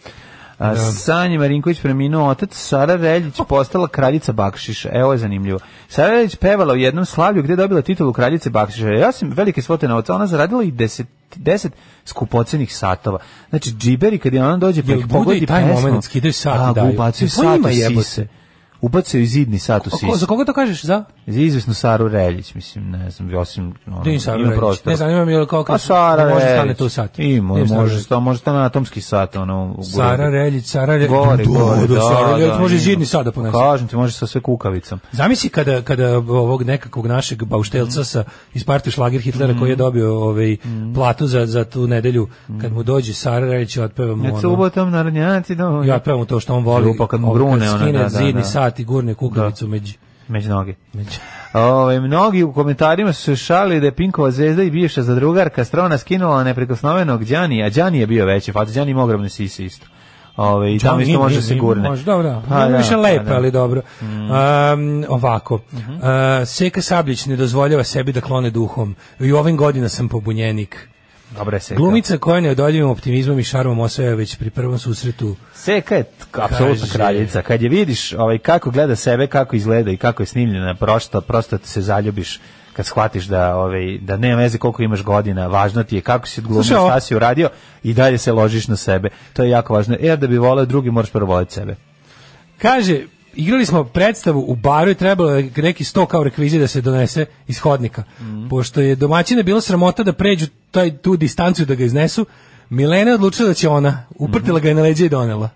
S6: A, Sanji Marinković preminuo otac, Sara Reljić postala kraljica Bakšiša. Evo je zanimljivo. Sara Reljić pevala u jednom slavlju gdje je dobila titulu kraljice Bakšiša. Ja sam velike svote novca, ona zaradila i 10 10 skupocenih satova. Znači, džiberi kad je ona dođe pa
S7: Jel
S6: ih
S7: bude
S6: pogodi
S7: i taj
S6: pesmu,
S7: moment, skidaju sat i
S6: da,
S7: daju?
S6: ubacuju
S7: Pa
S6: sat
S7: ima
S6: u
S7: jebote.
S6: sise. Ubacaju i zidni sat u
S7: Ko- ko-
S6: sise.
S7: Za koga to kažeš? Za?
S6: Za izvesnu Saru Reljić, mislim, ne znam, osim... Ono,
S7: Denis Sara
S6: ima
S7: Radić.
S6: prostora.
S7: Ne zanima me je li ono kao
S6: Pa
S7: kad-
S6: Sara
S7: da može
S6: Reljić.
S7: stane tu sat.
S6: Ima,
S7: Denis Sara
S6: može
S7: Radić.
S6: sta, može stane atomski sat ono u grudi.
S7: Sara Reljić, Sara Reljić.
S6: Govori,
S7: Da,
S6: govori,
S7: da,
S6: da,
S7: Sara Reljić
S6: da,
S7: može
S6: ima.
S7: zidni sad da ponese.
S6: Kažem ti, može sa sve kukavicom.
S7: Zamisli kada kada ovog nekakvog našeg bauštelca sa iz partije šlager Hitlera koji je
S6: Mm.
S7: dobio ovaj platu za za tu nedelju kad mu dođe Sara Radić i otpeva mu
S6: Ne
S7: ono,
S6: subotom narodnjaci do
S7: ja otpevam mu to što on voli
S6: Lupa kad mu
S7: ovo,
S6: brune, ono,
S7: skine
S6: da, da,
S7: zidni
S6: da.
S7: sat i gurne kukavicu među
S6: među noge.
S7: među
S6: Ove, mnogi u komentarima su se šalili da je Pinkova zvezda i bivša zadrugarka strona skinula neprikosnovenog Đani, a Đani je bio veći, pa Đani ima ogromne sise isto. Ove, i tamo isto može da se gurne.
S7: Može, dobro.
S6: Pa da,
S7: više
S6: pa
S7: lepe,
S6: da. Mm. Mhm.
S7: ali dobro. Um, ovako. Uh, Seka Sabljić ne dozvoljava sebi da klone duhom. I ovim godina sam pobunjenik.
S6: Dobre se.
S7: Glumica koja ne odoljivim optimizmom i šarmom osvaja već pri prvom susretu
S6: Seka je t- apsolutna
S7: Kaže.
S6: kraljica. Kad je vidiš ovaj, kako gleda sebe, kako izgleda i kako je snimljena, prosto, prosto ti se zaljubiš kad shvatiš da ovaj da nema veze koliko imaš godina, važno ti je kako si odglumio,
S7: Slušaj, ovo-
S6: šta si uradio i dalje se ložiš na sebe. To je jako važno. Jer da bi voleo drugi, moraš prvo voleti sebe.
S7: Kaže, igrali smo predstavu u baru i trebalo je neki sto kao rekvizije da se donese iz hodnika.
S6: Mhm.
S7: Pošto je domaćina bilo sramota da pređu taj, tu distanciju da ga iznesu, Milena je odlučila da će ona.
S6: Mhm.
S7: Uprtila ga je na leđe i donela.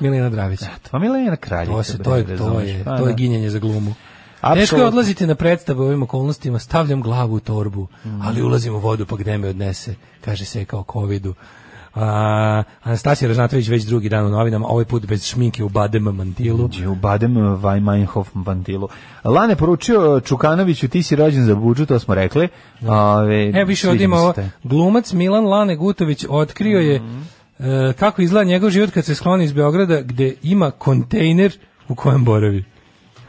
S7: Milena Dravić.
S6: Pa Milena kraljica.
S7: To, se,
S6: bre,
S7: to, je, to,
S6: razumeš?
S7: je,
S6: Pa
S7: to je
S6: da.
S7: ginjenje za glumu.
S6: Apsolutno.
S7: Teško je odlaziti na predstavu u ovim okolnostima, stavljam glavu u torbu,
S6: Mhm.
S7: ali ulazim u vodu pa gde me odnese, kaže se kao covidu. A, Anastasija Ražnatović već drugi dan u novinama, ovaj put bez šminke u badem mantilu.
S6: Đe U Badem Weimainhof Vantilu. Lane poručio Čukanoviću, ti si rođen za budžu, to smo rekli. Ove,
S7: E, više
S6: sviđa
S7: ovdje
S6: mi
S7: ima
S6: se
S7: ovo.
S6: taj.
S7: Glumac Milan Lane Gutović otkrio je
S6: Mhm.
S7: e, kako izgleda njegov život kad se skloni iz Beograda gde ima kontejner u kojem boravi.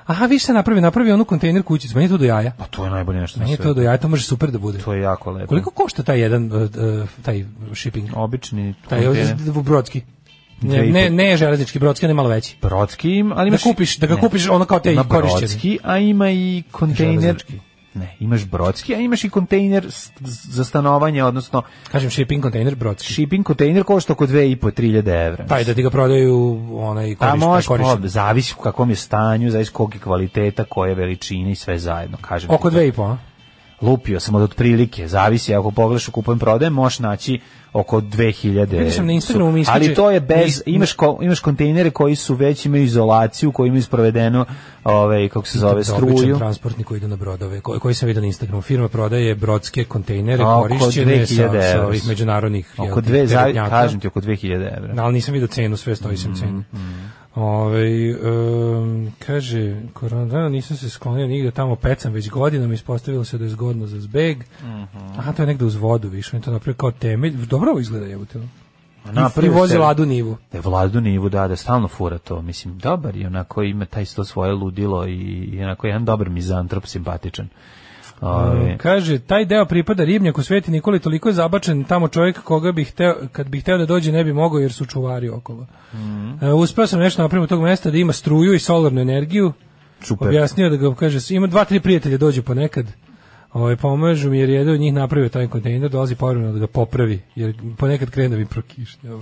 S7: Aha, vi šta napravi? Napravi onu kontejner kućicu. Meni je to do jaja.
S6: Pa to je najbolje nešto na
S7: Meni je to
S6: svetu.
S7: do jaja. To može super da bude.
S6: To je jako lepo.
S7: Koliko košta taj jedan, e, e, taj shipping?
S6: obični
S7: Taj
S6: kontejner.
S7: e, brodski.
S6: Dve
S7: Ne,
S6: i
S7: ne,
S6: po-
S7: ne železnički, brodski, on je malo veći.
S6: brodski, im, ali
S7: Da
S6: imaš
S7: kupiš- da ga
S6: ne.
S7: kupiš ono kao te
S6: Ima
S7: i korišćene.
S6: brodski, a ima i kontejner.
S7: Železnički.
S6: Ne, imaš brodski, a imaš i kontejner s- za stanovanje, odnosno
S7: Kažem shipping kontejner brodski.
S6: shipping kontejner košta oko 2.500-3.000 evra.
S7: Taj da ti ga prodaju onaj
S6: A
S7: korišten.
S6: možeš, pa, zavisi u kakvom je stanju, zavisi kog je kvaliteta, koje veličine i sve zajedno, kažem. ti
S7: Oko
S6: to.
S7: dve i po, a?
S6: Lupio sam od otprilike, zavisi, ako pogledaš u kupujem prodajem, možeš naći oko 2000.
S7: Vidio sam na Instagramu, mi iskače-
S6: ali to je bez,
S7: mi-
S6: imaš, ko, imaš kontejnere koji su već imaju izolaciju, koji imaju sprovedeno, ovaj, kako se zove,
S7: za običan
S6: struju.
S7: transportni koji idu na brodove, koji, koji sam vidio na Instagramu. Firma prodaje brodske kontejnere
S6: A, oko
S7: korišćene sa,
S6: 2000
S7: sa
S6: evra.
S7: ovih međunarodnih jel,
S6: Oko
S7: tih
S6: dve, zavi,
S7: teretnjaka.
S6: kažem ti, oko 2000 evra. Mm,
S7: Ali nisam vidio cenu, sve stoji sam cenu. Ove, um, kaže, koronavira nisam se sklonio nigde, tamo pecam već godinom, ispostavilo se da je zgodno za zbeg.
S6: Mhm.
S7: Aha, to je negde uz vodu više, on je to napravio kao temelj. Dobro ovo izgleda jebute. I, I
S6: Napravio
S7: vozi
S6: se-
S7: ladu nivu.
S6: Da je Vladu Nivu, da, da stalno fura to. Mislim, dobar je, onako ima taj sto svoje ludilo i, i onako jedan dobar mizantrop, simpatičan. Ovaj, Ove,
S7: Kaže, taj deo pripada ribnjaku Sveti Nikoli, toliko je zabačen tamo čovjek koga bih teo, kad bih teo da dođe ne bi mogao jer su čuvari okolo.
S6: Mhm.
S7: E, uspeo sam nešto napraviti od tog mesta da ima struju i solarnu energiju.
S6: Super.
S7: Objasnio da ga, kaže, ima dva, tri prijatelja dođu ponekad. Ovaj pomažu mi jer jedan od njih napravio taj kontejner, dolazi povremeno da ga popravi, jer ponekad krene da mi Ovaj, prokišnjava.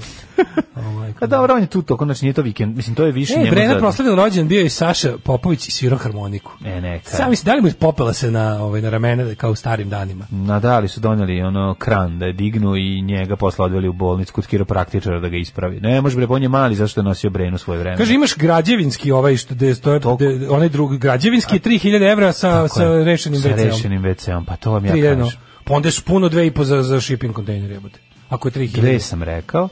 S7: O, majko.
S6: Pa dobro, on je tu to, konačno nije to vikend. Mislim, to je više
S7: E,
S6: njemu
S7: Brena
S6: zadano.
S7: proslavila rođen, bio je i Saša Popović i svirao harmoniku.
S6: E, neka.
S7: Sam mislim, da li mu je popela se na, ovaj, na ramena kao u starim danima?
S6: Nadali su doneli ono kran da je dignu i njega posle odveli u bolnicu kod kiropraktičara da ga ispravi. Ne, može bre, pa on je mali zašto je nosio brenu svoje vreme.
S7: Kaže imaš građevinski ovaj što gde stoje
S6: Toliko.
S7: gde- onaj drugi građevinski je 3000 evra sa
S6: Tako je.
S7: sa rešenim
S6: Sa
S7: WC-om.
S6: rešenim WC-om, pa to vam ja
S7: 3000.
S6: kažem.
S7: Pa onda su puno 2,5 za za shipping kontejner jebote. Ako je 3000.
S6: Dve sam rekao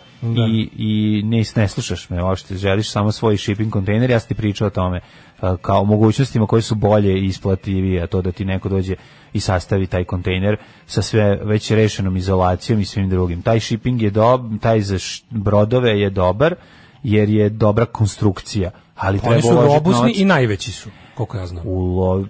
S6: i, i ne, ne slušaš me uopšte, želiš samo svoj shipping kontejner, ja sam ti pričao o tome a, kao o mogućnostima koje su bolje i isplativije, a to da ti neko dođe i sastavi taj kontejner sa sve već rešenom izolacijom i svim drugim. Taj shipping je dob, taj za š- brodove je dobar jer je dobra konstrukcija, ali
S7: Oni
S6: treba
S7: su
S6: uložiti
S7: robusni
S6: novac
S7: i najveći su, koliko ja znam.
S6: ulo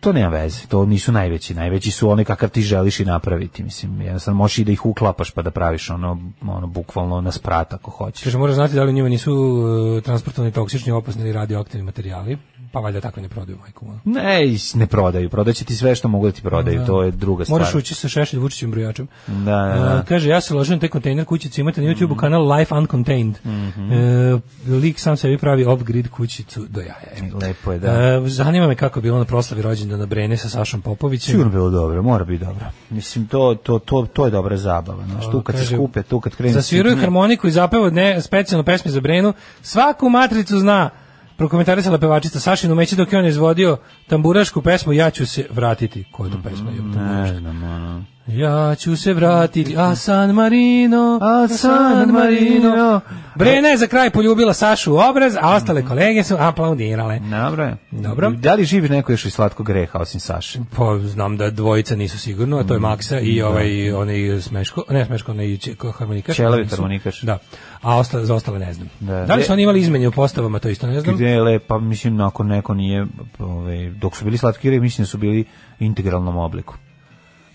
S6: to nema veze, to nisu najveći, najveći su oni kakav ti želiš i napraviti, mislim, jednostavno možeš i da ih uklapaš pa da praviš ono, ono bukvalno na sprat ako hoćeš.
S7: Kaže moraš znati da li u njima nisu uh, transportovani toksični, opasni ili radioaktivni materijali, pa valjda tako ne prodaju majku. moja.
S6: Ne, is- ne prodaju, prodaće ti sve što mogu da ti prodaju, to je druga stvar.
S7: Moraš ući sa Šešelj Vučićem brojačem.
S6: Da, da, da.
S7: E, kaže, ja se ložim na taj kontejner kućicu, imate na YouTube kanal Life Uncontained.
S6: Mhm.
S7: E, lik sam sebi pravi off-grid kućicu do jaja.
S6: Lepo je, da.
S7: Da. E, zanima me kako je bilo na proslavi rođendana Brene sa Sašom Popovićem.
S6: Sigurno bilo dobro, mora biti dobro. Mislim, to, to, to, to je dobra zabava, znaš, tu kad se
S7: Kaže,
S6: skupe, tu kad krenu...
S7: Zasviraju
S6: svi-
S7: harmoniku i zapeva ne, specijalnu pesmu za Brenu. Svaku matricu zna prokomentarisala pevačica Sašin umeće dok je on izvodio tamburašku pesmu Ja ću se vratiti. Koja je to pesma? jebote,
S6: Ne znam, ono.
S7: Ja ću se vratiti, a San Marino,
S6: A San Marino.
S7: Brena je za kraj poljubila Sašu u obraz, a ostale kolege su aplaudirale.
S6: Dobro je.
S7: Dobro.
S6: Da li živi neko još iz slatkog greha osim Saše?
S7: Pa znam da dvojica nisu sigurno, a to je
S6: Mm,
S7: Maksa i ovaj onaj smeško, ne smeško, onaj Čeko harmonikaš.
S6: Ćelavi
S7: Nisu.
S6: harmonikaš.
S7: Da. A ostale, za ostale ne znam.
S6: Da.
S7: Da, li su oni imali izmenje u postavama, to isto ne znam.
S6: Gde je lepa, mislim, ako neko nije, ove, dok su bili slatki greh, mislim da su bili u integralnom obliku.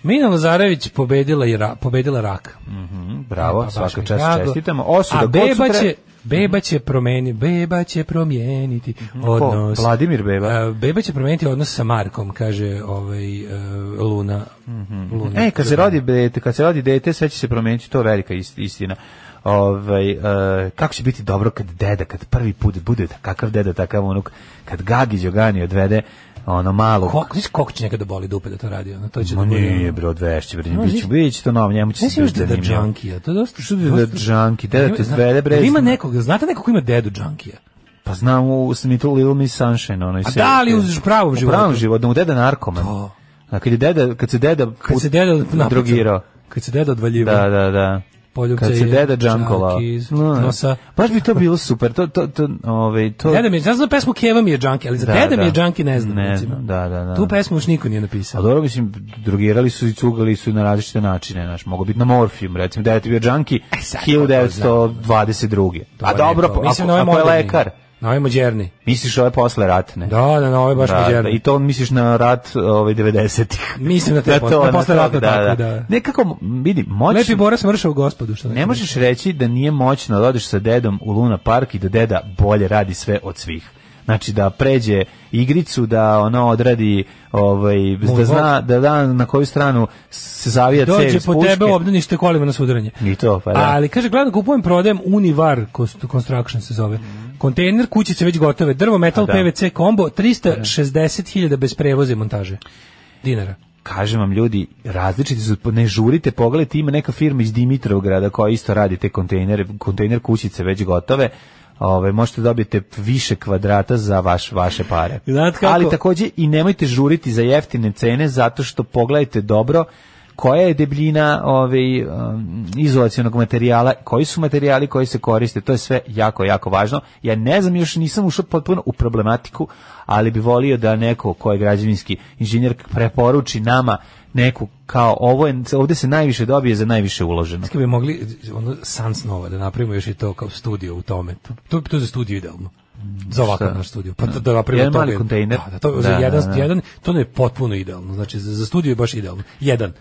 S7: Mina Lazarević pobedila, je ra, pobedila rak.
S6: Mhm,
S7: E,
S6: bravo,
S7: pa baš
S6: svaka
S7: mi
S6: čast
S7: drago.
S6: čestitamo. Osuda,
S7: a
S6: kod
S7: beba
S6: sutra- Mhm.
S7: će, beba će promeni, beba će promijeniti odnos.
S6: Vladimir Beba?
S7: A, beba će promijeniti odnos sa Markom, kaže ovaj, e, Luna. Luna.
S6: E, kad se rodi dete, kad se rodi dete, sve će se promeniti, to je velika ist- istina. Ovaj e, kako će biti dobro kad deda, kad prvi put bude kakav deda, takav unuk, kad Gagi Đogani odvede ono malo
S7: Kako, znaš koliko će nekada boli dupe da to radi? Ono, to će
S6: Ma
S7: da bude, ono-
S6: nije bre odvešće, bre,
S7: Ma,
S6: biće,
S7: znaš-
S6: biće to novo, njemu će
S7: Ne
S6: se
S7: si još deda
S6: zanimljivo.
S7: džankija, to je dosta...
S6: Što deda
S7: dosta-
S6: džanki? Deda te
S7: Ima-
S6: zvede, bre,
S7: jel Ima
S6: zna.
S7: nekog, znate nekog ko ima dedu džankija?
S6: Pa znam u Smitu Little Miss Sunshine, onoj
S7: A da li u pravom
S6: U pravom
S7: životu?
S6: životu, u deda narkoman.
S7: To.
S6: A kad, je deda, kad se deda
S7: Kad
S6: put-
S7: se deda napucao.
S6: drogirao.
S7: Kad se deda odvaljiva.
S6: Da, da, da.
S7: Poljubce
S6: kad se
S7: je
S6: deda
S7: čak
S6: džankova.
S7: iz nosa.
S6: Baš bi to bilo super. To, to, to, ovaj, to...
S7: Deda mi je, ja znam pesmu Keva mi je džanki, ali za
S6: Da,
S7: deda mi je
S6: da.
S7: džanki ne znam.
S6: Ne
S7: recimo.
S6: znam, da, da, da.
S7: Tu pesmu još niko nije
S6: A
S7: napisao.
S6: dobro, mislim, drogirali su i cugali su na različite načine, znaš, mogu biti na morfijum, recimo, da je ti bio džanki
S7: E, sad,
S6: 1922.
S7: To
S6: A
S7: je
S6: dobro,
S7: to.
S6: ako,
S7: Mislim na ove
S6: ako je
S7: moderni.
S6: lekar,
S7: Na ove mođerni.
S6: misliš ove posle ratne.
S7: Da, da, na ove baš
S6: Da, da,
S7: mođerni.
S6: I to misliš na rat ovaj 90-ih.
S7: Mislim na te
S6: Na
S7: pos-
S6: to,
S7: na
S6: na
S7: posleratno
S6: to, da,
S7: tako,
S6: da.
S7: da.
S6: Nekako, vidi, moćno...
S7: Lepi Bora smršao u gospodu, što
S6: Ne
S7: kažem.
S6: možeš reći da nije moćno da odeš sa dedom u Luna Park i da deda bolje radi sve od svih. Znači da pređe igricu, da ono odradi, ovaj, da zna da, da na koju stranu se zavija cev
S7: Dođe
S6: iz
S7: po tebe
S6: puške.
S7: u obdanište kolima na sudaranje.
S6: I to, pa da.
S7: Ali kaže, gledam, kupujem, prodajem Univar Cost- Construction se zove. Kontejner, kućice već gotove, drvo, metal,
S6: Pa da.
S7: PVC, kombo, 360.000 bez prevoza i montaže. Dinara.
S6: Kažem vam ljudi, različiti su, ne žurite, pogledajte, ima neka firma iz Dimitrovgrada koja isto radi te kontejnere, kontejner kućice već gotove. Ove, možete dobiti više kvadrata za vaš, vaše pare.
S7: Znate kako?
S6: Ali takođe i nemojte žuriti za jeftine cene zato što pogledajte dobro koja je debljina ovaj, um, izolacionog materijala, koji su materijali koji se koriste, to je sve jako, jako važno. Ja ne znam, još nisam ušao potpuno u problematiku, ali bi volio da neko ko je građevinski inženjer preporuči nama neku kao ovo je, ovde se najviše dobije za najviše uloženo.
S7: Kako bi mogli ono san snova da napravimo još i to kao studio u tome. To to, to je za studio idealno. Za ovakav
S6: šta?
S7: naš studio. Pa da, da napravimo
S6: Jedan
S7: to.
S6: mali kontejner.
S7: Da, da, to, za
S6: Da,
S7: jedan,
S6: da, da.
S7: jedan, to ne je potpuno idealno. Znači, za, za studio je baš idealno. Jedan.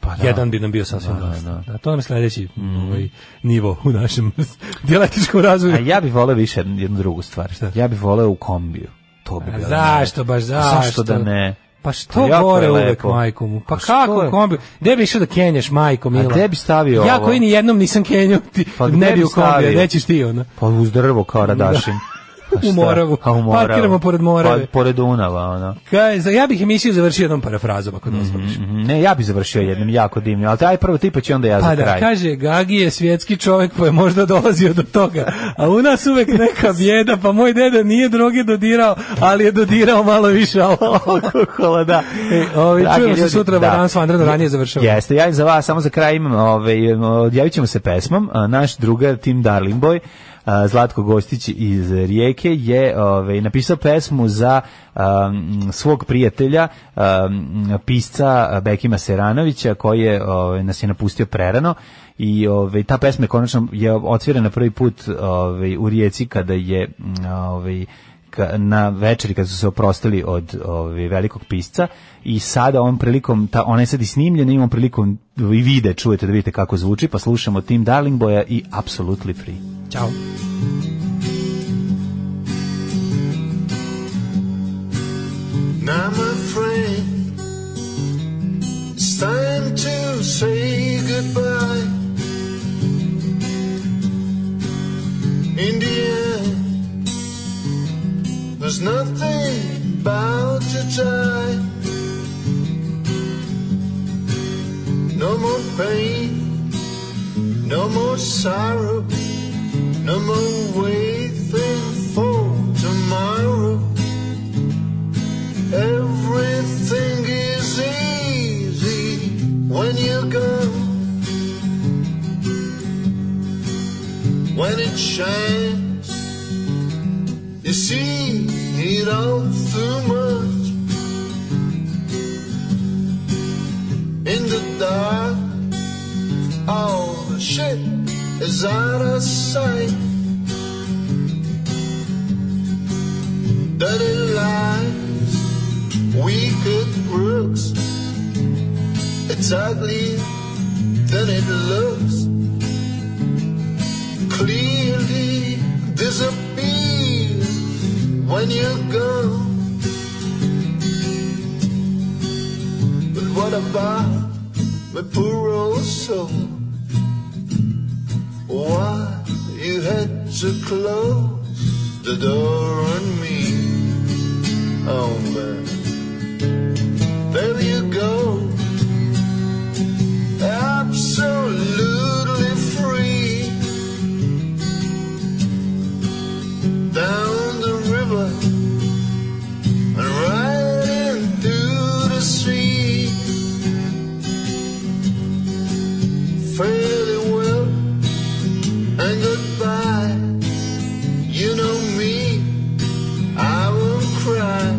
S7: Pa
S6: da.
S7: Jedan bi nam bio sasvim
S6: Da, da,
S7: dosta.
S6: da. Mhm.
S7: Da, to nam je sledeći ovaj, nivo u našem dijalektičkom razvoju.
S6: A ja bih voleo više jednu jednu drugu stvar. Ja bih voleo u kombiju. To bi
S7: A
S6: bilo.
S7: Pa Zašto baš zašto?
S6: Pa Zašto da ne?
S7: Pa što
S6: Jako je
S7: gore uvek
S6: lepo.
S7: majkom mu? Pa
S6: A što
S7: kako
S6: je?
S7: kombi? Gde bi išao da kenjaš majko mila?
S6: gde bi stavio
S7: ja
S6: ovo?
S7: koji ni jednom nisam kenjao, ti
S6: Pa gde
S7: ne bi
S6: bi
S7: u kombi,
S6: stavio?
S7: nećeš ti ono? ona.
S6: Pa uz drvo kao radašin. Pa šta?
S7: U Moravu.
S6: A u Moravu.
S7: Parkiramo pored Morave.
S6: Pa, pored Dunava, ono.
S7: Kaj, za- ja bih emisiju završio jednom parafrazom ako dozvoliš.
S6: Mhm, Ne, ja bih završio jednim jako divnim, ali taj prvo ti pa ću onda ja
S7: Pa
S6: za
S7: da,
S6: kraj.
S7: kaže, Gagi je svjetski čovjek pa je možda dolazio do toga. A u nas uvek neka bjeda, pa moj deda nije droge dodirao, ali je dodirao malo više alkohola.
S6: Kola, da.
S7: E, ovi,
S6: Dragi
S7: čujemo se
S6: ljudi,
S7: sutra, Varan Svandran, ranije završavamo.
S6: Jeste, ja za vas samo za kraj imam, ovaj, odjavit ćemo se pesmom. A, Naš drugar, Tim Darling Boy, a, Zlatko Gostić iz Rijeke je ovaj, napisao pesmu za um, svog prijatelja um, pisca Bekima Seranovića koji je ovaj, nas je napustio prerano i ovaj, ta pesma je konačno je otvirana prvi put ovaj, u Rijeci kada je mm, ovaj, ka- na večeri kad su se oprostili od ovaj, velikog pisca i sada on prilikom, ta, ona je sad i snimljena, imamo prilikom i vide, čujete da vidite kako zvuči, pa slušamo Tim Darlingboja i Absolutely Free.
S7: Ćao.
S9: Now, my friend, it's time to say goodbye. In the end, there's nothing about to try. No more pain, no more sorrow, no more waiting for tomorrow. Everything is easy when you're gone. When it shines, you see it all too much. In the dark, all the shit is out of sight. Dirty lies we could brooks. It's uglier than it looks. Clearly disappears when you're gone. But what about my poor old soul? Why you had to close the door on me? Oh man. There you go. Absolutely free. Down the river and right into the sea. Fairly well and goodbye. You know me, I will cry.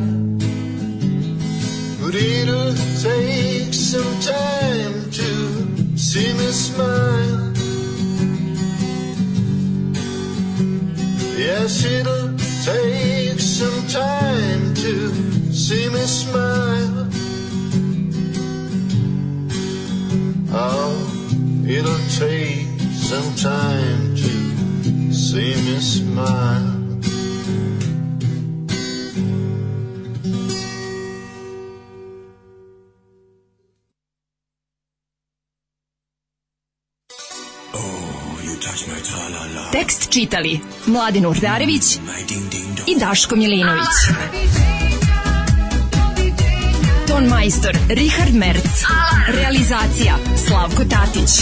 S9: But it'll take some time to see me smile. Yes, it'll take some time to see me smile. Oh, it'll take some time to see me smile.
S4: Tekst čitali Mladin Urdarević i Daško Milinović. Ton majstor Richard Merc. Realizacija Slavko Tatić.